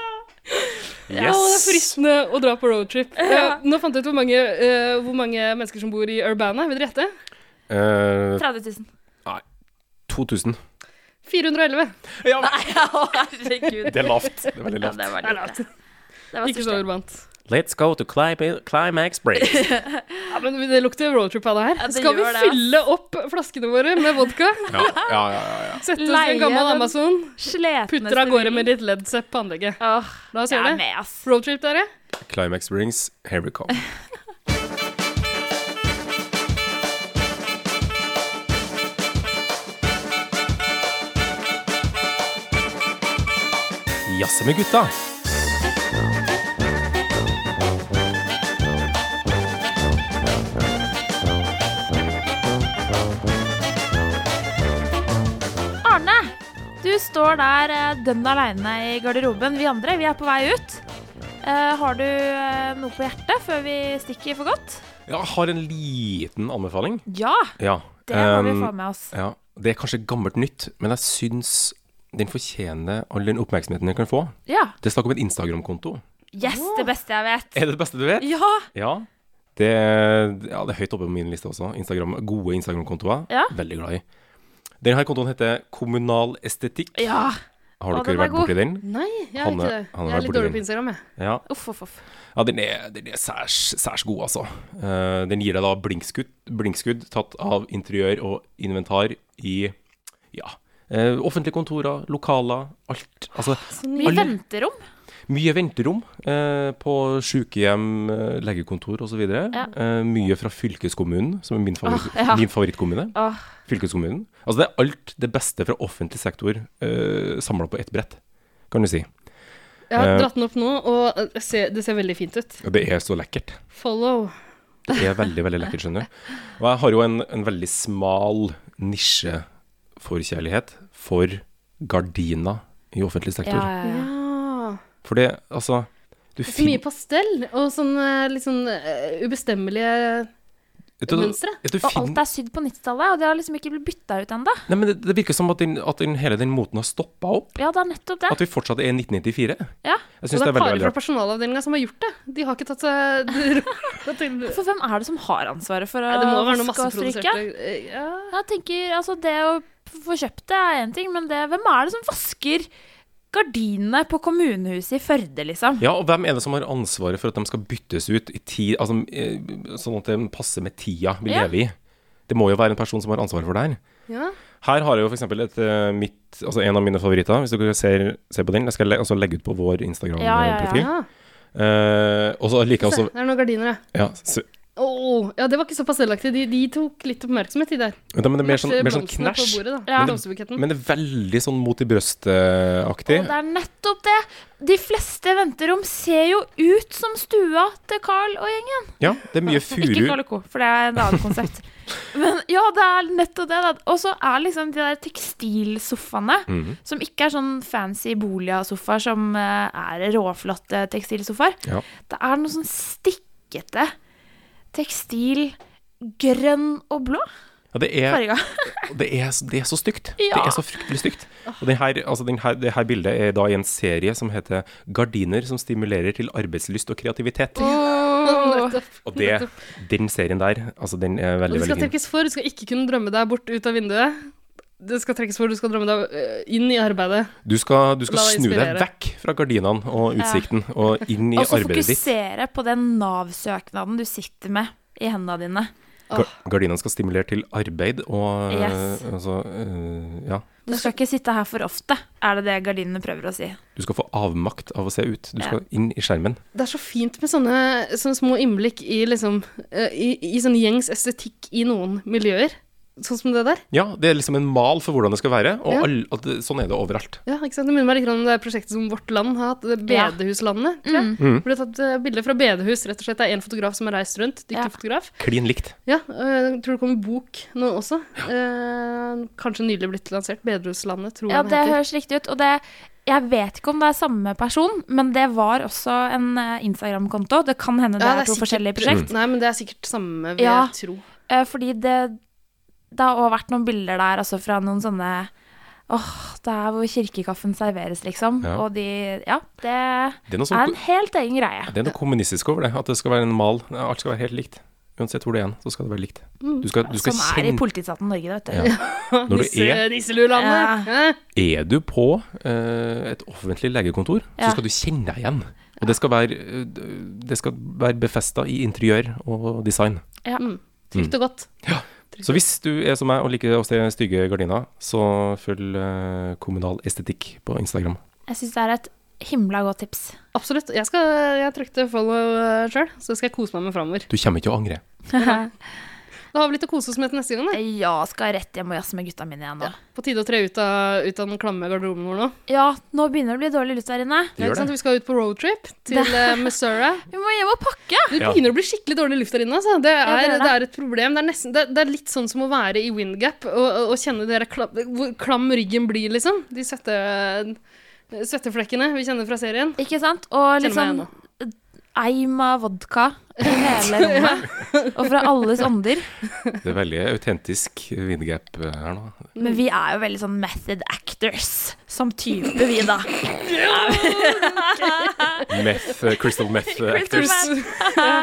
Speaker 3: Å, det er
Speaker 4: Yes.
Speaker 3: fristende å dra på roadtrip. Eh, nå fant jeg ut hvor mange, eh, hvor mange mennesker som bor i Urbana. Vil dere gjette?
Speaker 4: Eh,
Speaker 2: 30 000.
Speaker 4: 2000.
Speaker 3: 411.
Speaker 2: Å, herregud.
Speaker 4: Det er lavt. Det er veldig
Speaker 2: Ja,
Speaker 4: lavt.
Speaker 2: det var litt det var
Speaker 3: Ikke så
Speaker 2: stort.
Speaker 3: urbant.
Speaker 4: Let's go to Clima- Climax Break.
Speaker 3: Ja, men Det lukter roadtrip av det her.
Speaker 2: Ja, det
Speaker 3: Skal vi
Speaker 2: gjør det, ass.
Speaker 3: fylle opp flaskene våre med vodka?
Speaker 4: Ja, ja, ja, ja, ja.
Speaker 3: Sette oss i
Speaker 2: Leie
Speaker 3: en gammel
Speaker 2: den
Speaker 3: Amazon?
Speaker 2: Sletneste
Speaker 3: Putter av gårde med
Speaker 2: bilen.
Speaker 3: litt Ledsepp på anlegget.
Speaker 2: Åh,
Speaker 3: La oss
Speaker 2: jeg
Speaker 3: gjøre
Speaker 2: er
Speaker 3: det.
Speaker 2: med, ass.
Speaker 3: Roadtrip, dere.
Speaker 4: Climax brings, here we come. Jazze med gutta.
Speaker 2: Arne, du står der eh, dønn aleine i garderoben. Vi andre vi er på vei ut. Eh, har du eh, noe på hjertet før vi stikker for godt?
Speaker 4: Jeg har en liten anbefaling.
Speaker 2: Ja,
Speaker 4: Ja,
Speaker 2: Det må vi
Speaker 4: Um,
Speaker 2: få med oss.
Speaker 4: Ja, det er kanskje gammelt nytt, men jeg syns den fortjener all den oppmerksomheten den kan få.
Speaker 2: Ja.
Speaker 4: Det er snakk om en Instagram-konto.
Speaker 2: Yes, det beste jeg vet.
Speaker 4: Er det det beste du vet?
Speaker 2: Ja.
Speaker 4: Ja. Det, ja, det er høyt oppe på min liste også. Instagram, gode Instagram-kontoer.
Speaker 2: Ja.
Speaker 4: Veldig glad i. Denne kontoen heter Kommunal estetikk.
Speaker 2: ja.
Speaker 4: Har
Speaker 2: Å,
Speaker 4: dere
Speaker 2: den er
Speaker 4: vært borti
Speaker 2: god.
Speaker 4: den?
Speaker 3: Nei, jeg er
Speaker 4: Hanne-
Speaker 3: ikke det. Jeg
Speaker 4: Hanne var
Speaker 3: er litt
Speaker 4: borti
Speaker 3: dårlig
Speaker 4: den.
Speaker 3: på Instagram, jeg.
Speaker 4: Ja,
Speaker 2: Uff, uff, uff.
Speaker 4: ja den er, den er særs, særs god, altså. Eh, den gir deg da blinkskudd, blinkskudd tatt av interiør og inventar i ja, eh, offentlige kontorer, lokaler, alt. Altså,
Speaker 2: Mye
Speaker 4: alle-
Speaker 2: venterom.
Speaker 4: Mye venterom eh, på sykehjem, eh, legekontor osv.
Speaker 2: Ja.
Speaker 4: Eh, mye fra fylkeskommunen, som er min, favori
Speaker 2: Åh, ja.
Speaker 4: min favorittkommune.
Speaker 2: Åh.
Speaker 4: Fylkeskommunen. Altså det er alt det beste fra offentlig sektor eh, samla på ett brett, kan du si.
Speaker 3: Jeg har
Speaker 4: Eh.
Speaker 3: dratt den opp nå, og eh, se, det ser veldig fint ut.
Speaker 4: Og det er så lekkert.
Speaker 3: Follow.
Speaker 4: Det er veldig, veldig lekkert, skjønner du. Og jeg har jo en, en veldig smal nisjeforkjærlighet for gardiner i offentlig sektor.
Speaker 2: Ja, ja, ja.
Speaker 3: Ja.
Speaker 4: For det, altså du
Speaker 3: Så mye
Speaker 4: fin-
Speaker 3: pastell og sånn eh, litt sånn eh, ubestemmelige
Speaker 4: vet du-
Speaker 3: mønstre.
Speaker 4: vet du,
Speaker 2: Og
Speaker 4: fin-
Speaker 2: alt er sydd på 90-tallet, og det har liksom ikke blitt bytta ut ennå.
Speaker 4: Nei, men det, det virker som at, den, at den, hele den moten har stoppa opp.
Speaker 2: Ja, det er nettopp det.
Speaker 4: At vi fortsatt er i 1994. Jeg
Speaker 2: Ja.
Speaker 3: Og
Speaker 4: syns
Speaker 3: det er
Speaker 4: det er veldig,
Speaker 3: parer
Speaker 4: veldig
Speaker 3: fra
Speaker 4: rart.
Speaker 3: personalavdelinga som har gjort det. De har ikke tatt seg råd til
Speaker 2: For hvem er det som har ansvaret for å
Speaker 3: Nei, Det må være noe
Speaker 2: vaske og stryke?
Speaker 3: masseproduserte eh, ja.
Speaker 2: Jeg tenker, altså Det å få kjøpt det er én ting, men det, hvem er det som vasker gardinene på kommunehuset i Førde, liksom?
Speaker 4: Ja, og hvem er det som har ansvaret for at de skal byttes ut i tid, altså, eh, sånn at det passer med tida vi
Speaker 2: Ja.
Speaker 4: lever i? Det må jo være en person som har ansvaret for det her.
Speaker 3: ja.
Speaker 4: Her har jeg jo for eksempel et, eh, mitt, altså en av mine favoritter, hvis dere ser, ser på den. Jeg skal le, altså legge ut på vår
Speaker 2: Ja, ja, ja.
Speaker 4: Instagram-profil.
Speaker 3: ja.
Speaker 4: Eh, og så liker jeg
Speaker 3: Se,
Speaker 4: også
Speaker 3: der er noen gardiner, ja.
Speaker 4: ja, så,
Speaker 3: Åh, ja, det var ikke så pastellaktig. De, de tok litt oppmerksomhet, de der.
Speaker 4: Vent da, Men det er mer sånn,
Speaker 3: Masse
Speaker 4: mer sånn
Speaker 3: blomstene
Speaker 4: knæsj.
Speaker 3: På bordet, da.
Speaker 2: Ja.
Speaker 3: Blomsterbuketten.
Speaker 4: Men det er veldig sånn mot i brøstet-aktig.
Speaker 2: Og det er nettopp det! De fleste venterom ser jo ut som stua til Carl og gjengen.
Speaker 4: Ja, det er mye
Speaker 2: Ikke
Speaker 4: furu.
Speaker 2: Carl og Co., for det er et annet konsept. Men ja, det er nettopp det. da. Og så er liksom de der tekstilsofaene, som ikke er sånn fancy boligsofaer som eh, er råflotte tekstilsofaer.
Speaker 4: Ja.
Speaker 2: Det er noe sånn stikkete tekstil, grønn og blå
Speaker 4: Ja, det er,
Speaker 2: farga.
Speaker 4: Og Det er, så- det er så stygt.
Speaker 2: Ja.
Speaker 4: Det er så fryktelig stygt. Og den her, altså den her, det her bildet er da i en serie som heter 'Gardiner som stimulerer til arbeidslyst og kreativitet'.
Speaker 3: Nettopp.
Speaker 4: og det, den serien der, altså den er
Speaker 3: Og
Speaker 4: veldig,
Speaker 3: du skal
Speaker 4: veldig fin.
Speaker 3: trekkes for. Du skal ikke kunne drømme deg bort ut av vinduet. Du skal trekkes for, du skal drømme deg eh, inn i arbeidet.
Speaker 4: Du skal, du skal
Speaker 3: La deg
Speaker 4: snu deg
Speaker 3: inspirere.
Speaker 4: vekk fra gardinene og utsikten og inn i
Speaker 2: Og så
Speaker 4: arbeidet ditt.
Speaker 2: fokusere på den Nav-søknaden du sitter med i hendene dine.
Speaker 4: Ga gardinene skal stimulere til arbeid og øh,
Speaker 2: Yes.
Speaker 4: altså, øh, ja.
Speaker 2: Du skal ikke sitte her for ofte, er det det gardinene prøver å si.
Speaker 4: Du skal få avmakt av å se ut. Du skal inn i skjermen.
Speaker 3: Det er så fint med sånne, sånne små innblikk i, liksom, eh, i, i sånn gjengs estetikk i noen miljøer. Sånn som det der.
Speaker 4: Ja, det er liksom en mal for hvordan det skal være, og
Speaker 3: Ja.
Speaker 4: all, at det, sånn er det overalt.
Speaker 3: Ja, ikke sant? Det minner meg litt grann om det prosjektet som Vårt Land har hatt, det
Speaker 2: Ja.
Speaker 3: Bedehuslandet. tror jeg. Hvor det er tatt eh, bilder fra bedehus, rett og slett. Det er én fotograf som har reist rundt, dyktig
Speaker 2: Ja.
Speaker 3: fotograf.
Speaker 4: Klin likt.
Speaker 3: Ja, øh, tror det kommer bok nå også. Eh, kanskje nylig blitt lansert. Bedehuslandet, tror jeg
Speaker 2: Ja,
Speaker 3: den
Speaker 2: det
Speaker 3: heter.
Speaker 2: høres riktig ut. Og det, jeg vet ikke om det er samme person, men det var også en eh, Instagram-konto. Det kan hende det,
Speaker 3: Ja,
Speaker 2: er to
Speaker 3: sikkert- Mm.
Speaker 2: forskjellige prosjekt.
Speaker 3: Nei, men det er sikkert samme, vil
Speaker 2: Ja.
Speaker 3: jeg tro.
Speaker 2: Eh, Fordi det, det har også vært noen bilder der altså fra noen sånne Åh, det er hvor kirkekaffen serveres, liksom.
Speaker 4: Ja.
Speaker 2: Og de Ja, det
Speaker 4: Det er noe
Speaker 2: er
Speaker 4: sånt
Speaker 2: en helt egen greie.
Speaker 4: Det er noe kommunistisk over det, at det skal være en mal. Alt skal være helt likt. Uansett hvor det er hen, så skal det være likt. Du skal, du skal
Speaker 2: Mm. Som er i
Speaker 4: kjenne
Speaker 2: politistaten Norge, vet du.
Speaker 4: Ja. Når du er,
Speaker 3: Nisse, Nisselulandet. Hæ?
Speaker 4: er du på eh, et offentlig legekontor,
Speaker 2: Ja.
Speaker 4: så skal du kjenne deg igjen. Og det skal være, eh, det skal være befesta i interiør og design.
Speaker 2: Ja.
Speaker 3: Trygt og godt.
Speaker 4: Så hvis du er som meg og liker å se stygge gardiner, så følg eh, Kommunal estetikk på Instagram.
Speaker 2: Jeg syns det er et himla godt tips.
Speaker 3: Absolutt. Jeg, skal, jeg trykte follow sjøl, så skal jeg kose meg med framover.
Speaker 4: Du kommer ikke til å angre.
Speaker 3: Da har vi litt å kose oss med til neste gang. Da.
Speaker 2: Eh, Ja, skal rett hjem og jazze med gutta mine igjen nå.
Speaker 3: På tide å tre ut av, ut av den klamme garderoben vår nå.
Speaker 2: Ja, nå begynner det å bli dårlig luft her inne.
Speaker 4: Det
Speaker 3: Ikke
Speaker 4: gjør
Speaker 3: sant?
Speaker 4: det.
Speaker 3: Vi skal ut på roadtrip til eh, Missouri.
Speaker 2: Vi må hjem og pakke!
Speaker 3: Det
Speaker 4: Ja.
Speaker 3: begynner å bli skikkelig dårlig luft der inne. Altså. Det, er,
Speaker 2: det
Speaker 3: det,
Speaker 2: gjør
Speaker 3: er
Speaker 2: det.
Speaker 3: et problem. Det er, nesten, det, det er litt sånn som å være i windgap og, og, og kjenne dere kla, hvor klam ryggen blir, liksom. De svette, svetteflekkene vi kjenner fra serien.
Speaker 2: Ikke sant? Og
Speaker 3: Kjenner meg
Speaker 2: liksom eim av vodka i hele rommet. Og fra alles ånder.
Speaker 4: Det er veldig autentisk vindgap her nå.
Speaker 2: Men vi er jo veldig sånn method actors som type, vi da.
Speaker 4: Meth, eh, crystal meth eh, actors.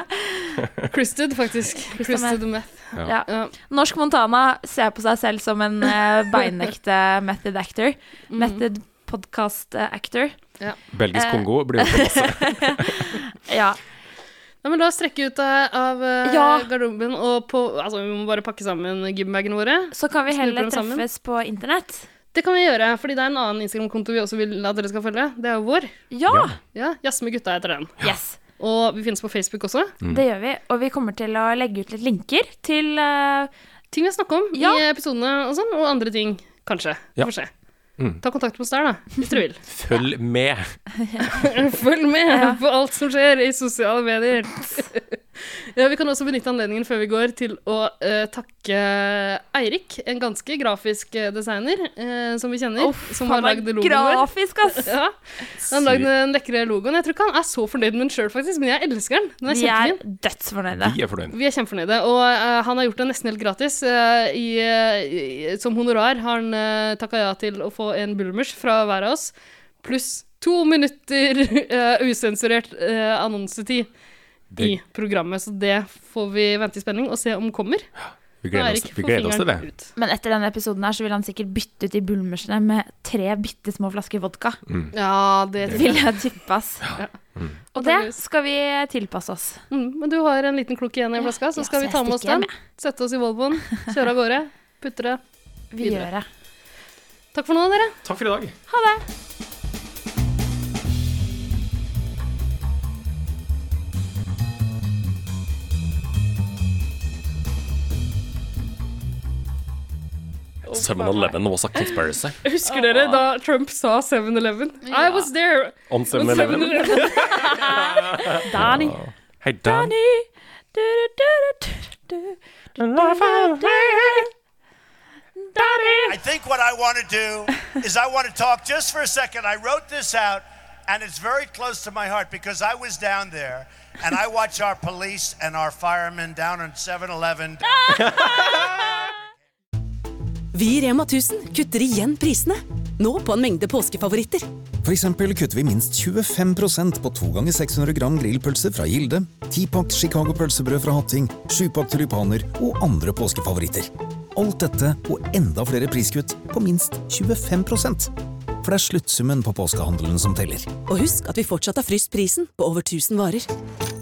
Speaker 3: Christed, faktisk. Christed Meth.
Speaker 2: Ja.
Speaker 3: Ja.
Speaker 2: Norsk Montana ser på seg selv som en eh, beinekte method actor. Method podcast eh, actor.
Speaker 4: Belgisk
Speaker 2: Eh.
Speaker 4: Kongo blir også masse.
Speaker 2: Ja.
Speaker 3: Nei, men la oss trekke ut eh, av eh,
Speaker 2: Ja.
Speaker 3: garderoben og på Altså, vi må bare pakke sammen gymbagene våre.
Speaker 2: Så kan vi
Speaker 3: Spiller
Speaker 2: heller
Speaker 3: dem sammen?
Speaker 2: treffes på internett.
Speaker 3: Det kan vi gjøre, fordi det er en annen Instagram-konto vi også vil at dere skal følge. Det er jo vår.
Speaker 2: Ja!
Speaker 3: Ja, Jazz med gutta heter den.
Speaker 2: Yes.
Speaker 3: Og vi finnes på Facebook også.
Speaker 2: Det gjør vi. Og vi kommer til å legge ut litt linker til eh,
Speaker 3: Ting vi har snakket om
Speaker 2: Ja.
Speaker 3: i episodene og sånn, og andre ting, kanskje.
Speaker 4: Ja.
Speaker 3: Vi får se.
Speaker 4: Mm.
Speaker 3: Ta kontakt med oss der, da, hvis dere vil.
Speaker 4: Følg med!
Speaker 3: Følg med på alt som skjer i sosiale medier. ja, vi kan også benytte anledningen før vi går til å eh, takke Eirik, en ganske grafisk eh, designer eh, som vi kjenner, som har
Speaker 2: faen meg
Speaker 3: lagd logoen vår.
Speaker 2: grafisk, ass!
Speaker 3: Ja, han lagde den lekre logoen. Jeg tror ikke han er så fornøyd med den sjøl, faktisk, men jeg elsker den. Den er
Speaker 2: Vi er
Speaker 3: kjempefin.
Speaker 2: dødsfornøyde.
Speaker 4: Vi er fornøyd.
Speaker 3: Vi er kjempefornøyde, og eh, han har gjort det nesten helt gratis. eh, i, eh, i, som honorar har han uh, takka ja til å få en bulmers fra hver av oss, pluss to minutter eh, usensurert eh, annonsetid i
Speaker 4: Det-
Speaker 3: programmet. Så det får vi vente i spenning og se om kommer.
Speaker 4: Vi gleder oss, vi gleder oss til det.
Speaker 3: ut.
Speaker 2: Men etter denne episoden her så vil han sikkert bytte ut de bulmersene med tre bitte små flasker vodka.
Speaker 3: Ja, det tror jeg.
Speaker 2: Vil jeg tippe, ass. Og det skal vi tilpasse oss.
Speaker 3: Mm, men du har en liten klunk igjen i flaska, så
Speaker 2: ja,
Speaker 3: skal
Speaker 2: så
Speaker 3: vi
Speaker 2: jeg
Speaker 3: ta med oss
Speaker 2: stikker hjem,
Speaker 3: den. Sette oss i Volvoen, kjøre av gårde, putte det.
Speaker 2: Vi
Speaker 3: Videre.
Speaker 2: gjør det.
Speaker 3: Takk for nå, dere.
Speaker 4: Takk for i dag. Ha det. 7-Eleven was a conspiracy.
Speaker 3: Husker dere
Speaker 4: Ah.
Speaker 3: da Trump sa 7-Eleven? I was there!
Speaker 4: On 7-Eleven.
Speaker 2: Dani.
Speaker 4: Hei, Dan.
Speaker 2: Dani. Du, du, du, du, du. Dani.
Speaker 11: I think what I want to do is I want to talk just for a second. I wrote this out, and it's very close to my heart because I was down there and I watch our police and our firemen down on 7 Eleven.
Speaker 12: Vi i Rema 1000 kutter igjen prisene. Nå på en mengde påskefavoritter.
Speaker 13: For eksempel kutter vi minst 25 på 2 ganger 600 gram grillpølser fra Gilde, 10-pakk Chicago pølsebrød fra Hatting, 7-pakk tulipaner og andre påskefavoritter. Alt dette og enda flere priskutt på minst 25 For det er sluttsummen på påskehandelen som teller.
Speaker 12: Og husk at vi fortsatt har fryst prisen på over 1000 varer.